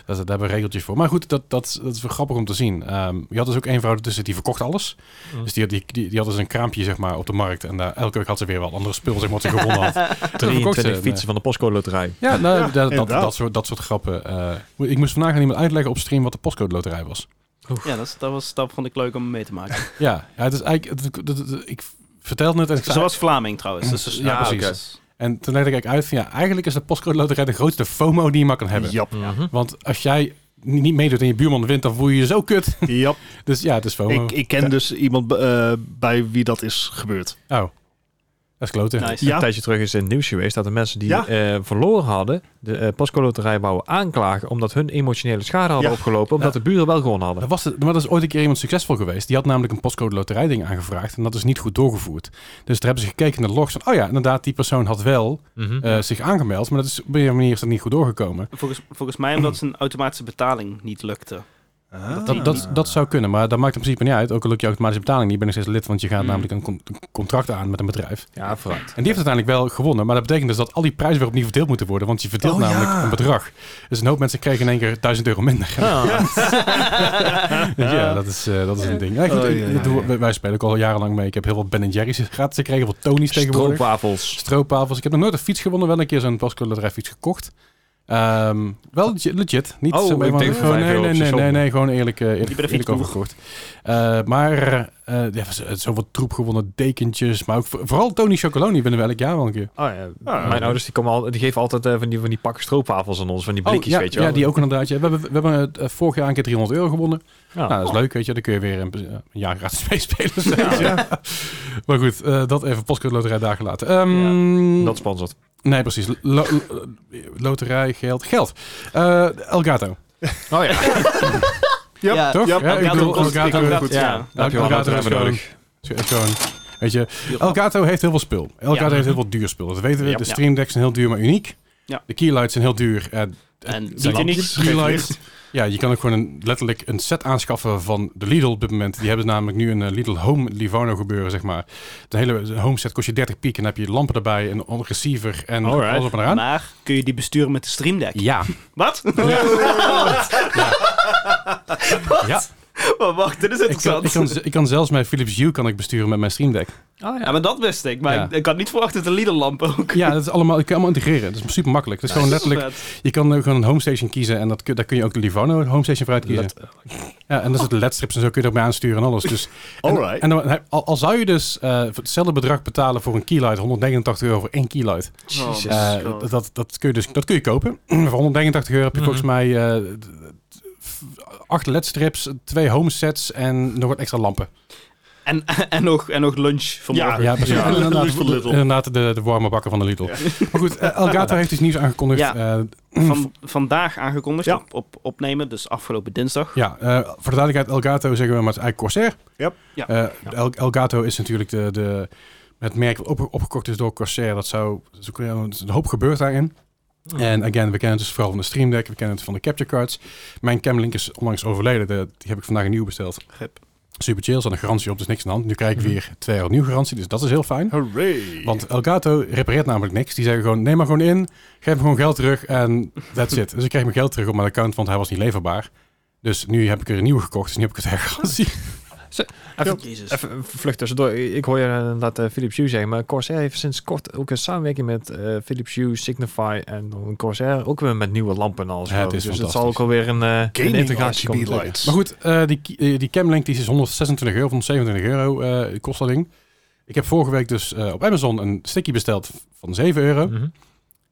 dat, daar hebben we regeltjes voor. Maar goed, dat, dat, dat is wel grappig om te zien. Ehm, je had dus ook één vrouw tussen die verkocht alles.
Mm.
Dus die, die, die, die had dus een kraampje zeg maar, op de markt. En daar elke week had ze weer wat andere spul zeg maar, wat ze gewonnen had. Toen verkocht ze eh.
23
het,
fietsen van de postcode loterij.
eh, Ja, nou, dat- dat, dat,
inderdaad.
soort, dat soort grappen. eh, ik moest vandaag aan iemand uitleggen op stream wat de postcode loterij was.
Ja, dat, is- dat, was, dat vond ik leuk om mee te maken.
Ja, ja het is eigenlijk... het- het- het- ik vertelde het en ik
Ze
zei-
was Vlaming trouwens. Dus ze-
Ja,
ah,
precies.
oké.
En toen legde ik eigenlijk uit van ja, eigenlijk is de postcode loterij de grootste FOMO die je maar kan hebben.
Jap,
Mhm.
Want als jij ni- niet meedoet en je buurman wint, dan voel je je zo kut.
jap.
Dus ja, het is FOMO.
Ik, ik ken dus iemand eh, bij wie dat is gebeurd.
Oh, dat is kloten.
Nice.
Ja.
Een tijdje terug is in het nieuws geweest dat de mensen die
Ja.
eh, verloren hadden, de eh postcode loterij wouden aanklagen omdat hun emotionele schade hadden
Ja.
opgelopen, omdat
Ja.
de buren wel gewonnen
Dat
hadden.
was het, maar dat is ooit een keer iemand succesvol geweest. Die had namelijk een postcode loterijding aangevraagd en dat is niet goed doorgevoerd. Dus daar hebben ze gekeken naar de logs van, oh ja, inderdaad, die persoon had wel
Mhm.
eh, zich aangemeld, maar dat is, op een manier is dat niet goed doorgekomen.
Volgens, volgens mij omdat zijn automatische betaling niet lukte.
Ah.
Dat, dat, dat zou kunnen, maar dat maakt in principe niet uit. Ook al lukt je automatische betaling niet, ben ik steeds lid, want je gaat
Mhm.
Mm.
namelijk een, con- een contract aan met een bedrijf.
Ja, vooruit.
En die heeft uiteindelijk wel gewonnen. Maar dat betekent dus dat al die prijzen weer opnieuw verdeeld moeten worden. Want je verdeelt
Oh,
namelijk
ja.
een bedrag. Dus een hoop mensen kregen in één keer 1000 euro minder.
Ja.
ja, Ah. dat is, eh, dat is een ding. Nee, goed,
Oh,
ik-
Ah. ja,
ik
ja,
doe-
ja.
wij- Wij spelen ook al jarenlang mee. Ik heb heel veel Ben Jerry's gratis gekregen. Wat Tony's tegenwoordig.
Stroopwafels.
Stroopwafels. Ik heb nog nooit een fiets gewonnen. Wel een keer zo'n Pasco Loterij fiets gekocht. Ehm, wel legit, legit. Niet
Oh,
zo
ik denk
gewoon,
vijf
nee,
euro
nee,
op
nee,
station.
nee, nee, gewoon eerlijk, eh,
Die
eerlijk,
bij de
eerlijk
fiets
overgekocht. Eh, maar eh ja, er was, eh, zoveel troep gewonnen, dekentjes. Maar ook voor- vooral Tony Chocoloni winnen we elk jaar wel een keer.
Oh, ja.
Ah.
Mijn ouders die komen al, die geven altijd eh, van, die, van die pakken stroopwafels aan ons, van die blikjes,
Oh, ja,
weet je wel.
ja, die ook inderdaad. Ja. We hebben, we hebben eh, vorig jaar een keer 300 euro gewonnen.
Ja.
Nou, dat is leuk, weet je. Dan kun je weer een, eh, een jaar gratis meespelen. zeg. Ja. maar goed, eh, dat even postcode loterij dagen laten. Ehm,
Dat sponsort.
Nee, precies. Lo- lo- loterij, geld. Geld. Eh Elgato.
Oh ja,
Jap,
Ja,
toch?
jap.
Ja, ik
Elgato
bedoel,
kost-
Elgato-
Elgato-
goed.
ja.
daar heb je wel
Elgato
wat
is gewoon-
nodig.
is gewoon- Weet je, Elgato heeft heel veel spul. Elgato
Ja.
heeft heel veel duur spul. Dat weten we.
Ja.
De Stream Decks zijn heel duur, maar uniek.
Ja.
De keylights zijn heel duur. En,
En niet
zijn
uniek.
lampjes. Keylights. Ja, je kan ook gewoon een, letterlijk een set aanschaffen van de Lidl op dit moment. Die hebben namelijk nu een eh, Lidl Home Livorno gebeuren, zeg maar. De hele home set kost je 30 piek en dan heb je lampen erbij, een on- receiver en
Alright.
alles op en eraan.
Maar kun je die besturen met de Stream Deck?
Ja.
Wat?
ja.
Maar wacht, dit is
Ik, kan,
interessant.
ik, kan, ik kan zelfs mijn Philips Hue kan ik besturen met mijn Stream Deck.
Ja, maar dat wist ik. Maar
Ja.
ik, ik had niet verwacht dat de Lidl-lamp ook...
Ja, dat is allemaal, ik kan allemaal integreren. Dat is super makkelijk. Dat is gewoon letterlijk, je kan ook gewoon een homestation kiezen en dat, kun- daar kun je ook de Livorno homestation voor uitkiezen. Ja, en dan zitten ledstrips en zo kun je erbij aansturen en alles. Dus, en,
Alright.
en dan, hij- al, al zou je dus eh, voor hetzelfde bedrag betalen voor een keylight, 189 euro voor één keylight.
Jezus.
Eh, dat, dat, kun je dus, dat kun je kopen. voor 189 euro heb je volgens mij eh, d- d- f- acht ledstrips, twee homesets en nog wat extra lampen.
En, en, nog, en nog lunch vanmorgen.
Ja, precies.
Ja.
En Inderdaad,
Van Lidl.
inderdaad de, de warme bakken van de Lidl. Maar goed, eh, Elgato heeft dus nieuws aangekondigd.
Ja.
eh,
Van, vandaag aangekondigd
Ja.
op, op opnemen, dus afgelopen dinsdag.
Ja, eh, voor de duidelijkheid, Elgato zeggen we maar het is eigenlijk Corsair.
Yep.
Ja.
Eh, El- Elgato is natuurlijk de, de, het merk wat op, opgekocht is door Corsair. Dat zou, dat is ook, eh, er is een hoop gebeurd daarin. En again, we kennen het dus vooral van de Stream Deck, we kennen het van de Capture Cards. Mijn Camlink is onlangs overleden, de- die heb ik vandaag een nieuw besteld. Super chill, er zat een garantie op, dus niks aan de hand. Nu krijg
Mhm.
ik weer twee jaar opnieuw garantie, dus dat is heel fijn.
Hooray!
Want eh, Elgato repareert namelijk niks. Die zeggen gewoon, neem maar gewoon in, geef me gewoon geld terug en that's it. Dus ik kreeg mijn geld terug op mijn account, want hij was niet leverbaar. Dus nu heb ik er een nieuwe gekocht, dus nu heb ik het hergarantie.
Even,
Jezus.
even vlug tussendoor. Ik hoor je eh, laat eh, Philips Hue zeggen, maar Corsair heeft sinds kort ook een samenwerking met eh, Philips Hue, Signify en dan Corsair. Ook weer met nieuwe lampen en alles.
Ja,
geloof
het
ik.
is
dus het zal ook
fantastisch.
alweer een, eh, een
Gaming
integratie
RGB
komen. te liggen.
lights.
Maar goed, eh, die, ki- eh, die Camlink die is 126 euro, of 127 euro eh, kost dat ding. Ik heb vorige week dus eh, op Amazon een sticky besteld van 7 euro.
Mhm.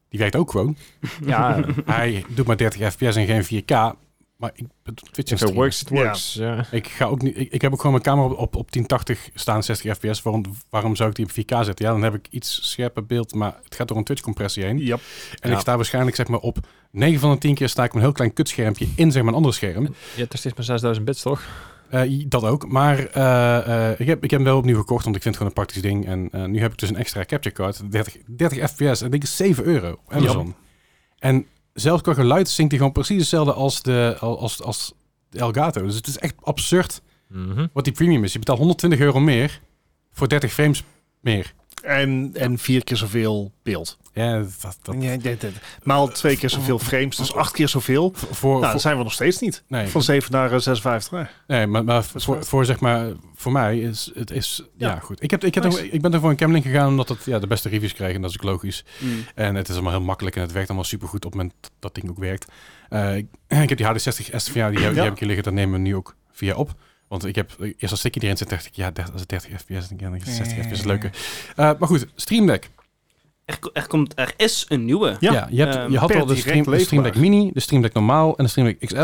Die werkt ook gewoon.
Ja, eh,
Hij doet maar 30 fps en geen 4K. Maar ik, het Twitch
if
works.
it works, it works. Ja.
Ik ga ook niet. Ik, ik heb ook gewoon mijn camera op, op, op 1080 staan, 60 fps. Waarom, waarom zou ik die op 4K zetten? Ja, dan heb ik iets scherper beeld, maar het gaat door een Twitch-compressie heen.
Yep.
En
Ja.
ik sta waarschijnlijk zeg maar op 9 van de 10 keer sta ik op een heel klein kutschermpje in zeg maar een ander scherm.
Je hebt er steeds maar 6000 bits, toch?
Eh, i- dat ook. Maar eh, eh, ik, heb, ik heb hem wel opnieuw gekocht, want ik vind het gewoon een praktisch ding. En eh, nu heb ik dus een extra capture card, 30, 30 fps. En dat is 7 euro op Amazon. En zelfs qua geluid zingt hij gewoon precies hetzelfde als de, als, als de Elgato. Dus het is echt absurd
Mhm.
wat die premium is. Je betaalt 120 euro meer voor 30 frames meer.
En, en vier keer zoveel beeld.
Ja, dat, dat,
Ja, dit- dit. Maal twee keer zoveel frames, dus acht keer zoveel.
voor, voor,
Nou, dat zijn we nog steeds niet.
nee,
Van 7 naar eh, 56. Nee.
nee, maar, maar
is
voor,
waar.
voor, zeg maar, voor mij is het is, ja.
Ja.
goed. Ik, heb, ik, heb
Nice.
toch- ik ben er voor een Camlink gegaan omdat het ja, de beste reviews kreeg en dat is ook logisch.
Mm.
En het is allemaal heel makkelijk en het werkt allemaal supergoed op het moment dat dat ding ook werkt. Eh, ik, ik heb die HD60 S van jou, die, heb- die
Ja.
heb ik hier liggen, dat nemen we nu ook via op. Want ik heb eh, eerst als ik erin zit, dacht ik, ja, 30, als het 30 fps, dan is 60 fps het leuke. Eh, maar goed, Stream Deck.
Er, ko- er, komt, er is een nieuwe.
Ja,
Ja.
je, hebt,
Ehm,
je had
per
al de
direct
stream, de stream Deck Mini, de Stream Deck Normaal en de Stream Deck XL.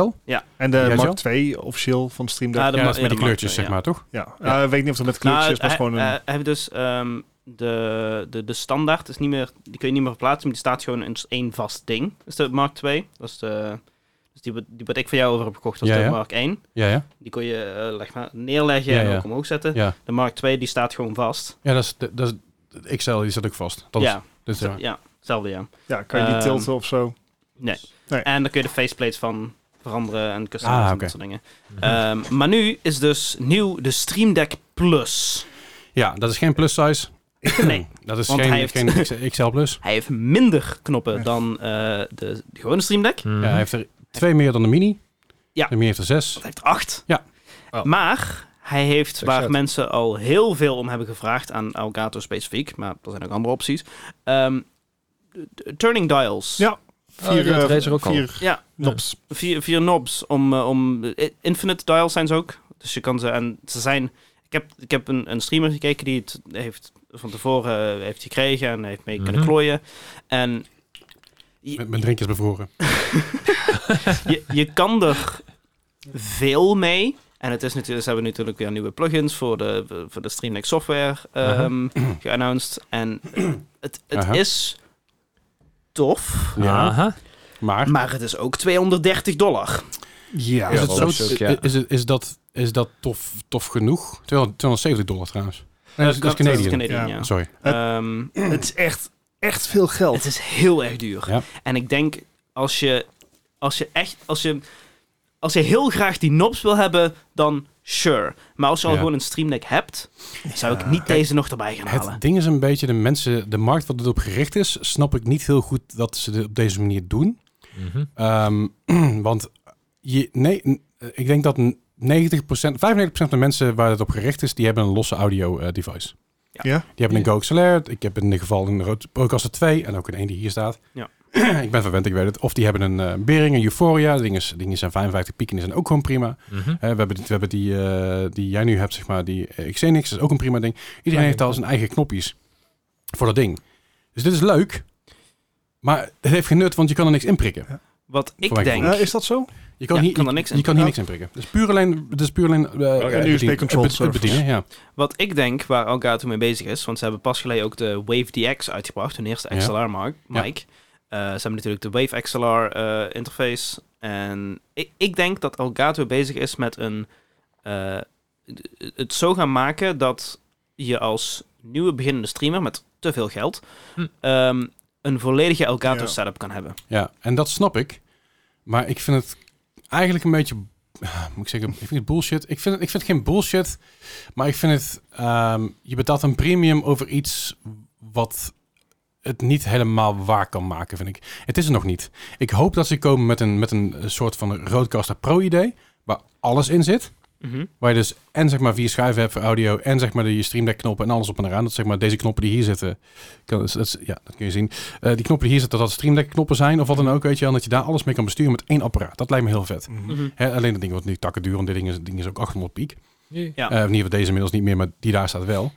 En de
Ja, zo.
Mark 2 officieel van Stream Deck.
Ah,
Ja,
ma-
dat is met
ja,
die
de markt,
kleurtjes, zeg
ja.
maar, toch?
ja. Eh, ik weet niet of het met kleurtjes
Nou, hij-
is, maar gewoon
eh,
een...
hij- hij heeft dus ehm, de, de, de standaard, is niet meer, die kun je niet meer verplaatsen, maar die staat gewoon in één vast ding. Dat is de Mark II. Dat is de, dus die, wat- die wat ik voor jou over heb gekocht, dat is
Ja,
de
ja.
Mark I.
Ja, ja.
Die kon je eh, leg maar, neerleggen
Ja,
en
ja.
ook omhoog zetten.
Ja,
De Mark II die staat gewoon vast.
ja dat is, de- dat is, de XL die zit ook vast. Dat
ja,
is, dat is,
ja. hetzelfde ja.
ja, kan je die
eh,
ehm,
tilten of
Oh,
zo?
Nee.
Nee.
En dan kun je de faceplates van veranderen en customizen
Ah,
en
oké.
dat soort dingen. Ehm, maar nu is dus nieuw de Stream Deck Plus.
ja, dat is geen plus size.
Nee.
Dat is
Want hij
geen,
heeft-
geen XL- XL plus.
Hij heeft minder knoppen dan eh, de, de gewone Stream Deck.
Mhm.
Ja, hij heeft er twee meer dan de Mini.
Ja.
De Mini heeft er zes.
Hij heeft acht.
Ja.
Oh.
Maar hij heeft,
Succes.
waar mensen al heel veel om hebben gevraagd aan Elgato specifiek, maar er zijn ook andere opties, ehm, d- d- turning dials.
Ja.
Oh, die had
eh,
Razer ook al.
vier
Ja.
knobs.
Vier, vier knobs om, eh, om... eh, Infinite dials zijn ze ook. Dus je kan ze... En ze zijn... Ik heb, ik heb een, een streamer gekeken die het heeft van tevoren eh, heeft gekregen en heeft mee kunnen
Mhm.
klooien. En
Met mijn drinkjes bevroren.
je, je kan er veel mee. En het is natuurlijk, ze hebben natuurlijk weer nieuwe plugins voor de, voor de Stream Deck software ehm geannounced. En het, het
Aha.
is tof,
Ja.
Aha.
Maar
maar het is ook 230 dollar.
Ja.
is,
Ja,
het
dat
zo,
is ook, ja.
is, het- is dat, is dat tof, tof genoeg? 200 270 dollar trouwens. Nee, dat, is- dat is
Dat is
Canadian.
Canadian,
Ja.
ja.
Sorry.
Ehm,
Het is echt, echt veel geld.
Het is heel erg duur.
Ja.
En ik denk, als je, als je echt, als je, als je heel graag die knobs wil hebben, dan sure. Maar als je al
Ja.
gewoon een Stream Deck hebt, zou ik
Ja.
niet
Kijk,
deze nog erbij gaan halen.
Het ding is een beetje, de mensen, de markt wat het op gericht is, snap ik niet heel goed dat ze dit op deze manier doen.
Mhm.
Ehm, want je, nee, n- eh, ik denk dat 90%, 95% van de mensen waar het op gericht is, die hebben een losse audio eh, device.
Ja.
Ja.
Die hebben een Go XLR. Ik heb in ieder geval een Rode Procaster 2 en ook een één die hier staat.
Ja.
ik ben verwend, ik weet het. Of die hebben een eh Bering, een Euphoria. Dingen, dingen zijn 55 piek en die zijn ook gewoon prima.
Mhm.
Hè, we hebben, die- we hebben die, eh, die jij nu hebt, zeg maar, die eh, Xenix, dat is ook een prima ding. Iedereen heeft al zijn eigen knopjes voor dat ding. Dus dit is leuk, maar het heeft geen nut, want je kan er niks in prikken.
Wat ik
mijn
denk,
gevoel.
Eh, is dat zo?
Je kan
Ja,
hier,
kan er
je-
niks
je,
in dus
kan hier niks
prikken.
in prikken. Het is puur alleen... Het is puur alleen eh, eh,
een
bedien-
USB-controlled
het- het
service.
bedienen, ja.
wat ik denk waar Elgato mee bezig is, want ze hebben pas geleden ook de Wave DX uitgebracht, hun eerste
Ja.
XLR-mic. Eh, ze hebben natuurlijk de Wave XLR-interface. eh, en ik, ik denk dat Elgato bezig is met een, eh, d- het zo gaan maken dat je als nieuwe beginnende streamer met te veel geld
Hm.
ehm, een volledige
Ja.
Elgato-setup kan hebben.
Ja, en dat snap ik. Maar ik vind het eigenlijk een beetje ah, moet ik zeggen, ik vind het bullshit. Ik vind het, ik vind het geen bullshit, maar ik vind het, ehm, je betaalt een premium over iets wat het niet helemaal waar kan maken, vind ik. Het is er nog niet. Ik hoop dat ze komen met een, met een eh, soort van Rodecaster Pro idee, waar alles in zit.
Mhm.
Waar je dus en zeg maar vier schuiven hebt voor audio en zeg maar de je Stream Deck knoppen en alles op en eraan. Dat zeg maar deze knoppen die hier zitten, kan, dat is- dat is- ja, dat kun je zien. Eh, die knoppen die hier zitten, dat dat Stream Deck knoppen zijn of wat dan ook, weet je wel. En Dat je daar alles mee kan besturen met één apparaat. Dat lijkt me heel vet.
Mhm.
Hè, alleen dat ding wordt nu takken duur, want dit ding is, ding is ook 800 piek.
Ja.
Eh, in ieder geval deze inmiddels niet meer, maar die daar staat wel.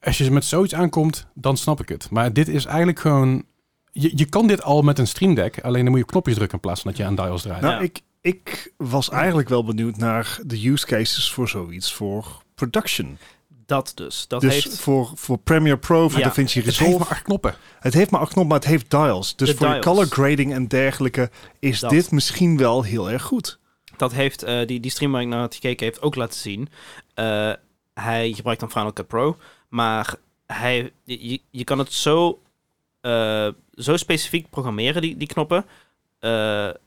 Als je met zoiets aankomt, dan snap ik het. Maar dit is eigenlijk gewoon... Je, je kan dit al met een Stream Deck, alleen dan moet je op knopjes drukken in plaats van dat je aan dials draait.
Nou,
Ja.
ik, ik was eigenlijk wel benieuwd naar de use cases voor zoiets voor production.
Dat dus. Dat
dus
heeft
voor, voor Premiere Pro, voor
Ja.
DaVinci
het heeft
Resolve.
maar acht knoppen.
Het heeft maar acht knoppen, maar het heeft dials. Dus
De
voor je
dials.
color grading en dergelijke is
Dat.
dit misschien wel heel erg goed.
Dat heeft eh, die, die streamer waar ik naar had gekeken, heeft ook laten zien. Eh, hij gebruikt dan Final Cut Pro. Maar hij, je, je- je kan het zo, eh, zo specifiek programmeren, die, die knoppen. Eh,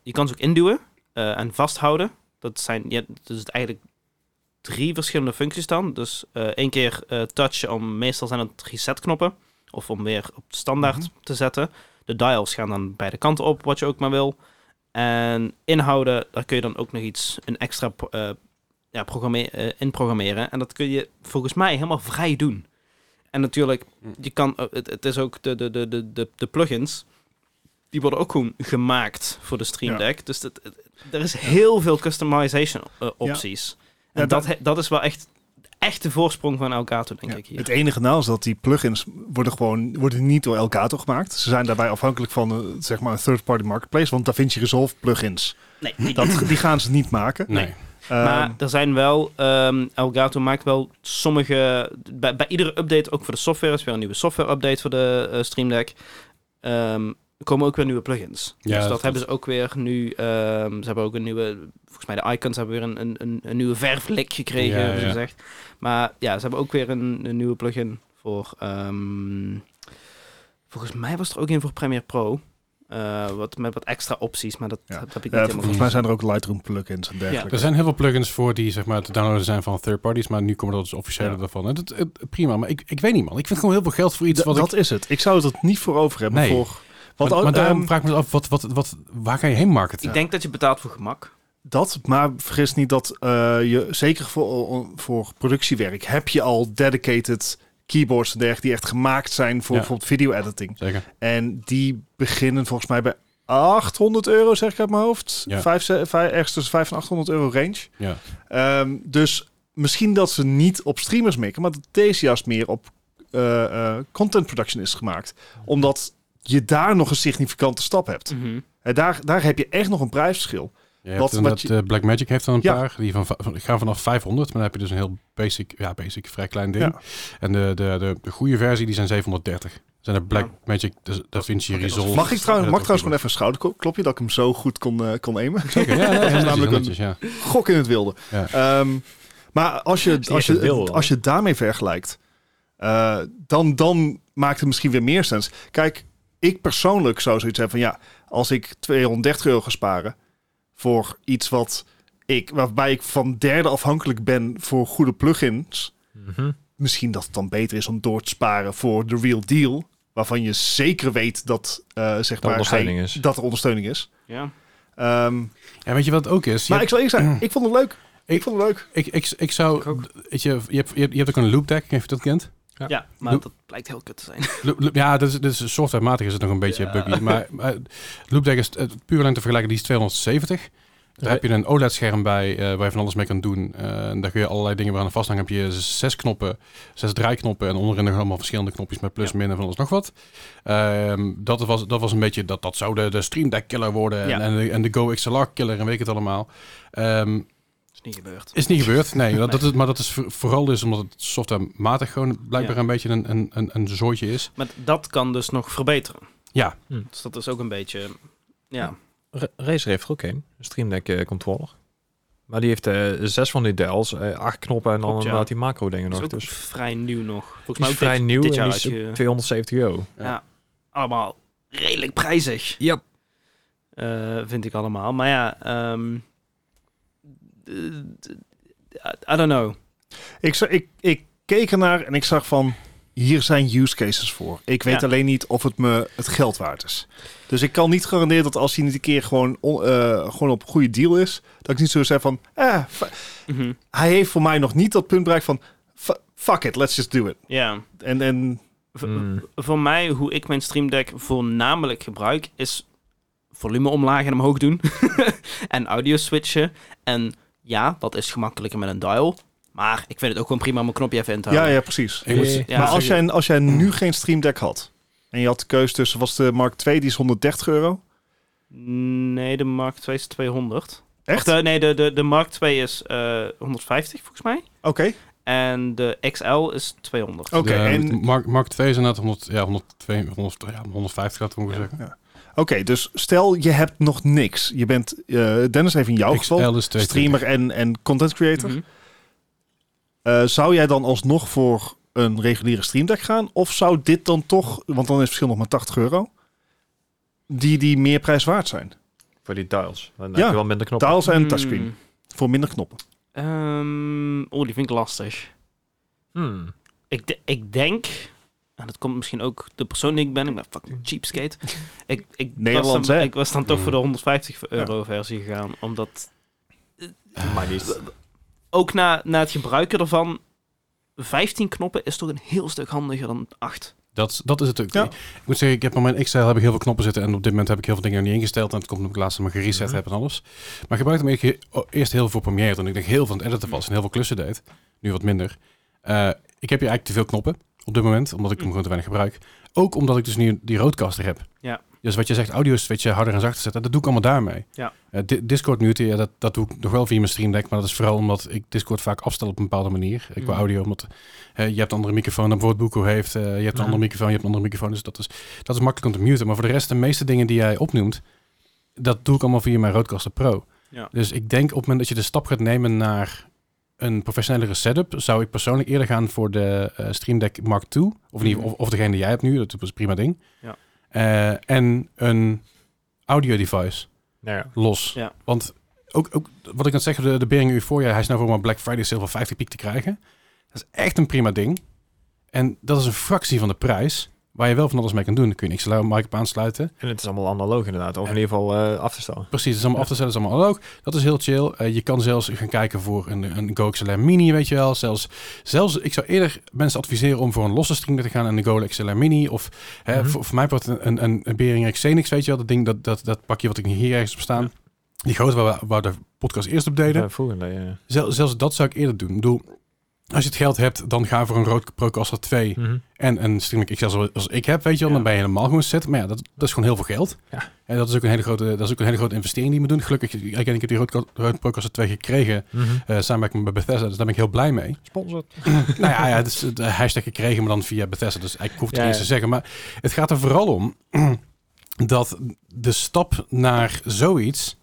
je kan ze ook induwen eh, en vasthouden. Dat zijn ja, dus het eigenlijk drie verschillende functies dan. Dus eh, één keer eh, touchen om, meestal zijn het reset knoppen. Of om weer op standaard te zetten. De dials gaan dan beide kanten op, wat je ook maar wil. En inhouden, daar kun je dan ook nog iets, een extra pro- eh, ja, programme- eh, in programmeren. En dat kun je volgens mij helemaal vrij doen. En natuurlijk, je kan, eh, het, het is ook de, de, de, de, de, de plugins, die worden ook gewoon gemaakt voor de Stream
Ja.
Deck. Dus dat, het- er is heel veel customization eh, opties. En
Ja,
dat,
dat-
he- dat is wel echt, echt de voorsprong van Elgato, denk
Ja.
ik hier.
Het enige nou is dat die plugins worden gewoon worden niet door Elgato gemaakt. Ze zijn daarbij afhankelijk van eh, zeg maar een third-party marketplace. Want DaVinci Resolve plugins,
nee, die-
dat, die gaan ze niet maken.
Nee.
Ehm,
Maar er zijn wel, ehm, Elgato maakt wel sommige, bij, bij iedere update, ook voor de software, is weer een nieuwe software update voor de eh, Stream Deck, ehm, komen ook weer nieuwe plugins.
Ja,
dus dat,
dat-
hebben ze ook weer nu, ehm, ze hebben ook een nieuwe, volgens mij de icons hebben weer een, een, een, een nieuwe verflik gekregen,
Ja,
hebben ze
ja.
gezegd. Maar ja, ze hebben ook weer een, een nieuwe plugin voor, ehm, volgens mij was er ook een voor Premiere Pro. eh, wat, met wat extra opties, maar dat,
Ja.
dat heb ik niet
ja,
helemaal
volgens mij zijn er ook Lightroom plugins en dergelijke.
Er zijn heel veel plugins voor die zeg maar, te downloaden zijn van third parties, maar nu komen er dus officiële
Ja.
daarvan. En dat, het- prima, maar ik, ik weet niet man. Ik vind gewoon heel veel geld voor iets
D-
wat
dat
ik...
is het. Ik zou het er niet voor over hebben.
Nee.
Voor, want
maar,
al-
maar daarom
ehm,
vraag ik me dus af, wat, wat, wat, waar ga je heen marketen?
Ik denk dat je betaalt voor gemak.
dat, maar vergis niet dat eh, je zeker voor, voor productiewerk heb je al dedicated keyboards en dergelijke die echt gemaakt zijn voor
Ja.
bijvoorbeeld video editing.
Zeker.
En die beginnen volgens mij bij 800 euro, zeg ik uit mijn hoofd.
Ja.
Vijf, ze- vijf, ergens tussen 5 en 800 euro range.
Ja.
Ehm, dus misschien dat ze niet op streamers mikken, maar dat deze juist meer op eh, eh, content production is gemaakt. Omdat je daar nog een significante stap hebt. En daar, daar heb je echt nog een prijsverschil.
Je hebt
Wat- wat
inderdaad,
je-
eh, Blackmagic heeft dan een
Ja.
paar. Die van, va- van- gaan vanaf 500, maar dan heb je dus een heel basic, ja, basic vrij klein ding.
Ja.
En de, de, de, de goede versie, die zijn 730. Zijn er Blackmagic, dus Da- DaVinci Resolve.
Mag ik trouwens, mag ik trouwens gewoon
even
even een schouderklopje dat ik hem zo goed kon, eh, kon aimen?
Zeker, ja, nee, dat is
namelijk
namelijk
een-
ja.
Gok in het wilde.
Ja.
Ehm, maar als je,
niet
als,
echt een wil,
je,
hoor.
als je het daarmee vergelijkt, eh, dan, dan maakt het misschien weer meer sens. Kijk, ik persoonlijk zou zoiets hebben van ja, als ik 230 euro ga sparen voor iets wat ik, waarbij ik van derde afhankelijk ben voor goede plugins,
Mhm.
misschien dat het dan beter is om door te sparen voor de real deal, waarvan je zeker weet dat, eh, zeg maar,
ondersteuning
hij-
is.
dat er ondersteuning is.
Ja.
Ehm,
ja, weet je wat het ook is? Je
maar ik zal eerlijk zijn, ik vond het leuk. Ik, vond het leuk.
Ik, ik, ik zou, weet je, je hebt, je hebt, je hebt ook een loop deck, heeft dat kent?
Ja, maar dat blijkt heel kut te zijn.
Loop- loop- ja, dat is, dat is softwarematig is het nog een beetje buggy, maar, maar loop deck is eh, puur alleen te vergelijken, die is 270. Daar heb je een OLED-scherm bij eh, waar je van alles mee kan doen. Eh, en daar kun je allerlei dingen weer aan vasthangen. Heb je zes knoppen, zes draaiknoppen en onderin nog allemaal verschillende knopjes met plus, min en van alles nog wat. Ehm, dat, was, dat was een beetje, dat, dat zou de, de Stream Deck killer worden
Ja.
en, en, de, en de Go XLR killer en weet ik het allemaal. Ehm,
is niet gebeurd.
Is niet gebeurd, nee. Dat, dat is, maar dat is voor- vooral dus omdat het softwarematig gewoon blijkbaar
Ja.
een beetje een, een, een, een zooitje is.
Maar dat kan dus nog verbeteren.
Ja.
Dus dat is ook een beetje... Ja.
Ra- Razer heeft er ook een. Een Stream Deck eh, controller. Maar die heeft eh, zes van die dials, eh, acht knoppen en dan
Klopt, ja.
inderdaad die macro dingen
Dat is
nog.
ook
Dus
vrij nieuw nog. Volgens
die
mij
is
ook
vrij
dit,
nieuw
dit
en
jaar
die is
uitge-
270 euro.
Ja. Allemaal redelijk prijzig.
Ja.
Eh, vind ik allemaal. Maar ja, ehm, eh, I don't know.
Ik, zo- ik, ik keek ernaar en ik zag van, hier zijn use cases voor. Ik weet
Ja.
alleen niet of het me het geld waard is. Dus ik kan niet garanderen dat als hij niet een keer gewoon, on- eh, gewoon op een goede deal is, dat ik niet zo zeg van, eh, fa-
Mhm.
hij heeft voor mij nog niet dat punt bereikt van, fa- fuck it, let's just do it.
Ja.
En, en
V-
Mm.
Voor mij, hoe ik mijn Stream Deck voornamelijk gebruik, is volume omlaag en omhoog doen. en audio switchen. En ja, dat is gemakkelijker met een dial. Maar ik vind het ook gewoon prima om een knopje even in te
ja,
houden.
ja, precies.
Ik moet-
Eh,
Ja,
maar als
zeker.
jij, als jij nu geen Stream Deck had en je had de keuze tussen, was de Mark 2, die is 130 euro.
Nee, de Mark 2 is 200.
Echt?
De- nee, de, de, de Mark 2 is eh 150 volgens mij.
Oké,
En de XL is 200.
oké.
De,
en-
de Mark, Mark 2 is inderdaad 100, ja, 102, 100, ja, 150 laten we maar zeggen.
Oké, dus stel je hebt nog niks. Je bent, eh, Dennis even in jouw geval,
XL is 220.
streamer en, en content creator.
Mhm.
Eh, zou jij dan alsnog voor een reguliere Stream Deck gaan? Of zou dit dan toch, want dan is het verschil nog maar 80 euro, die, die meer prijs waard zijn?
Voor die dials. Dan
Ja,
heb je wel minder knoppen.
Dials en
Hmm.
touchscreen, voor minder knoppen.
Ehm, Oeh, die vind ik lastig.
Hmm.
Ik, de- ik denk, en dat komt misschien ook de persoon die ik ben, ik ben fucking cheapskate. ik, ik, was
Nederlands,
dan,
hè? Mm.
ik was dan toch voor de 150 euro
Ja.
versie gegaan, omdat
Ah,
Maar die is...
ook na, na het gebruiken ervan, 15 knoppen is toch een heel stuk handiger dan 8.
Dat, dat is het ook.
Ja.
Ik moet zeggen, ik heb op mijn XL heb ik heel veel knoppen zitten. En op dit moment heb ik heel veel dingen nog niet ingesteld. En het komt omdat ik laatst mijn gereset
Mhm.
heb en alles. Maar ik gebruikte hem eigenlijk he- oh, eerst heel veel voor Premiere. Toen ik denk heel veel aan het editen was en heel veel klussen deed. Nu wat minder. Eh, ik heb hier eigenlijk te veel knoppen op dit moment. Omdat ik hem
Mhm.
Mm.
gewoon te weinig gebruik. Ook omdat ik dus nu die roadcaster heb.
Ja.
Dus wat je zegt, audio switchen, harder en zachter zetten. Dat doe ik allemaal daarmee.
Ja.
Eh, Di- Discord muten, ja, dat, dat doe ik nog wel via mijn stream deck. Maar dat is vooral omdat ik Discord vaak afstel op een bepaalde manier. Ik wil
Mhm.
audio, omdat eh, je hebt een andere microfoon dan bijvoorbeeld Boeko heeft. eh, je hebt een
Ja.
andere microfoon, je hebt een andere microfoon. Dus dat is, dat is makkelijk om te muten. Maar voor de rest, de meeste dingen die jij opnoemt, dat doe ik allemaal via mijn Rodecaster Pro.
Ja.
Dus ik denk op het moment dat je de stap gaat nemen naar een professionellere setup, zou ik persoonlijk eerder gaan voor de eh, Stream Deck Mark II. Of, in ieder geval- of, of degene die jij hebt nu, dat is een prima ding.
Mhm. Ja.
Eh, en een audio device
Nou ja.
los.
Ja.
Want ook, ook wat ik net zeg, de, de Bering Euphoria, hij is nou voor maar Black Friday sale van 50 piek te krijgen. Dat is echt een prima ding. En dat is een fractie van de prijs waar je wel van alles mee kan doen. Dan kun je een XLR-mic op aansluiten.
En het is allemaal analoog inderdaad. Of in ieder geval eh, af te stellen.
Precies, het is allemaal af te zetten, het is allemaal ook. Dat is heel chill. Eh, je kan zelfs gaan kijken voor een, een Go XLR Mini, weet je wel. Zelfs, zelfs, ik zou eerder mensen adviseren om voor een losse streamer te gaan en een Go XLR Mini. Of hè,
Mhm.
voor, voor mij wordt een, een, een Behringer Xenix, weet je wel. Dat ding, dat, dat, dat pakje wat ik hier ergens op staan. Die grote waar, we- waar de podcast eerst op deden.
Ja, Eh, volgende, ja.
Zel- zelfs dat zou ik eerder doen. Ik bedoel, als je het geld hebt, dan ga voor een rood Procaster 2
Mhm.
en een streaming XL zoals als ik heb, weet je wel. Dan ben je helemaal gewoon set. Maar ja, dat, dat is gewoon heel veel geld.
Ja.
En dat is ook een hele grote, dat is ook een hele grote investering die je moet doen. Gelukkig, ik, ik heb die rood, rood Procaster 2 gekregen
Mhm.
eh samen met Bethesda. Dus daar ben ik heel blij mee.
Sponsored.
nou ja, ja, het is de hashtag gekregen, maar dan via Bethesda. Dus ik hoef het
Ja,
niet eens
ja.
te zeggen. Maar het gaat er vooral om dat de stap naar zoiets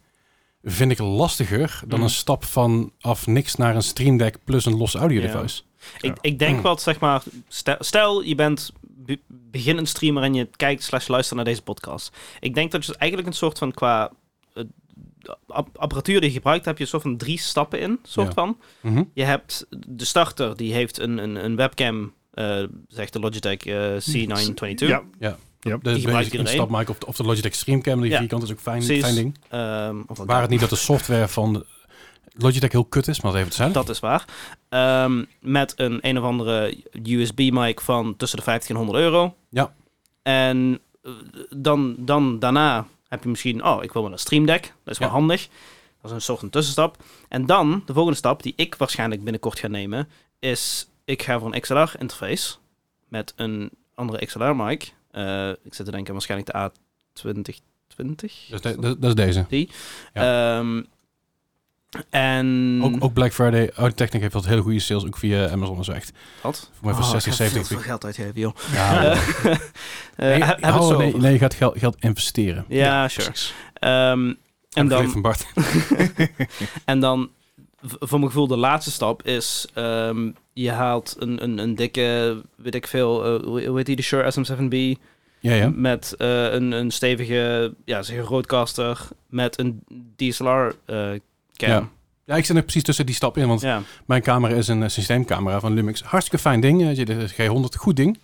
vind ik lastiger dan
Mm.
Mhm.
een stap vanaf niks naar een Stream Deck plus een los audio
Ja.
device.
Ik, ik
Mm.
denk wat, zeg maar, stel, stel je bent be- beginnend streamer en je kijkt slash luistert naar deze podcast. Ik denk dat je dus eigenlijk een soort van qua eh, ap- apparatuur die je gebruikt, heb je een soort van drie stappen in, soort
Ja.
van.
Mhm.
Je hebt de starter, die heeft een, een, een webcam, eh, zegt de Logitech eh, C922.
Ja,
De
Die gebruik je
Dus een
er
stap maken of de, of de Logitech Streamcam, die
Ja.
vierkant is ook fijn,
Precies.
fijn ding.
Ehm, of dat-
Waar het niet dat de software van Logitech heel kut is, maar dat even te zijn.
Dat is waar. Ehm, met een een of andere USB-mic van tussen de 50 en 100 euro.
Ja.
En eh, dan, dan daarna heb je misschien, oh, ik wil wel een Stream Deck. Dat is wel
Ja.
handig. Dat is een soort van tussenstap. En dan, de volgende stap, die ik waarschijnlijk binnenkort ga nemen, is ik ga voor een XLR-interface met een andere XLR-mic. Eh, ik zit te denken waarschijnlijk de A2020.
Dus de- de- dat is deze.
Ehm, en...
Ook, ook Black Friday, Audio Technic heeft wat hele goede sales, ook via Amazon en zo echt.
Wat?
Voor mij voor
Oh,
60,
ik ga veel
70
te veel geld uitgeven, joh.
Ja.
Eh, eh,
Nee,
heb het
oh,
zo
nee,
over.
nee, je gaat geld, geld investeren.
Ja, sure.
precies.
Ehm, en,
Heb ik geleerd
dan,
van Bart.
en dan, v- voor mijn gevoel, de laatste stap is... ehm, je haalt een, een, een dikke, weet ik veel, eh, hoe hoe heet die, de Shure SM7B...
Ja, ja.
met eh, een, een stevige, ja, zeg een roadcaster... met een DSLR-cam.
Ja. Ja, ik zit er precies tussen die stap in, want
eh, Ja.
mijn camera is een eh, systeemcamera van Lumix. Hartstikke fijn ding, eh, dit is G100, goed ding.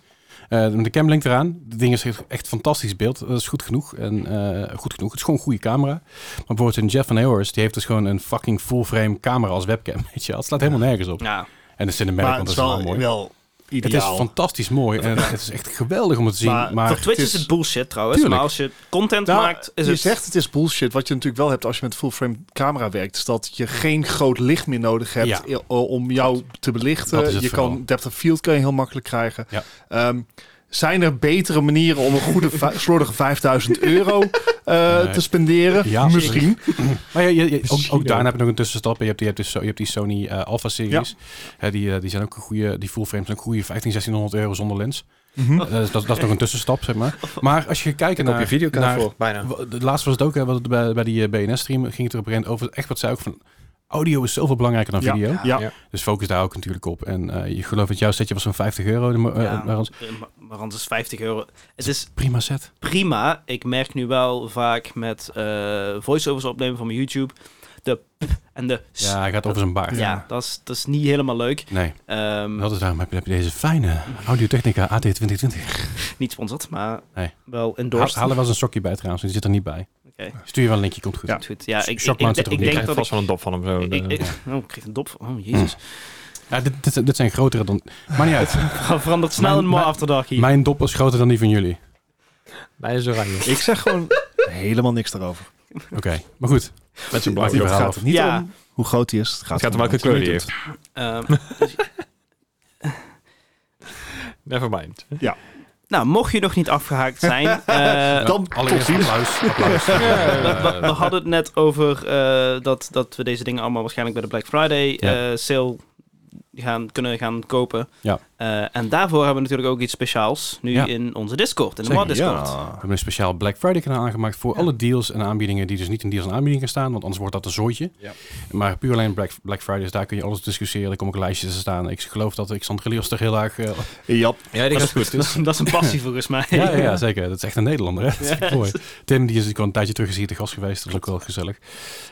Eh, de cam linkt eraan. Het ding is echt- echt fantastisch beeld. Dat is goed genoeg. En, eh, goed genoeg. Het is gewoon een goede camera. Maar bijvoorbeeld een Jeff van Hayhorst, die heeft dus gewoon een fucking full-frame camera als webcam. Weet je, wel. het slaat helemaal nergens op.
ja.
En de cinematic,
maar
want
het
dat
is
is wel mooi.
wel, wel
Het is
ideaal.
fantastisch mooi en het is echt geweldig om te zien.
Maar
Maar,
toch-
Twitch
het
is
is-
het bullshit trouwens,
Tuurlijk.
maar als je content
Nou,
maakt, is
je
het...
zegt het is bullshit. Wat je natuurlijk wel hebt als je met full-frame camera werkt, is dat je geen groot licht meer nodig hebt
Ja.
i- om jou te belichten.
Dat is het
je
vooral.
kan depth of field kan je heel makkelijk krijgen.
Ja.
Ehm, zijn er betere manieren om een goede vij- slordige 5000 euro eh,
Nee.
te spenderen?
Ja,
Misschien.
maar ja, je- je- ook,
Misschien
ook daarna
ook.
heb je nog een tussenstap. Je hebt, die- je hebt, dus, zo- je hebt die Sony eh, Alpha series. Hè, die, eh, die zijn ook een goede, die full frames zijn een goede 15, 1600 euro zonder lens.
Mhm.
Eh, dat, is- dat is- dat is nog een tussenstap, zeg maar. Maar als je kijkt
Daar koop
naar...
je videokaart
naar-
voor, bijna.
w- de Laatst was het ook, hè, wat, bij, bij die eh, BNS-stream ging het er op een gegeven moment over. Echt wat zei ook van, audio is zoveel belangrijker dan
Ja.
video.
Ja.
Ja.
Dus focus daar ook natuurlijk op. En eh, je gelooft dat jouw setje was zo'n 50 euro. de mo- eh,
Ja,
maar anders-
eh, maar- maar anders is 50 euro. Het is
prima set.
prima. Ik merk nu wel vaak met eh voiceovers opnemen van mijn YouTube. De p en de s. Ja,
Ja, hij gaat over zijn baard.
dat, is, dat is niet helemaal leuk.
Nee,
Ehm,
dat is daarom heb je, heb je deze fijne Audiotechnica AT2020.
Niet sponsord, maar
Nee.
wel
Haal,
endorsed.
haal er wel eens een sokje bij trouwens, die zit er niet bij.
Oké.
Stuur je wel een linkje, komt goed.
Ja.
Goed, ja, ik, ik,
Shockmount
ik,
zit er ook
ik
niet
denk
krijgt
dat
vast
ik...
wel een dop van hem zo. eh.
Ik, ik,
de-
ik- oh, ik kreeg een dop van... Oh, jezus.
Ja, dit, dit, dit zijn grotere dan... Maar niet uit.
Verandert snel
Mijn-
een mooi
mijn-
afterdag hier.
Mijn dop is groter dan die van jullie.
Mij is oranje.
Ik zeg gewoon helemaal niks daarover.
Oké, maar goed.
Met
blauwe
zijn blauwe
Het
verhaal
gaat
af.
er niet
Ja.
om hoe groot hij is. Het gaat,
Het gaat om welke kleur die heeft.
Ehm, dus-
Nevermind.
nou, mocht je nog niet afgehaakt zijn... eh,
Dan tot
Allereerst
ziens.
applaus. applaus. Eh,
we, we- we hadden het net over eh, dat, dat we deze dingen allemaal waarschijnlijk bij de Black Friday eh, sale gaan, kunnen gaan kopen.
Ja.
Eh, en daarvoor hebben we natuurlijk ook iets speciaals nu
Ja.
in onze Discord, in de
Zeker,
Mod Discord.
We hebben een speciaal Black Friday kanaal aangemaakt voor alle deals en aanbiedingen die dus niet in deals en aanbiedingen staan, want anders wordt dat een zooitje.
Ja.
Maar puur alleen Black, Black Friday, dus daar kun je alles discussiëren. Er komen ook lijstjes te staan. Ik geloof dat Xandre Lios er heel erg... eh,
Ja,
Ja, die
Dat
gaat
is,
goed.
dat, is, dat is een passie volgens mij.
dus. ja, ja, ja, zeker. Dat is echt een Nederlander. Hè? Dat is echt mooi. Tim die is natuurlijk al een tijdje terug is hier te gast geweest. Dat is ook wel gezellig. Eh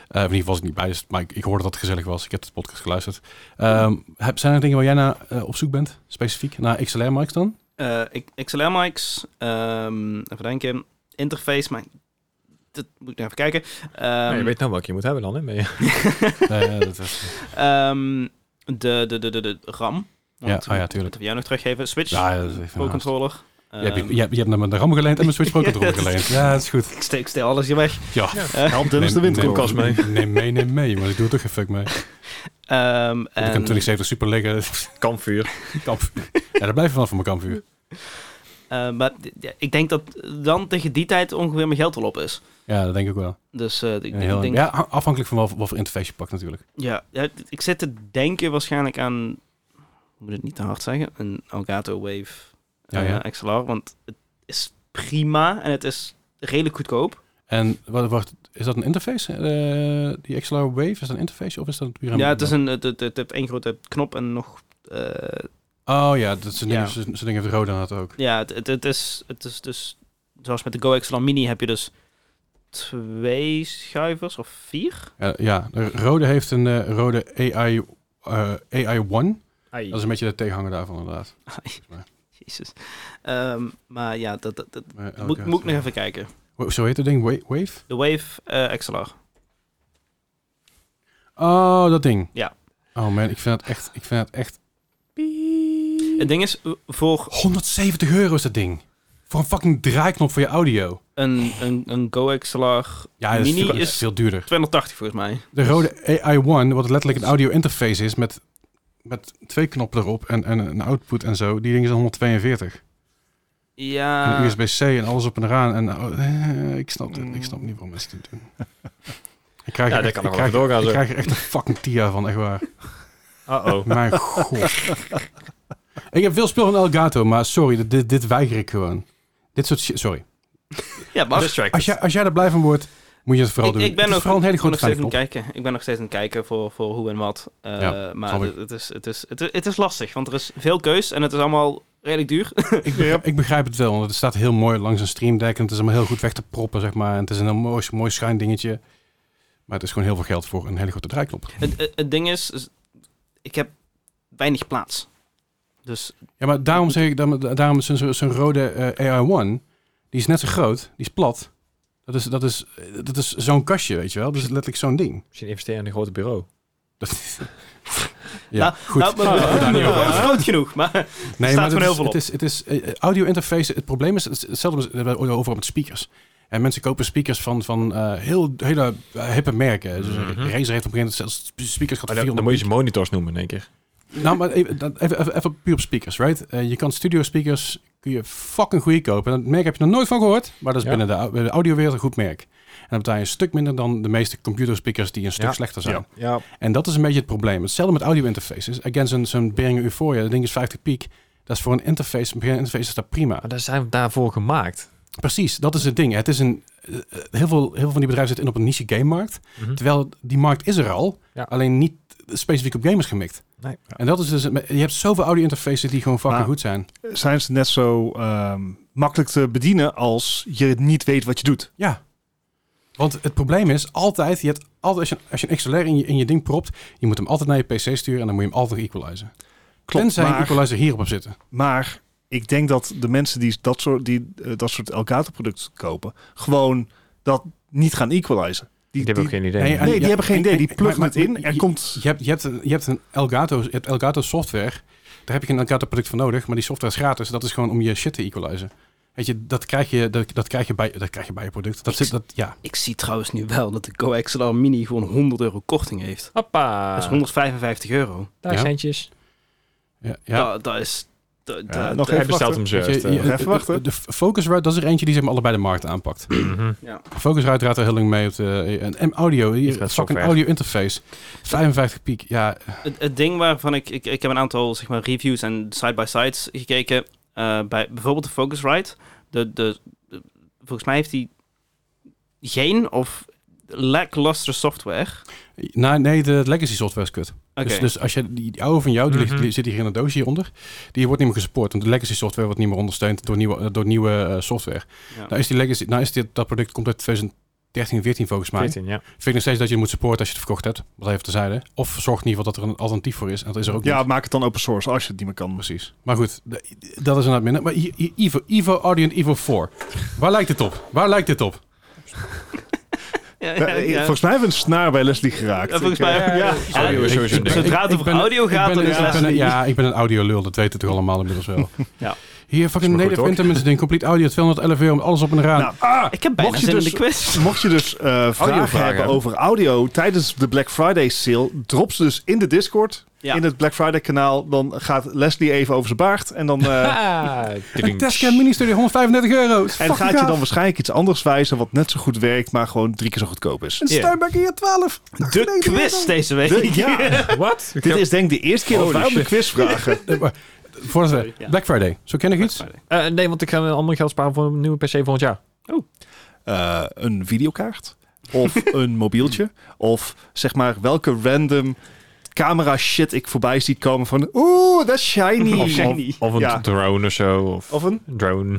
in ieder geval was ik niet bij, dus, maar ik, ik hoorde dat het gezellig was. Ik heb de podcast geluisterd. Ehm, heb, zijn er dingen waar jij naar eh, op zoek bent, specifiek? Naar XLR Mics dan?
Eh, ik- XLR mics, ehm, even denken, interface, maar dat moet ik nog even kijken. Ehm,
Ja, je weet nou welke je moet hebben dan, hè? Maar ja.
Nee, Eh, dat was,
ehm, de, de, de, de, de RAM.
ja, oh ja,
Dat
tuurlijk.
we jou nog teruggeven. Switch,
Ja, ja, dat is even
Pro
een haast.
controller.
Je hebt,
Ehm,
je, hebt- je hebt naar mijn RAM geleend en mijn Switch Pro controller geleend. Ja, dat is goed.
ik, steek, ik steek alles hier weg.
Ja.
help Dennis de windkoelkast mee.
Neem, neem mee, neem mee. Maar ik doe er toch geen fuck mee. Want
Ehm,
Ik heb
en-
2070 super liggen.
Kampvuur.
Kampvuur. Ja, daar blijf je vanaf van mijn kampvuur.
Eh, maar d- ja, ik denk dat dan tegen die tijd ongeveer mijn geld wel op is.
Ja, dat denk ik wel.
Dus eh, ik,
Ja, heel-
ik denk, ja.
ja, ha- afhankelijk van wat, wat voor interface je pakt natuurlijk.
Ja, d- ik zit te denken waarschijnlijk aan, ik moet het niet te hard zeggen, een Elgato Wave
Ja,
eh,
ja.
XLR, want het is prima en het is redelijk goedkoop.
En wat, wat, is dat een interface? Eh, die XLR Wave, is dat een interface of is dat puur een...
ja, het is een, het, het, het heeft één grote knop en nog, eh,
Oh ja, dat is een ding,
Ja.
zo'n zo'n ding heeft Roda had ook.
ja, het, het, het is, het is dus, zoals met de Go XLR Mini heb je dus twee schuivers of vier?
Ja, ja, de Rode heeft een eh, Rode AI, eh, AI-1. dat is een beetje de tegenhanger daarvan inderdaad.
Jezus. Ehm, maar ja, dat, dat, dat
Maar
moet,
Eh, elke-
moet ik nog even kijken.
Wa- Zo heet dat ding? Wa- Wave?
De Wave eh, XLR.
Oh, dat ding.
Ja.
Oh man, ik vind dat echt... Ik vind dat echt
Het ding is, eh, voor
170 euro is dat ding. Voor een fucking draaiknop voor je audio.
een, een, een Go XLR
Ja, dat is,
Mini
veel,
is-
veel duurder.
280 volgens mij.
De rode AI-1, wat letterlijk een audio interface is met, met twee knoppen erop en, en een output en zo. Die ding is 142.
Ja,
En
Ah.
USB-C en alles op en eraan. En, eh, ik, snap het, ik snap niet waarom mensen dit doen. Ik krijg,
Ja,
er
dat
echt- ik
kan nog wel
krijg,
doorgaan
ik
zo.
krijg er echt een fucking tia van, echt waar.
Uh-oh.
Mijn god. ik heb veel speel van Elgato, maar sorry, dit, dit weiger ik gewoon. Dit soort shit, sorry.
ja maar
Als jij, als jij er blij van wordt, moet je het vooral
ik,
doen.
ik ben
het is
nog,
vooral een hele
ik ben
grote
nog steeds
fijne
aan het
knop.
kijken. Ik ben nog steeds aan het kijken voor, voor hoe en wat. Eh,
Ja,
maar
snap ik.
het, het is, het, is, het, is, het is lastig, want er is veel keus en het is allemaal redelijk duur.
Ik begrijp, ik begrijp het wel, want het staat heel mooi langs een streamdeck en het is allemaal heel goed weg te proppen, zeg maar. En het is een heel mooi, mooi schuin dingetje. Maar het is gewoon heel veel geld voor een hele grote draaiknop.
Het, het, het ding is, is, ik heb weinig plaats. Dus
Ja, maar daarom zeg ik, daarom- daarom is zo'n zo'n rode eh, AI-1, die is net zo groot, die is plat. Dat is, dat is, dat is zo'n kastje, weet je wel. Dat is letterlijk zo'n ding.
Misschien investeren in een groot bureau. Oh,
Dat, ja,
ja, nou,
goed.
nou, maar-
Laten we daar niet over
maar-
hebben.
groot genoeg. Maar
Nee,
staat
maar het
gewoon heel
is,
veel op.
het is, het is eh, audio interface. Het probleem is het is hetzelfde als- we hebben het over met speakers. En mensen kopen speakers van, van eh, heel, hele eh, hippe merken. Dus eh,
Mhm.
Razer heeft op een gegeven moment zelfs speakers gehad.
Maar
voor 400
dan, dan moet je ze monitors noemen in één keer.
Nou, maar even, dat- even, even, even puur op speakers, right? Eh, je kan studio speakers kun je fucking goedkoop kopen. En dat merk heb je nog nooit van gehoord, maar dat is
Ja.
binnen de, au- de audiowereld een goed merk. En dan betaal je een stuk minder dan de meeste computerspeakers die een stuk
Ja.
slechter zijn.
Ja.
En dat is een beetje het probleem. Hetzelfde met audio interfaces. Again, zo'n zo'n Behringer Euphoria, dat ding is 50 piek. Dat is voor een interface, een Behringer interface is dat prima.
Maar daar zijn we daarvoor gemaakt.
Precies, dat is het ding. Het is een, eh, heel, veel, heel veel van die bedrijven zitten in op een niche game markt. Terwijl die markt is er al,
Ja.
alleen niet specifiek op gamers gemikt.
Nee.
En dat is dus, het- je hebt zoveel audio interfaces die gewoon fucking
Maar-
goed zijn.
Zijn ze net zo ehm, makkelijk te bedienen als je niet weet wat je doet?
Ja. Want het probleem is altijd, je hebt altijd als, je, als je een XLR in je, in je ding propt, je moet hem altijd naar je PC sturen en dan moet je hem altijd equalizen. Tenzij je
maar,
equalizer hierop op zitten.
maar ik denk dat de mensen die dat soort, die, eh, dat soort Elgato-producten kopen, gewoon dat niet gaan equalizen. Die,
Ik heb ook
die-
geen idee.
Nee,
nee, die
Ja,
hebben geen
en-
idee. Die
en-
pluggen
maar-
het in.
maar-
Er
je-
komt...
Je hebt, je hebt, een, je hebt een Elgato, je hebt Elgato software. Daar heb je geen Elgato product voor nodig, maar die software is gratis. Dat is gewoon om je shit te equalizen. Weet je, dat krijg je, dat, dat krijg je, bij, dat krijg je bij je product. Dat
Ik-
zit, dat, ja.
ik zie trouwens nu wel dat de GoXLR Mini gewoon 100 euro korting heeft.
Hoppa.
Dat
Ah.
is 155 euro.
Daar
Ja.
centjes.
ja, ja.
Ja. Dat, dat is... Dat,
Ja,
dat-
nog
dat-
Hij
even
bestelt
wachten.
hem
Weet
zelf.
je, je-
Even
de-
wachten.
De, de Focusrite, dat is er eentje die zeg maar allebei de markt aanpakt.
eh, mm-hmm.
Focusrite draait er heel lang mee op de, eh, en, en audio,
gaat
hier, fucking
software.
audio interface. 55 piek, ja.
Het, het ding waarvan ik, ik... Ik heb een aantal zeg maar, reviews en side-by-sides gekeken. eh, bij bijvoorbeeld de Focusrite. De, de, de- volgens mij heeft hij geen of lackluster software.
Dus
Nou, nee, de legacy software is kut.
Oké.
Dus, dus als je die, die oude van jou, die, ligt-
Mhm.
die zit hier in een doosje hieronder, die wordt niet meer gesupport. Want de legacy software wordt niet meer ondersteund door nieuwe, door nieuwe eh, software.
ja.
Nou is, die legacy, nou is dit, dat product komt uit 2013, 14 volgens mij.
14, ja.
Vind ik nog steeds dat je het moet supporten als je het verkocht hebt. Wat even tezijde. Of zorg in ieder geval dat er een alternatief voor is. En dat is er ook niet.
Ja, maak het dan open source als je het niet meer kan.
Precies. Maar goed, de- dat is inderdaad minder. Maar hier, hier, Evo, Evo Audio en Evo 4. Waar lijkt het op? Waar lijkt het op?
Ja, ja,
Ja, eh,
ja.
Volgens mij hebben we een snaar bij Leslie geraakt.
Ja, volgens
Ik, eh,
mij. Ja,
Audio is
Ik-
sowieso een
ik-
ding.
Zodra het
ik
over
ben-
audio
ik
gaat,
ben-
dan is
ik
les
ben-
niet.
Ja, ik ben een audiolul. Dat weten we toch allemaal inmiddels wel.
Ja.
Hier, fucking
maar goed,
Native
hoor.
Intimate ding. Complete audio, 211 euro, met alles op een raam.
nou, ah,
Ik heb bijna
Mocht je
zin in
dus-
de quiz.
mocht je dus eh, vragen
Audiovragen.
hebben over audio tijdens de Black Friday sale, drop ze dus in de Discord,
Ja.
in het Black Friday kanaal. Dan gaat Leslie even over zijn baard en dan... eh,
Ah,
een Tesca Mini Studio, 135 euro. Is
En
fucking
gaat je
gaaf.
dan waarschijnlijk iets anders wijzen wat net zo goed werkt, maar gewoon drie keer zo goedkoop is.
Een
Ja.
Steinberg hier 12.
De quiz deze week.
De- ja,
Wat?
dit is denk ik de eerste keer dat
Holy
wij om de
shit.
quiz vragen.
Eh, maar, Voordat we-
Ja.
Black Friday. Zo ken ik iets?
Eh, nee, want ik ga mijn allemaal geld sparen voor een nieuwe PC volgend jaar.
Eh, een videokaart of een mobieltje of zeg maar welke random camera shit ik voorbij zie komen van oeh, dat is shiny.
Of- Shiny.
Of een
Ja.
drone of zo. Of,
Of een,
een drone.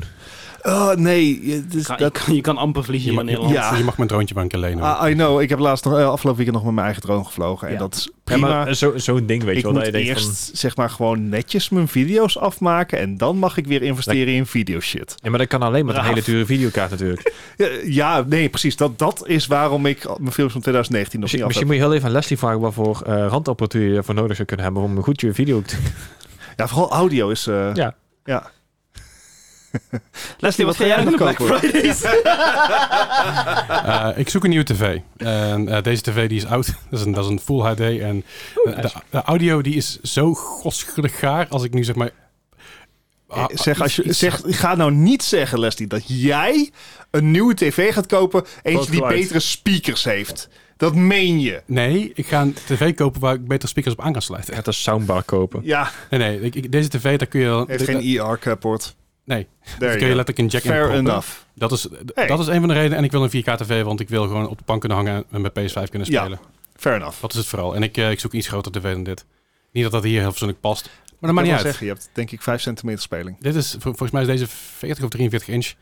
oh nee, eh, dit is-
Kan- je,
dat,
kan, je kan amper vliegen hier in Nederland.
Ja.
Je mag mijn droontje wel een keer lenen. hoor.
Ah, I know, ik heb laatst nog, eh, afgelopen weekend nog met mijn eigen drone gevlogen en
Ja.
dat is
Ja,
prima.
maar zo- zo'n ding, weet je
ik
wel. Dat je
moet
denkt van...
eerst zeg maar gewoon netjes mijn video's afmaken en dan mag ik weer investeren in video shit.
Ja, maar dat kan alleen met een
Braaf.
hele dure videokaart natuurlijk.
Ja, ja, nee, precies. Dat, dat is waarom ik al- mijn films van 2019 nog
Misschien,
niet af
misschien
heb.
moet je heel even aan Leslie vragen waarvoor eh randapparatuur je ervoor nodig zou kunnen hebben om een goede video te...
Ja, vooral audio is... eh,
Ja.
ja.
Leslie, wat ga jij
nog
doen op Black
kopen?
Fridays?
Eh, ik zoek een nieuwe tv. En eh, deze tv die is oud. dat, is een, dat is een full HD. En eh, de, de audio die is zo godsgelig gaar. Als ik nu zeg maar...
Eh,
Ah,
Zeg, als je,
iets-
zeg, ga nou niet zeggen, Leslie, dat jij een nieuwe tv gaat kopen. Eentje die
geluid.
betere speakers heeft. Dat meen je.
Nee, ik ga een tv kopen waar ik betere speakers op aan kan sluiten.
Gaat een soundbar kopen.
Ja,
Nee, nee. ik- ik- deze tv, daar kun je... wel-
heeft geen IR-poort.
Nee,
Daar
daar kun je letterlijk een jack in
Fair
proppen.
enough.
Dat is, d-
Hey.
dat is een van de redenen. En ik wil een 4K tv, want ik wil gewoon op de bank kunnen hangen en met PS5 kunnen
Ja.
spelen.
Fair enough.
Dat is het vooral. En ik, eh, ik zoek een iets groter tv dan dit. Niet dat dat hier heel persoonlijk past. Maar dat
Ik
maakt
wil
niet uit.
zeggen, je hebt denk ik 5 centimeter speling.
Dit is, vol- volgens mij is deze 40 of 43 inch.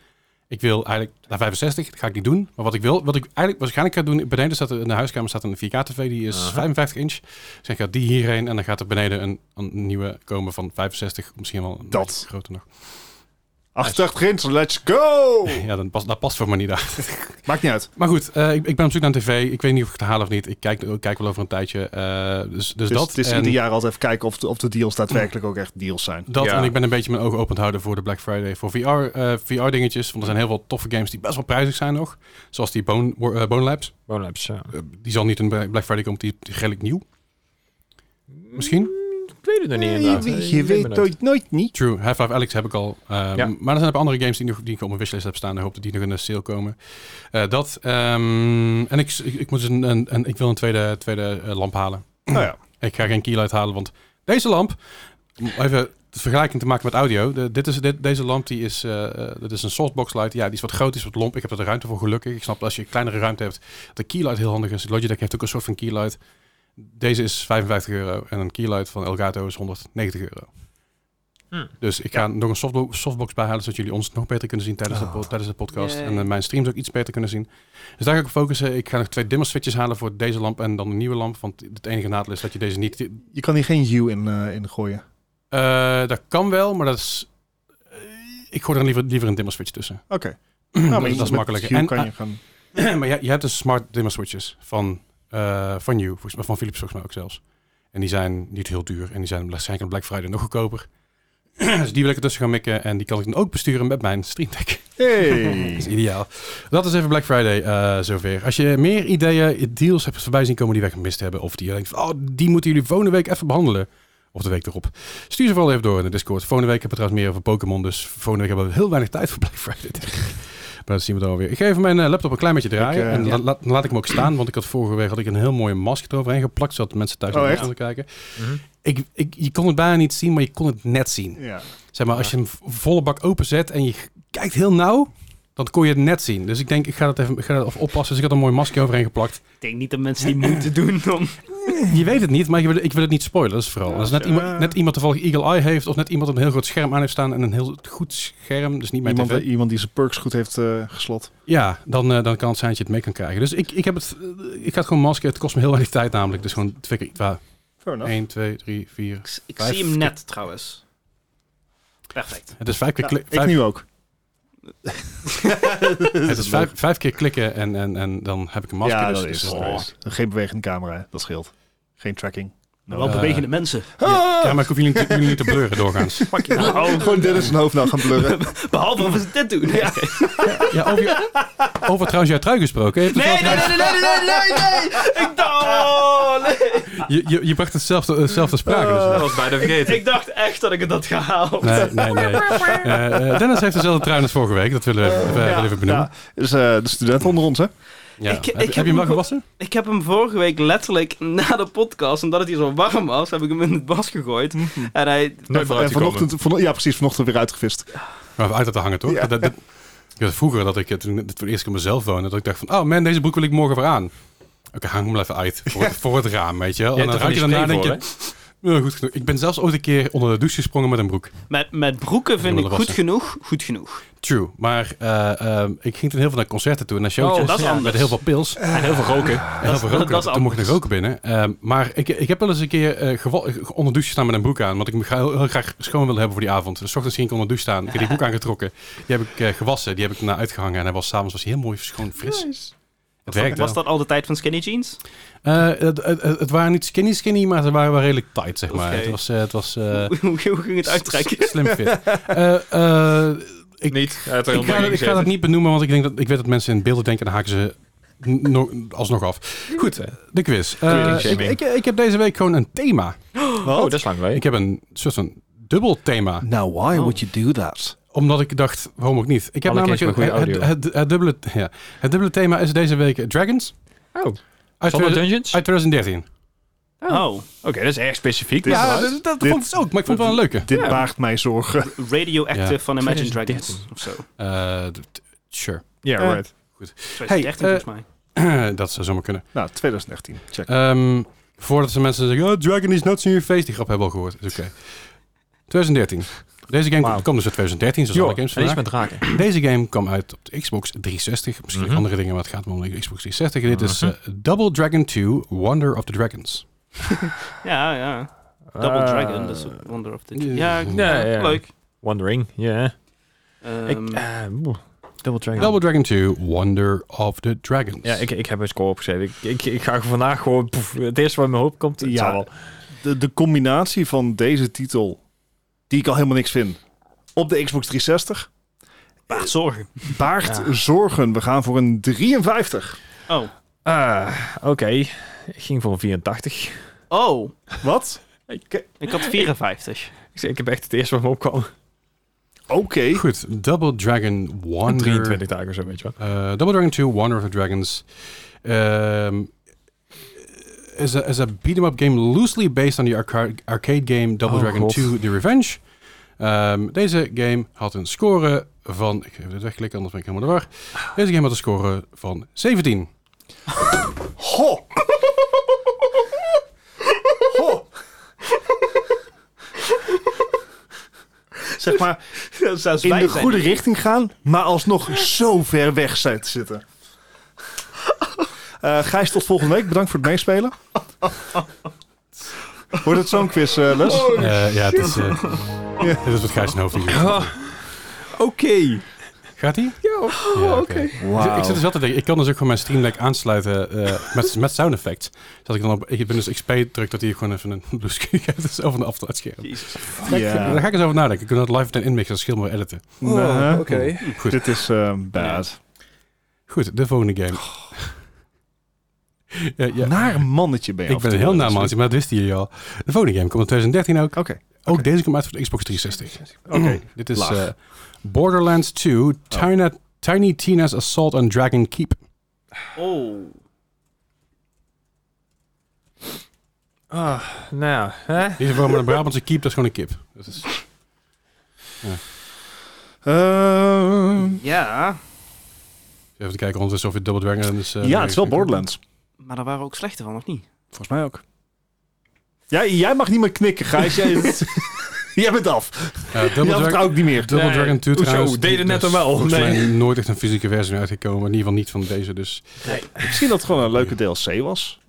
Ik wil eigenlijk naar 65, dat ga ik niet doen. Maar wat ik wil, wat ik eigenlijk waarschijnlijk ga doen, beneden staat in de huiskamer staat een 4K-tv, die is
Aha.
55 inch. Dus ik ga die hierheen en dan gaat er beneden een, een nieuwe komen van 65, misschien wel een
Dat.
beetje groter nog.
88 inch, let's go!
Ja, dan past, dat past voor me niet uit.
Maakt niet uit.
Maar goed, eh, ik, ik ben op zoek naar een tv. Ik weet niet of ik het haal of niet. Ik kijk, ik kijk wel over een tijdje. eh, dus, dus
Dus
dat.
het is
en-
ieder jaar altijd even kijken of de, of de deals daadwerkelijk ook echt deals zijn.
Dat
Ja.
en ik ben een beetje mijn ogen open te houden voor de Black Friday. Voor VR, eh, VR dingetjes. Want er zijn heel veel toffe games die best wel prijzig zijn nog. Zoals die Bone, Wo- eh, Bone Labs.
Bone Labs, ja.
Eh, die zal niet in Bla- Black Friday komen. Die is redelijk nieuw. Misschien.
Ik weet het nog niet inderdaad.
je
Eh,
weet,
ik maar nooit.
nooit, nooit niet.
True. Half-Life Alex heb ik al. Eh,
Ja.
Maar er zijn ook andere games die, nog, die ik op mijn wishlist heb staan. Ik hoop dat die nog in de sale komen. Eh, dat. ehm, en ik, ik, ik moet dus een, een, een- ik wil een tweede, tweede eh, lamp halen.
Nou ja.
Ik ga geen keylight halen, want deze lamp... om Even de vergelijking te maken met audio. De- dit is, dit, deze lamp die is, eh, eh, dat is een softbox light. Ja, die is wat groot, die is wat lomp. Ik heb er de ruimte voor gelukkig. Ik snap dat als je een kleinere ruimte hebt, dat de keylight heel handig is. Logitech heeft ook een soort van keylight. Deze is 55 euro en een keylight van Elgato is 190 euro.
Hmm.
Dus ik ga nog een softbo- softbox bijhalen, zodat jullie ons nog beter kunnen zien tijdens, de, po- tijdens de podcast.
Yay.
En eh, mijn streams ook iets beter kunnen zien. Dus daar ga ik op focussen. Ik ga nog twee dimmer switches halen voor deze lamp en dan een nieuwe lamp. Want het enige nadeel is dat je deze niet
Je kan hier geen hue in, eh, in gooien.
eh, dat kan wel, maar dat is. eh, ik gooi er liever, liever een dimmer switch tussen.
Oké.
dat,
maar
is-
je-
dat is
met
makkelijker.
Hue
En,
kan je gaan...
eh, maar je, je hebt dus smart dimmer switches van, eh van You, volgens mij, van Philips volgens mij ook zelfs. En die zijn niet heel duur en die zijn waarschijnlijk op Black Friday nog goedkoper. dus die wil ik ertussen gaan mikken en die kan ik dan ook besturen met mijn Stream Deck.
Hey!
Dat is ideaal. Dat is even Black Friday eh, zover. Als je meer ideeën, deals hebt voorbij zien komen die wij gemist hebben. Of die je denkt, van, oh, die moeten jullie volgende week even behandelen. Of de week erop. Stuur ze vooral even door in de Discord. Volgende week hebben we trouwens meer over Pokémon. Dus volgende week hebben we heel weinig tijd voor Black Friday. denk ik. maar dat zien we dan wel weer. Ik ga even mijn eh, laptop een klein beetje draaien.
Ik, eh,
en la-
ja.
la- laat ik hem ook staan. Want ik had vorige week had ik een heel mooie masker eroverheen geplakt. Zodat mensen thuis
Oh,
naar
echt?
konden kijken.
Mhm.
Ik, ik, je kon het bijna niet zien, maar je kon het net zien.
Ja.
Zeg maar, als je hem v- volle bak openzet en je g- kijkt heel nauw, dan kon je het net zien. Dus ik denk, ik ga dat even ik ga dat even oppassen. Dus ik had een mooi masker overheen geplakt.
Ik denk niet dat mensen die moeite doen om...
Je weet het niet, maar ik wil, ik wil het niet spoilen. Dat is vooral. Als net,
ja.
iemand, net iemand toevallig Eagle Eye heeft, of net iemand een heel groot scherm aan heeft staan en een heel goed scherm, dus niet mijn
Iemand,
tv.
iemand die zijn perks goed heeft eh, geslot.
Ja, dan, eh, dan kan het zijn dat je het mee kan krijgen. Dus ik, ik, heb het, eh, ik ga het gewoon maskeren. Het kost me heel weinig tijd namelijk. Dus gewoon twee keer, waar,
Fair enough.
1, 2, 3, 4.
Ik, ik
Vijf
zie
keer-
hem net trouwens. Perfect.
Het is vijf keer,
Ja,
klik-
ik
vijf,
nu ook.
het is vijf, vijf keer klikken en, en, en dan heb ik een masker.
ja,
dus,
dat is
dus-
het. Geen bewegende camera, hè. dat scheelt. Geen tracking.
Maar
No.
Nou, wel
Eh,
bewegende mensen.
Ja, ja, maar ik hoef jullie niet, jullie niet te blurren doorgaans.
Pak je nou.
Oh, Gewoon dit is zijn hoofd nou gaan blurren.
Behalve of ze dit doen. Ja.
Ja, over, je- over trouwens jouw trui gesproken. Je, hebt het
Nee, nee,
wel-
nee, nee, nee, nee, nee, nee. Ik dacht... oh, nee.
je, je, je bracht hetzelfde eh, zelf te sprake. Dus,
Dat was bijna vergeten.
Ik dacht echt dat ik het had gehaald.
nee, nee, nee. Eh, eh, Dennis heeft dezelfde trui als vorige week. Dat willen we even,
ja.
wel even benoemen.
Ja, dus eh, de student onder ons, hè?
Ja.
Ik- ik
heb,
heb
heb je hem wel
ook-
gewassen?
Ik heb hem vorige week letterlijk na de podcast, omdat het hier zo warm was, heb ik hem in het bas gegooid. En hij...
Nooit meer
en
uitgekomen.
vanochtend, vano- ja, precies, vanochtend weer uitgevist.
Maar uit te hangen, toch?
Ja.
Dat, dat- ik had vroeger dat ik, eh, toen ik voor het eerst keer mezelf woonde, dat ik dacht van, oh man, deze broek wil ik morgen weer aan. Oké, hang hem wel even uit. Voor, het- voor het raam, weet je
Oh,
wel.
Je
en
hebt
dan
er
raak je
van die
daarna denk
spray
je, "Nou, goed genoeg. Ik ben zelfs ooit een keer onder de douche gesprongen met een broek.
Met, met broeken vind
wil
ik
er
goed
wassen.
genoeg, goed genoeg.
True. Maar eh, ehm, ik ging toen heel veel naar concerten toe en naar showtjes.
Oh, dat is
Ja, Met
anders.
heel veel pils.
En heel veel roken.
En
Dat
dat
is-
roken.
dat is
Toen mocht ik nog
anders.
roken binnen. Ehm, maar ik, ik heb wel eens een keer eh, gewa- onder douche staan met een broek aan. Want ik ga heel, heel graag schoon willen hebben voor die avond. Dus 's ochtends ging ik onder douche staan. Ik heb die broek aangetrokken. Die heb ik eh, gewassen. Die heb ik daarna uitgehangen. En hij was s'avonds was hij heel mooi schoon fris. Het werkte
Was
wel.
dat al de tijd van skinny jeans?
Eh, het, het, het- het waren niet skinny skinny, maar ze waren wel redelijk tight, zeg maar.
Oké.
Het was... eh, het was eh,
Hoe- hoe ging het uittrekken?
s- Slim fit. Eh, eh, ik,
Niet. Hij
ik
had er helemaal
ga,
in
ik ga dat
gezeten.
niet benoemen, want ik, denk dat, ik weet dat mensen in beelden denken en dan haken ze n- no- alsnog af. Goed, de quiz. Eh,
Kleding
ik,
shaming.
ik, ik heb deze week gewoon een thema.
Oh, dat is lang
Ik
mee.
heb een soort van dubbel thema.
Now, Nou, why would you do that?
Omdat ik dacht, waarom ook niet? Ik heb
Alle
namelijk
games met
het,
goede
het, het- het dubbele, ja. het dubbele thema is deze week Dragons.
Oh,
Uit,
zonder
uit
dungeons?
2013.
Oh,
Oké, dat is erg specifiek.
Dit is
Ja,
waar.
dat, dat
Dit-
vond ik ook, maar ik vond het wel een leuke.
Dit
Ja.
baagt mij zorgen.
Radioactive
Ja.
van Imagine
2013.
Dragons of zo.
Eh, d- sure.
Ja,
Eh,
right.
2013
eh,
volgens mij.
dat zou zomaar kunnen.
Nou, 2013. Check.
Ehm, voordat ze mensen zeggen, oh, Dragon is nuts in your face. Die grap hebben we al gehoord. Is oké. 2013. Deze game
Wauw.
kwam dus uit 2013, zoals alle games
en iets
vandaag.
met draken.
Deze game kwam uit op de Xbox 360. Misschien
Mhm.
andere dingen, maar het gaat me om de Xbox 360. En dit is eh, Double Dragon 2 Wonder of the Dragons.
Ja, ja. Double
Eh,
Dragon, dus Wonder of the... Ja,
Ja,
ja,
ja.
leuk.
Wondering, ja.
Ehm,
Ik, eh, boe. Double Dragon.
Double Dragon 2 Wonder of the Dragons.
ja, ik, ik heb een score opgeschreven. Ik, ik, ik ga vandaag gewoon... poef, het eerste wat in mijn hoofd komt, het
Ja.
zal wel.
De, de combinatie van deze titel, die ik al helemaal niks vind, op de Xbox 360,
baart zorgen.
baart
Ja.
zorgen. We gaan voor een 53.
Oh.
Ah, Oké, ik ging voor een 84.
Oh.
Wat?
Ik had 54.
Ik, zeg, ik heb echt het eerste wat me opkwam.
Oké.
Goed, Double Dragon Wonder...
23 dagen of zo, weet je wel.
Uh, Double Dragon 2 Wonder of the Dragons um, is a, is a beat 'em up game loosely based on the arca- arcade game Double
Oh,
Dragon
God.
2 The Revenge. Um, deze game had een score van... Ik ga even dit wegklikken, anders ben ik helemaal de war. Deze game had een score van 17.
Ho! Ho! Zeg maar,
Dat zou
in de goede richting gaan, maar alsnog zo ver weg zijn te zitten. Eh Gijs, tot volgende week. Bedankt voor het meespelen. Wordt het zo'n quiz, eh, Les?
Eh, ja, dit is, eh,
Ja.
dit is wat Gijs in hoofd hier.
Oké.
Gaat-ie? Ja, Oh, oké. Ik
Oh.
zit dus altijd te denken, ik kan dus ook gewoon mijn Streamlink aansluiten eh, met, met sound effects. Dat ik dan op, ik ben dus XP druk dat hij gewoon even een bluescreen geeft, dus zelf een afsluitscherm. Daar ga ik eens over nadenken. Ik kan dat live dan inmixen als schil maar editen.
Eh, Oh,
Nou,
Goed.
Dit is eh, bad.
Goed, de volgende game.
Oh.
ja, ja.
Naar een mannetje ben je
ik
af dus
ben
Oh, en
een
toe
heel
wel
naam,
eens.
maar dat wisten jullie al. De volgende game komt in 2013 ook.
Oké.
Ook deze komt uit voor de Xbox 360. Oké. Dit is
Laag. Oh.
eh, Borderlands 2, Tiny, Tiny Tina's Assault on Dragon Keep.
Oh.
Ah, nou ja, hè?
Deze voor een Brabantse keep, dat is gewoon een kip. Dat is...
Ehm,
Ja.
Even kijken ondertussen of je Double Dragon is. eh,
ja, het is wel
kijken.
Borderlands.
Maar daar waren we ook slechter van, of niet?
Volgens mij ook. Jij, jij mag niet meer knikken, Gijs. Jij, jij bent af.
Ja, Double,
Jij
Dragon,
vertrouwt niet meer.
Double
ah, Nee,
Dragon 2
hoezo?
trouwens. die-
Deden
daar
net
is
dan wel.
volgens
Nee.
mij nooit echt een fysieke versie van uitgekomen. In ieder geval niet van deze. Dus
Misschien dat het gewoon een leuke DLC was.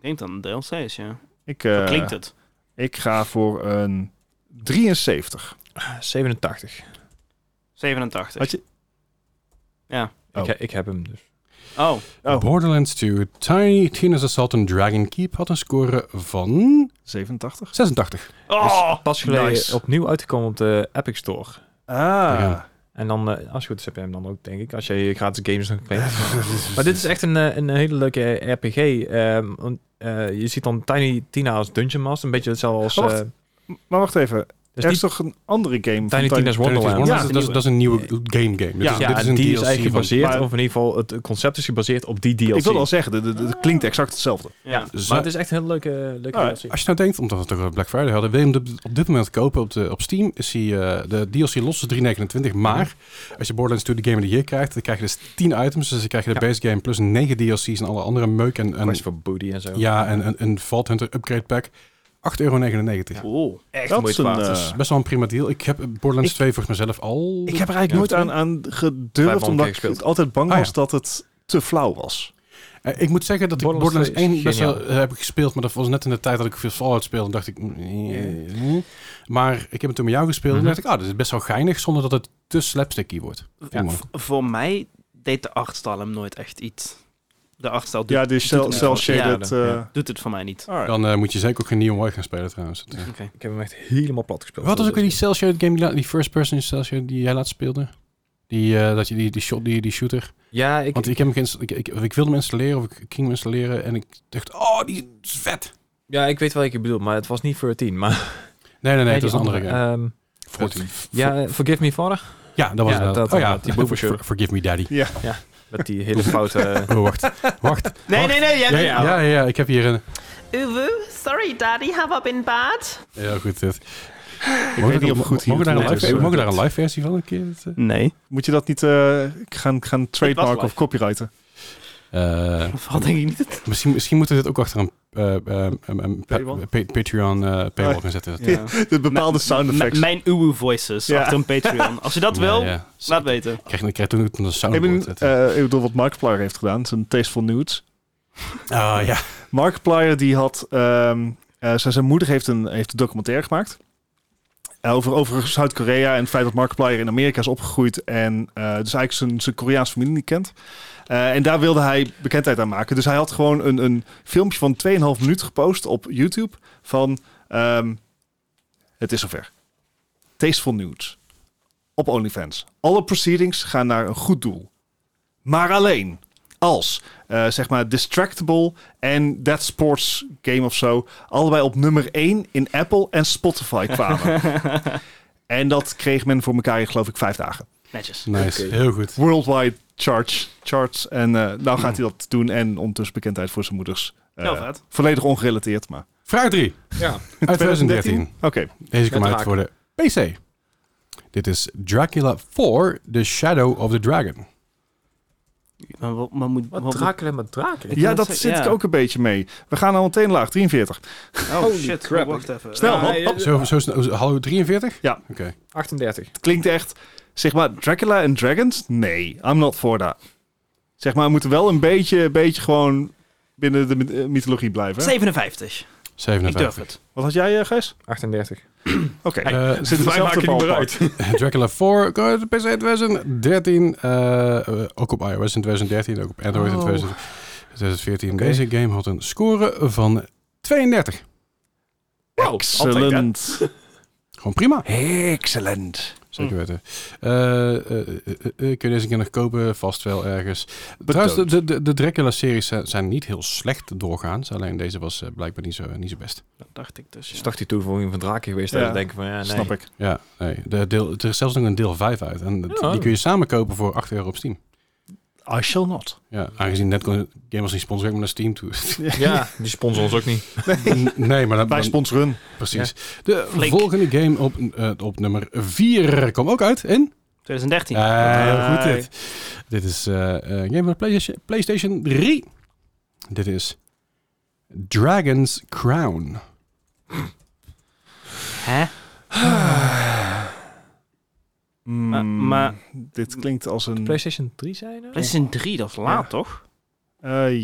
Ik denk dat het een DLC is, ja.
Ik, eh,
Zo klinkt het.
ik ga voor een 73.
87.
87.
Had je... Oh.
Ik, he- ik heb hem dus.
Oh.
Oh,
Borderlands 2 Tiny Tina's Assault on Dragon Keep had een score van
87?
86.
Oh.
Is pas geleden
nice.
opnieuw uitgekomen op de Epic Store.
Ah.
Ja.
En dan, eh, als je goed is, heb je hem dan ook, denk ik. Als je je gratis games nog krijgt. maar dit is echt een, eh, een hele leuke RPG. ehm, want, eh, je ziet dan Tiny Tina als Dungeon Master. Een beetje hetzelfde als...
Oh, wacht.
eh,
Maar wacht even.
dus
er
die
is toch een andere game?
Tiny
van
Tina's
Tiny Tina's
Wonderland.
Wonderland,
Ja,
dat, is, dat is een nieuwe game game. Dit
Ja.
is,
Ja,
dit is
en
een
die is
DLC
eigenlijk
van-
gebaseerd,
Maar-
of in ieder geval het concept is gebaseerd op die DLC.
Ik wilde al zeggen, de- de- de- het klinkt exact hetzelfde.
Ja.
Zo-
Maar het is echt een hele leuke, leuke
Ah,
DLC.
Als je nou denkt, omdat we het over Black Friday hadden, wil je hem op dit- op dit moment kopen op, de, op Steam, is hij, eh, de DLC los is 3,29. Maar
Mhm.
als je Borderlands 2 de Game of the Year krijgt, dan krijg je dus 10 items. Dus dan krijg je de
Ja.
base game plus 9 DLC's en alle andere meuk en, en,
Quest voor Booty en zo.
ja, en, en een Vault Hunter upgrade pack. 8,99 euro.
Oh.
echt
dat is
moeite
een,
waard.
eh,
Dus-
Best wel een prima deal. Ik heb Borderlands
Ik-
2 volgens mezelf al...
Ik heb er eigenlijk
Ja.
nooit aan, aan gedurfd,
banken
omdat ik
gespeeld.
altijd bang
Ah,
was
ja.
dat het te flauw was.
Eh, ik moet zeggen dat ik
Borderlands
Borderlands
2
1
is
best wel
geniaal.
eh, heb ik gespeeld, maar dat was net in de tijd dat ik veel Fallout speelde. En dacht ik, mm, eh, eh. maar ik heb het toen met jou gespeeld en
Mhm.
dacht ik, ah, dit is best wel geinig, zonder dat het te slapsticky wordt. Viel me.
V- voor mij deed de artstyle hem nooit echt iets. De artstyle doet,
Ja, dus
doet het niet.
cel-shaded...
Ja,
eh,
ja.
doet het voor mij niet.
alright.
Dan eh, moet je zeker ook geen Neon White gaan spelen trouwens. Dat, eh.
Ik heb hem echt helemaal plat gespeeld.
Wat was ook
Dus-
weer die cel shaded game, die la- die first person cel shaded die jij laatst speelde? Die, eh, dat je die, die, shot, die, die shooter.
Ja, ik,
Want ik, heb hem geïnst- ik, ik, ik wilde hem installeren of ik ik ging hem installeren en ik dacht, oh, die is vet.
ja, ik weet wel wat je bedoelt, maar het was niet 13. Maar
Nee, nee, nee,
Nee,
het was een
die
andere game.
ehm,
Fortune.
ja, eh, Forgive Me Father.
ja, dat was
ja,
het.
dat-
oh ja,
die boevenshooter.
For- Forgive me daddy.
Met die hele foute... eh,
Oh, wacht. Wacht.
Nee, nee, nee. Ja,
Ja, ja, ja, ja, ik heb hier een...
Uwu, sorry daddy, have I been bad?
Heel goed dit.
Ik weet niet of goed hier...
mogen, daar een
het
live,
is, eh,
mogen daar een live versie van een keer?
Nee.
Moet je dat niet eh, gaan, gaan trademarken
live.
of copyrighten?
Eh,
Of had denk ik niet het?
misschien, misschien moeten we dit ook achter een, eh, eh, een- een pa-
Paywall?
pa- Patreon eh paywall
Oh.
gaan zetten.
Ja.
De bepaalde sound
M-
effects.
mijn uwu voices
Ja.
achter een Patreon. Als je dat wil,
Ja, ja.
laat weten.
Ik krijg, ik krijg toen ook een
Ik,
soundboard
ben,
zetten.
eh, ik bedoel wat Markiplier heeft gedaan, zijn Tasteful Nudes. eh,
Ah, ja.
Markiplier die had, ehm, eh, zijn, zijn moeder heeft een, heeft een documentaire gemaakt. Eh, over over Zuid-Korea en het feit dat Markiplier in Amerika is opgegroeid en eh, dus eigenlijk zijn, zijn Koreaanse familie niet kent. Eh, en daar wilde hij bekendheid aan maken. Dus hij had gewoon een, een filmpje van 2,5 minuut gepost op YouTube van ehm, het is zover. Tasteful Nudes. Op OnlyFans. Alle proceedings gaan naar een goed doel. Maar alleen als, eh, zeg maar, Distractable en That Sports Game of zo... allebei op nummer 1 in Apple en Spotify kwamen. en dat kreeg men voor elkaar in, geloof ik, vijf dagen.
Netjes.
Nice,
Oké.
heel goed.
Worldwide charts. charts. En eh, nou gaat hij dat doen. En ondertussen bekendheid voor zijn moeders. Eh,
Heel vet.
volledig ongerelateerd, maar...
Vraag 3
Ja.
uit 2013.
Oké.
Deze kwam
Met
uit voor de PC. Dit is Dracula 4, The Shadow of the Dragon.
Maar, wat- maar moet,
Wat
wat
draken met draken?
Ja,
wil
dat
zeggen,
zit
ja.
ik ook een beetje mee. We gaan al meteen laag, 43.
moet- Oh
Holy
shit,
crap.
wacht even.
Snel,
Ah,
hop,
eh,
hop.
Zo, zo snel, hallo 43?
Ja.
Oké.
38.
Het klinkt echt, zeg maar, Dracula en Dragons? Nee, I'm not for that. Zeg maar, we moeten wel een beetje, een beetje gewoon binnen de myth- eh, mythologie blijven. hè?
57. Ik
57.
durf het.
Wat had jij, eh, Gijs?
38.
Oké.
Eh,
Zitten we zelf te ballpark.
Dracula 4, kwam uit de PC in 2013. eh, eh, ook op iOS in 2013, ook op Android in
Oh.
2014.
Oké.
Deze game had een score van 32.
Wow,
Excellent.
Gewoon prima.
Excellent.
Zeker
Hm.
weten. Eh, eh, eh, eh, eh, kun je deze keer nog kopen? Vast wel ergens. Trouwens, de, de- de, de Dracula-series zijn, zijn niet heel slecht doorgaans. Alleen deze was eh, blijkbaar niet zo, niet zo best.
Dat dacht ik dus.
Is
ja.
toch die toevoeging van draken geweest?
Ja.
Dat we denken van, ja, nee.
Snap ik.
Ja, nee. De deel, er is zelfs nog een deel 5 uit. En dat-
Ja.
die kun je samen kopen voor 8 euro op Steam.
I shall not.
Ja, aangezien net kon- Gamers niet sponsoren, maar naar Steam toe.
Ja, die sponsor ons ook niet.
nee, maar dat
Wij sponsoren.
Precies. De
Flink.
volgende game op, eh, op nummer 4 kwam ook uit in...
2013.
Eh, heel goed
Hey.
dit. Dit is eh, eh, een game van de PlayStation, PlayStation 3. Dit is Dragon's Crown.
Hè? Maar- maar-
Mm, dit klinkt als een...
PlayStation 3 zijn er?
PlayStation 3, dat is laat, toch?
eh,
Eh,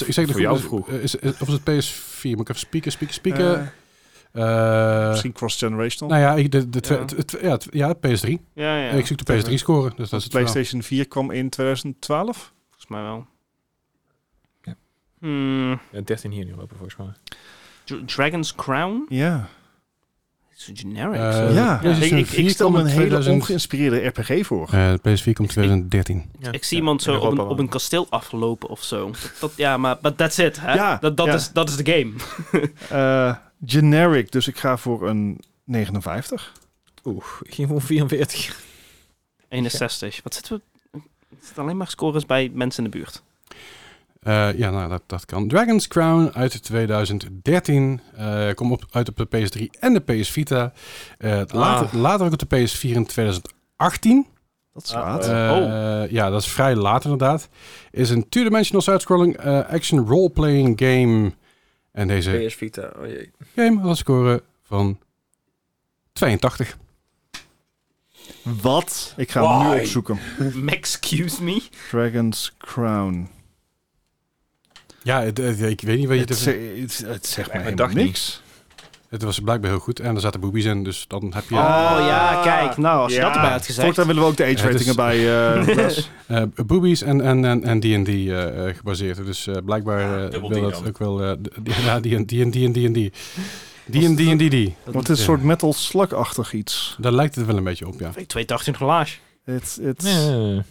ik zeg
Voor jou
vroeg.
vroeg.
Is, is- of is het PS4? Moet ik even spieken, spieken,
eh,
spieken? Eh,
misschien cross-generational.
nou ja, ik- de, de,
Ja.
twe- twe- twe- ja. het- ja, PS3.
Ja, ja.
Ik zoek de PS3-score. Dus dat is
de
het
PlayStation 4 kwam in 2012.
Volgens mij wel.
Ja.
Hmm,
Ja, 13 hier in Europa volgens mij.
Dra- Dragon's Crown?
Ja.
Is het generic?
Eh,
zo?
ja.
PlayStation
Ik, ik, ik
4
stel me
kwam
een
in
hele
2000.
ongeïnspireerde RPG voor.
verhaal. Eh, de PS4 komt 2013.
Ik zie iemand zo op een, op een kasteel aflopen of zo. Dat, dat- ja, maar but that's it. Hè?
Ja,
dat, dat,
ja.
Is, dat is de game.
Eh, generic, dus ik ga voor een 59.
Oeh, ik ging voor 44.
61. Wat zitten we... Het zitten alleen maar scores bij mensen in de buurt.
Eh, ja, nou, dat, dat kan. Dragon's Crown uit 2013. eh kom op, uit op de PS3 en de PS Vita. Eh, later, later ook op de PS4 in 2018.
Dat is
Ah,
laat.
eh.
Eh, Ja, dat is vrij laat inderdaad. Is een two-dimensional side-scrolling eh, action role-playing game. En deze
PS Vita, oh jee.
game had een score van 82.
Wat? Ik ga hem nu
Why?
opzoeken.
Excuse me?
Dragon's Crown.
Ja, het- het- ik weet niet wat je...
Het,
Het,
ze- het, het zegt mij
Ik
helemaal
dacht niet.
niks.
het was blijkbaar heel goed. En er zaten boobies in, dus dan heb je...
Ah,
Oh ja, kijk. Nou, als je dat erbij had gezegd.
Voortaan willen we ook de age
Het is-
ratingen bij eh, Les.
eh boobies en en en en D&D eh, eh, gebaseerd. Dus eh, blijkbaar eh,
dubbel
wil
D
dat
dan.
ook wel... eh, d- d- ja, D&D en D&D en D&D. D&D en D&D.
Want het is een soort metal slug-achtig iets.
Daar lijkt het wel een beetje op, ja.
280 collage.
Het, het...
Ja.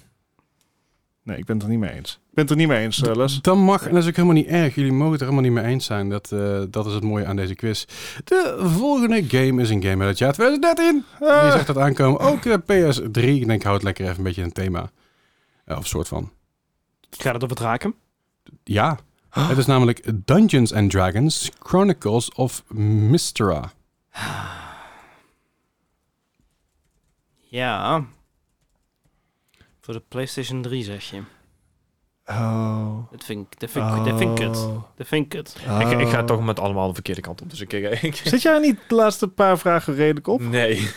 Nee, ik ben het er niet mee eens. Ik ben het er niet mee eens, eh, Les.
Dan mag, en dat is ook helemaal niet erg, jullie mogen het er helemaal niet mee eens zijn. Dat, eh, dat is het mooie aan deze quiz. De volgende game is een game uit het jaar 2013. Je zegt dat aankomen. Ook de PS3. Ik denk, houd lekker even een beetje een thema. Eh, of soort van.
Gaat het over draken?
Ja. Het is namelijk Dungeons and Dragons Chronicles of Mystra.
Ja. Voor de PlayStation 3 zeg je.
Oh.
Dat vind ik, dat vind ik, dat vind ik kut.
Oh.
Dat vind ik kut.
Ik, ik ga
Oh.
toch met allemaal de verkeerde kant op. Dus ik... ik, ik-
Zit jij niet de laatste paar vragen redelijk op?
nee.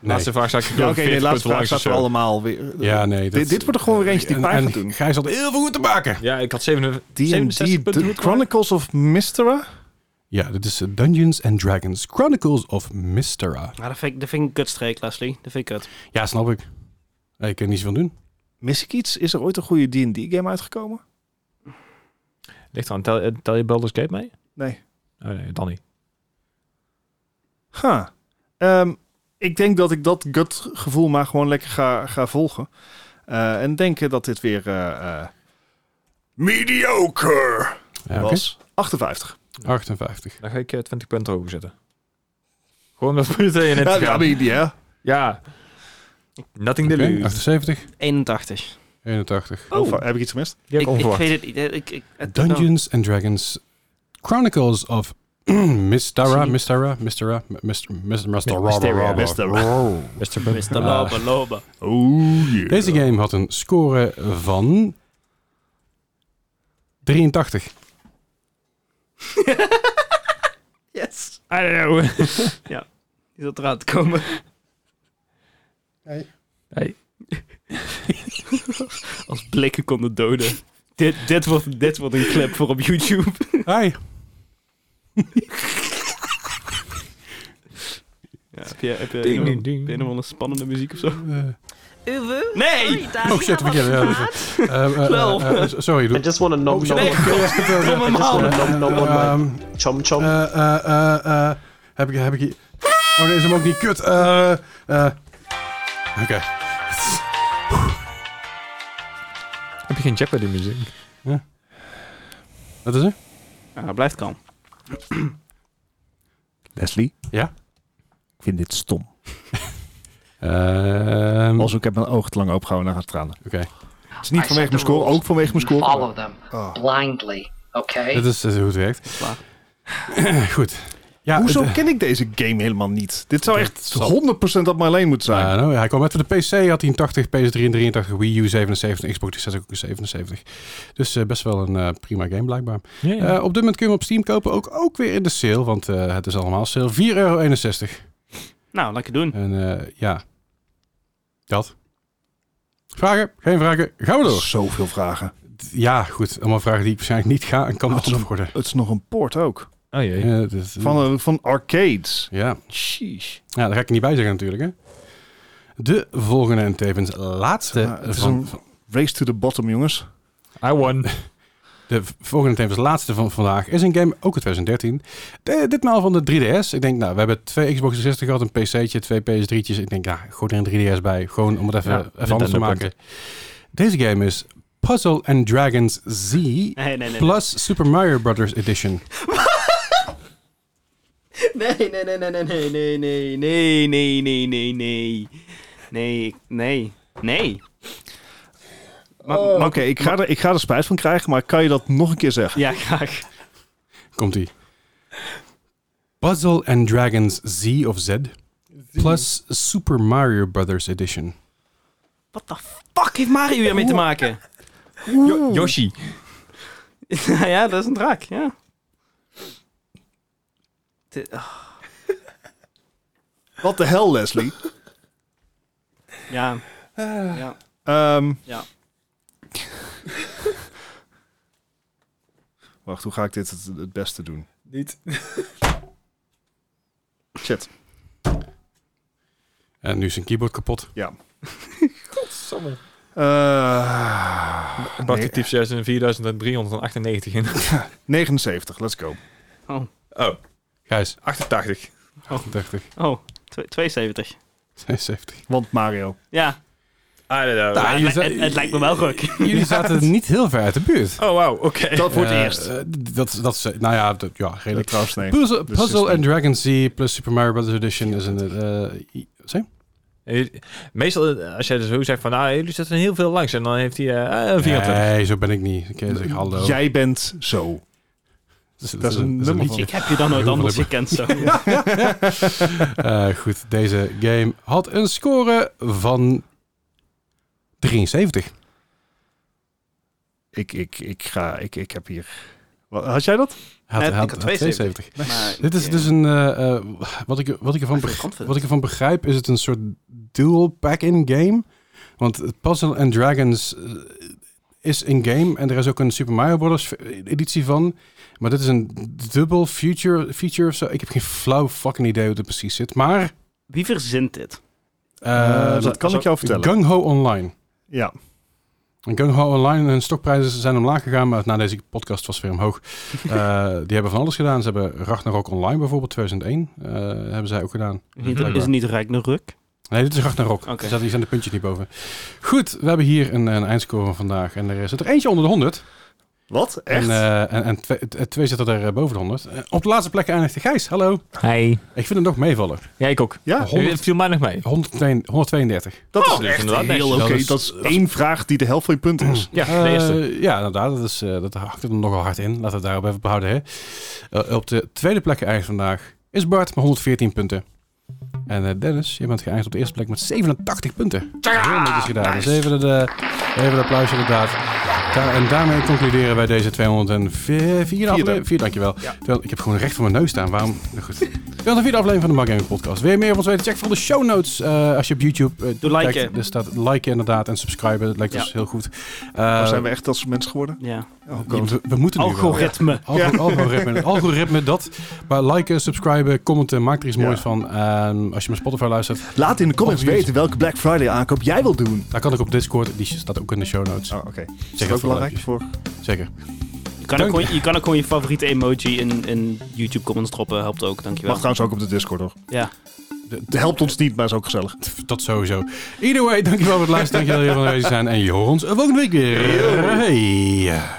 Laatste vraag zou ik
Ja, oké,
de
nee, de laatste vraag zaten we allemaal weer. eh,
Ja, nee.
dit, dit wordt er gewoon weer eentje die
en-
pijn
en
gaat doen.
Gijs had heel veel goed te maken.
Ja, ik had 67
D&D,
punten
The
moeten maken.
Chronicles of Mystera?
Ja, dit is eh, Dungeons and Dragons Chronicles of Mystera.
Maar dat vind ik, dat vind ik een kutstreek, Leslie. Dat vind ik kut.
Ja, snap ik. Ik kan niets van doen.
Mis ik iets? Is er ooit een goede D&D-game uitgekomen?
Ligt aan, tel, eh, tel je Baldur's Gate mee?
Nee.
Oh nee, dan niet.
Huh. Ehm, ik denk dat ik dat gut gevoel maar gewoon lekker ga, ga volgen. Eh, en denken dat dit weer... eh, eh, mediocre
Ja, oké.
was. 58.
58.
Dan ga ik eh, 20 punten hoger zetten. Gewoon omdat we meteen in het
Ja,
gaan.
ja, media.
Ja. Nothing to
Oké, Ah,
lose.
78.
81.
81.
Oh, heb ik iets gemist?
Die heb
ik,
ik
ik
onverwacht.
weet het niet. Ik, ik, ik- I don't know.
Oh. Dungeons and Dragons Chronicles of Mystara, Mystara, Mystara, Mystara, Mystara, Mystara.
Mr.
Mr.
Ah.
Loba Loba.
Oh, yeah.
Deze game had een score van 83.
Yes.
I don't know.
Die zat eraan te komen.
Hey.
Als blikken konden doden. dit, dit, wordt, dit wordt een clip voor op YouTube.
Hi.
Ja, heb je, heb je
Ding,
een,
ding, ding.
heb je een of andere spannende muziek of zo?
Eh,
Uwu?
Nee!
Sorry, Daddy,
Oh, shit,
have
verkeerde,
I been
ja,
bad?
eh, eh,
Lul.
eh, eh, Sorry,
I
doe.
just want to nom
Oh,
nom.
sorry.
I
Domme
just
man.
want to nom nom on my
Ehm,
chom chom.
eh, eh, eh, eh, Heb ik heb ik hier... Oh, nee, is hem ook niet kut. Eh, eh. Oké.
Heb je geen Jeopardy muziek?
Wat is er?
Ja, dat blijft kalm.
Leslie?
Ja?
Ik vind dit stom.
Ehm,
Als ik heb mijn oog te lang opengehouden en gaat tranen.
Oké.
Het is niet vanwege
I set
mijn
the
score,
rules.
ook vanwege mijn score.
Follow them
Oh.
blindly, okay?
Dit is eh, hoe het werkt.
Klaar.
Goed. Ja,
Hoezo
het- eh,
ken ik deze game helemaal niet? Dit zou echt 100% op mijn lane moeten zijn.
Ja, nou, ja, hij kwam uit voor de PC, had hij een 80, PS3 en 83, Wii U 77, Xbox 360 ook een 77. Dus eh, best wel een eh, prima game blijkbaar.
Ja,
Eh, op dit moment kun je hem op Steam kopen, ook, ook weer in de sale, want eh, het is allemaal sale. 4,61 euro. En
Nou, lekker doen.
eh, ja, dat. Vragen? Geen vragen? Gaan we door.
Zoveel vragen.
Ja, goed. Allemaal vragen die ik waarschijnlijk niet ga en kan
Als-
beantwoorden.
Het is nog een port ook.
Oh jee.
Ja, dus, eh,
Van, eh, van arcades.
ja.
Sheesh.
ja, daar ga ik niet bij zeggen natuurlijk, hè. De volgende en tevens laatste
Ja, het is
van,
een- Race to the bottom, jongens.
I won.
De v- volgende thema is de laatste van vandaag. Is een game, ook uit 2013. De- ditmaal van de 3DS. Ik denk, nou, we hebben twee Xbox 360 gehad, een PC'tje, twee PS3'tjes. Ik denk, ja, gooi er een 3DS bij. Gewoon om het even,
Ja,
even anders te
Nintendo
maken. Deze game is Puzzle and Dragons Z
Nee, nee, nee.
plus Super Mario Brothers Edition.
Nee, nee, nee, nee, nee, nee, nee, nee, nee, nee, nee, nee. Nee, ik- nee, nee. Maar-
Oké,
maar-
ik, ga er- ik ga er spijt van krijgen, maar kan je dat nog een keer zeggen?
Ja, graag.
Komt-ie. Puzzle and Dragons Z of Z plus Super Mario Brothers Edition.
What the fuck heeft Mario hiermee te maken?
Jo- Yoshi.
Nou ja, dat is een draak, ja. Dit- ah,
Wat de hel, Leslie?
Ja, ja.
Ehm,
Ja.
Wacht, hoe ga ik dit het, het beste doen?
Niet.
Shit.
En nu is zijn keyboard kapot.
Ja.
Godsamme.
Eh,
Ik nee. typ 6 en 4398 in.
79, let's go.
Oh,
Gijs,
88.
38,
Oh, tw- 72.
72.
Want Mario.
Ja,
I don't know.
Ah,
het,
je
li-
zei-
het- het lijkt me wel gek.
Jullie zaten niet heel ver uit de buurt.
Oh wow, oké.
Dat wordt
Eh,
eerst.
eh, dat, dat is, eh, nou ja, dat, ja
Dat
redelijk.
trouwens, nee.
Puzzle,
Dus
Puzzle
is
and
niet-
Dragon Z plus Super Mario Bros. Edition is een... eh, i- zeg?
Eh, Meestal, eh, als jij zo zegt van, nou, jullie zitten heel veel langs. En dan heeft hij eh, eh, 24.
Nee, zo ben ik niet. Ik eh, zeg hallo.
Jij bent zo.
Dus
dat is een nummer van-
Ik heb je dan nooit
Heel
anders
veel
gekend, zo.
Eh, goed, deze game had een score van 73.
Ik, ik, ik, ga, ik, ik heb hier... Wat- Had jij dat?
Had,
Nee, ik
had-
had
had
72.
72.
Maar,
Dit is
eh,
dus een... eh, eh, wat, ik, wat, ik ervan
I feel
beg-
confident.
wat ik ervan begrijp is het een soort dual pack-in game. Want het Puzzle and Dragons eh, is in game. En er is ook een Super Mario Bros. editie van. Maar dit is een dubbel feature, feature of zo. Ik heb geen flauw fucking idee hoe dit precies zit. Maar...
Wie verzint dit?
eh,
dat kan ik jou vertellen.
Gung Ho Online.
Ja.
En Gung Ho Online, hun stokprijzen zijn omlaag gegaan, maar na deze podcast was het weer omhoog. Eh, die hebben van alles gedaan. Ze hebben Ragnarok Online bijvoorbeeld, 2001, eh, hebben zij ook gedaan.
Niet- is het niet Ragnarok?
Nee, dit is Ragnarok.
Oké.
Er zat hier zijn de puntjes niet boven. Goed, we hebben hier een, een eindscore van vandaag. En er zit er eentje onder de 100.
Wat? Echt?
En, eh, en, en twee, eh, twee zitten er eh, boven de 100. Eh, op de laatste plek eindigt Gijs. Hallo.
Hey.
Ik vind hem nog meevallen.
Ja, ik ook.
ja,
100
Het viel mij nog mee.
102 132.
dat is
dus
Oh, echt
inderdaad
heel
netjes.
oké.
Dat is-
Dat is één vraag die de helft van je punt is.
Ja,
Eh,
de eerste.
ja, inderdaad. Dat, is, eh, dat hakt er nogal hard in. Laten we het daarop even behouden. Hè? Eh, op de tweede plek geëindigd vandaag is Bart met 114 punten. En eh, Dennis, je bent geëindigd op de eerste plek met 87 punten. Heel netjes gedaan. Dus even een de, even een applaus inderdaad. Daar- en daarmee concluderen wij deze 204 vierde aflevering. Vier, dankjewel. Terwijl- Ik heb gewoon recht voor mijn neus staan. Waarom? Nou Goed. 204 aflevering van de Mark Gaming Podcast. Wil je meer van ons weten? Check vooral de show notes eh, als je op YouTube eh,
Doe liken.
kijkt. Er staat liken inderdaad en subscriben. Dat lijkt
Ja.
ons heel goed.
Of
Eh,
zijn we echt dat soort mensen geworden?
Ja.
Oh,
ja,
God.
we, we moeten nu wel.
Algoritme.
Algo- Algoritme, algoritme, dat. Maar liken, subscriben, commenten, maak er iets moois
Ja.
van. Ehm, als je met Spotify luistert,
Laat in de comments
Of-
weten welke Black Friday aankoop jij wil doen.
daar kan ik op Discord. Die staat ook in de show notes.
Oh, oké. Is
Zeg
dat ook
het wel
belangrijk
eventjes.
voor...
Zeker.
Je kan,
Dank.
ook gewoon, je kan ook gewoon je favoriete emoji in, in YouTube comments droppen. Helpt ook, dankjewel.
Mag trouwens ook op de Discord hoor.
Ja.
Het helpt ons niet, maar is ook gezellig.
Pff, Dat sowieso. Either way, dankjewel voor het luisteren. Dankjewel dat jullie van aanwezig zijn. En je hoort ons volgende week weer. Hey.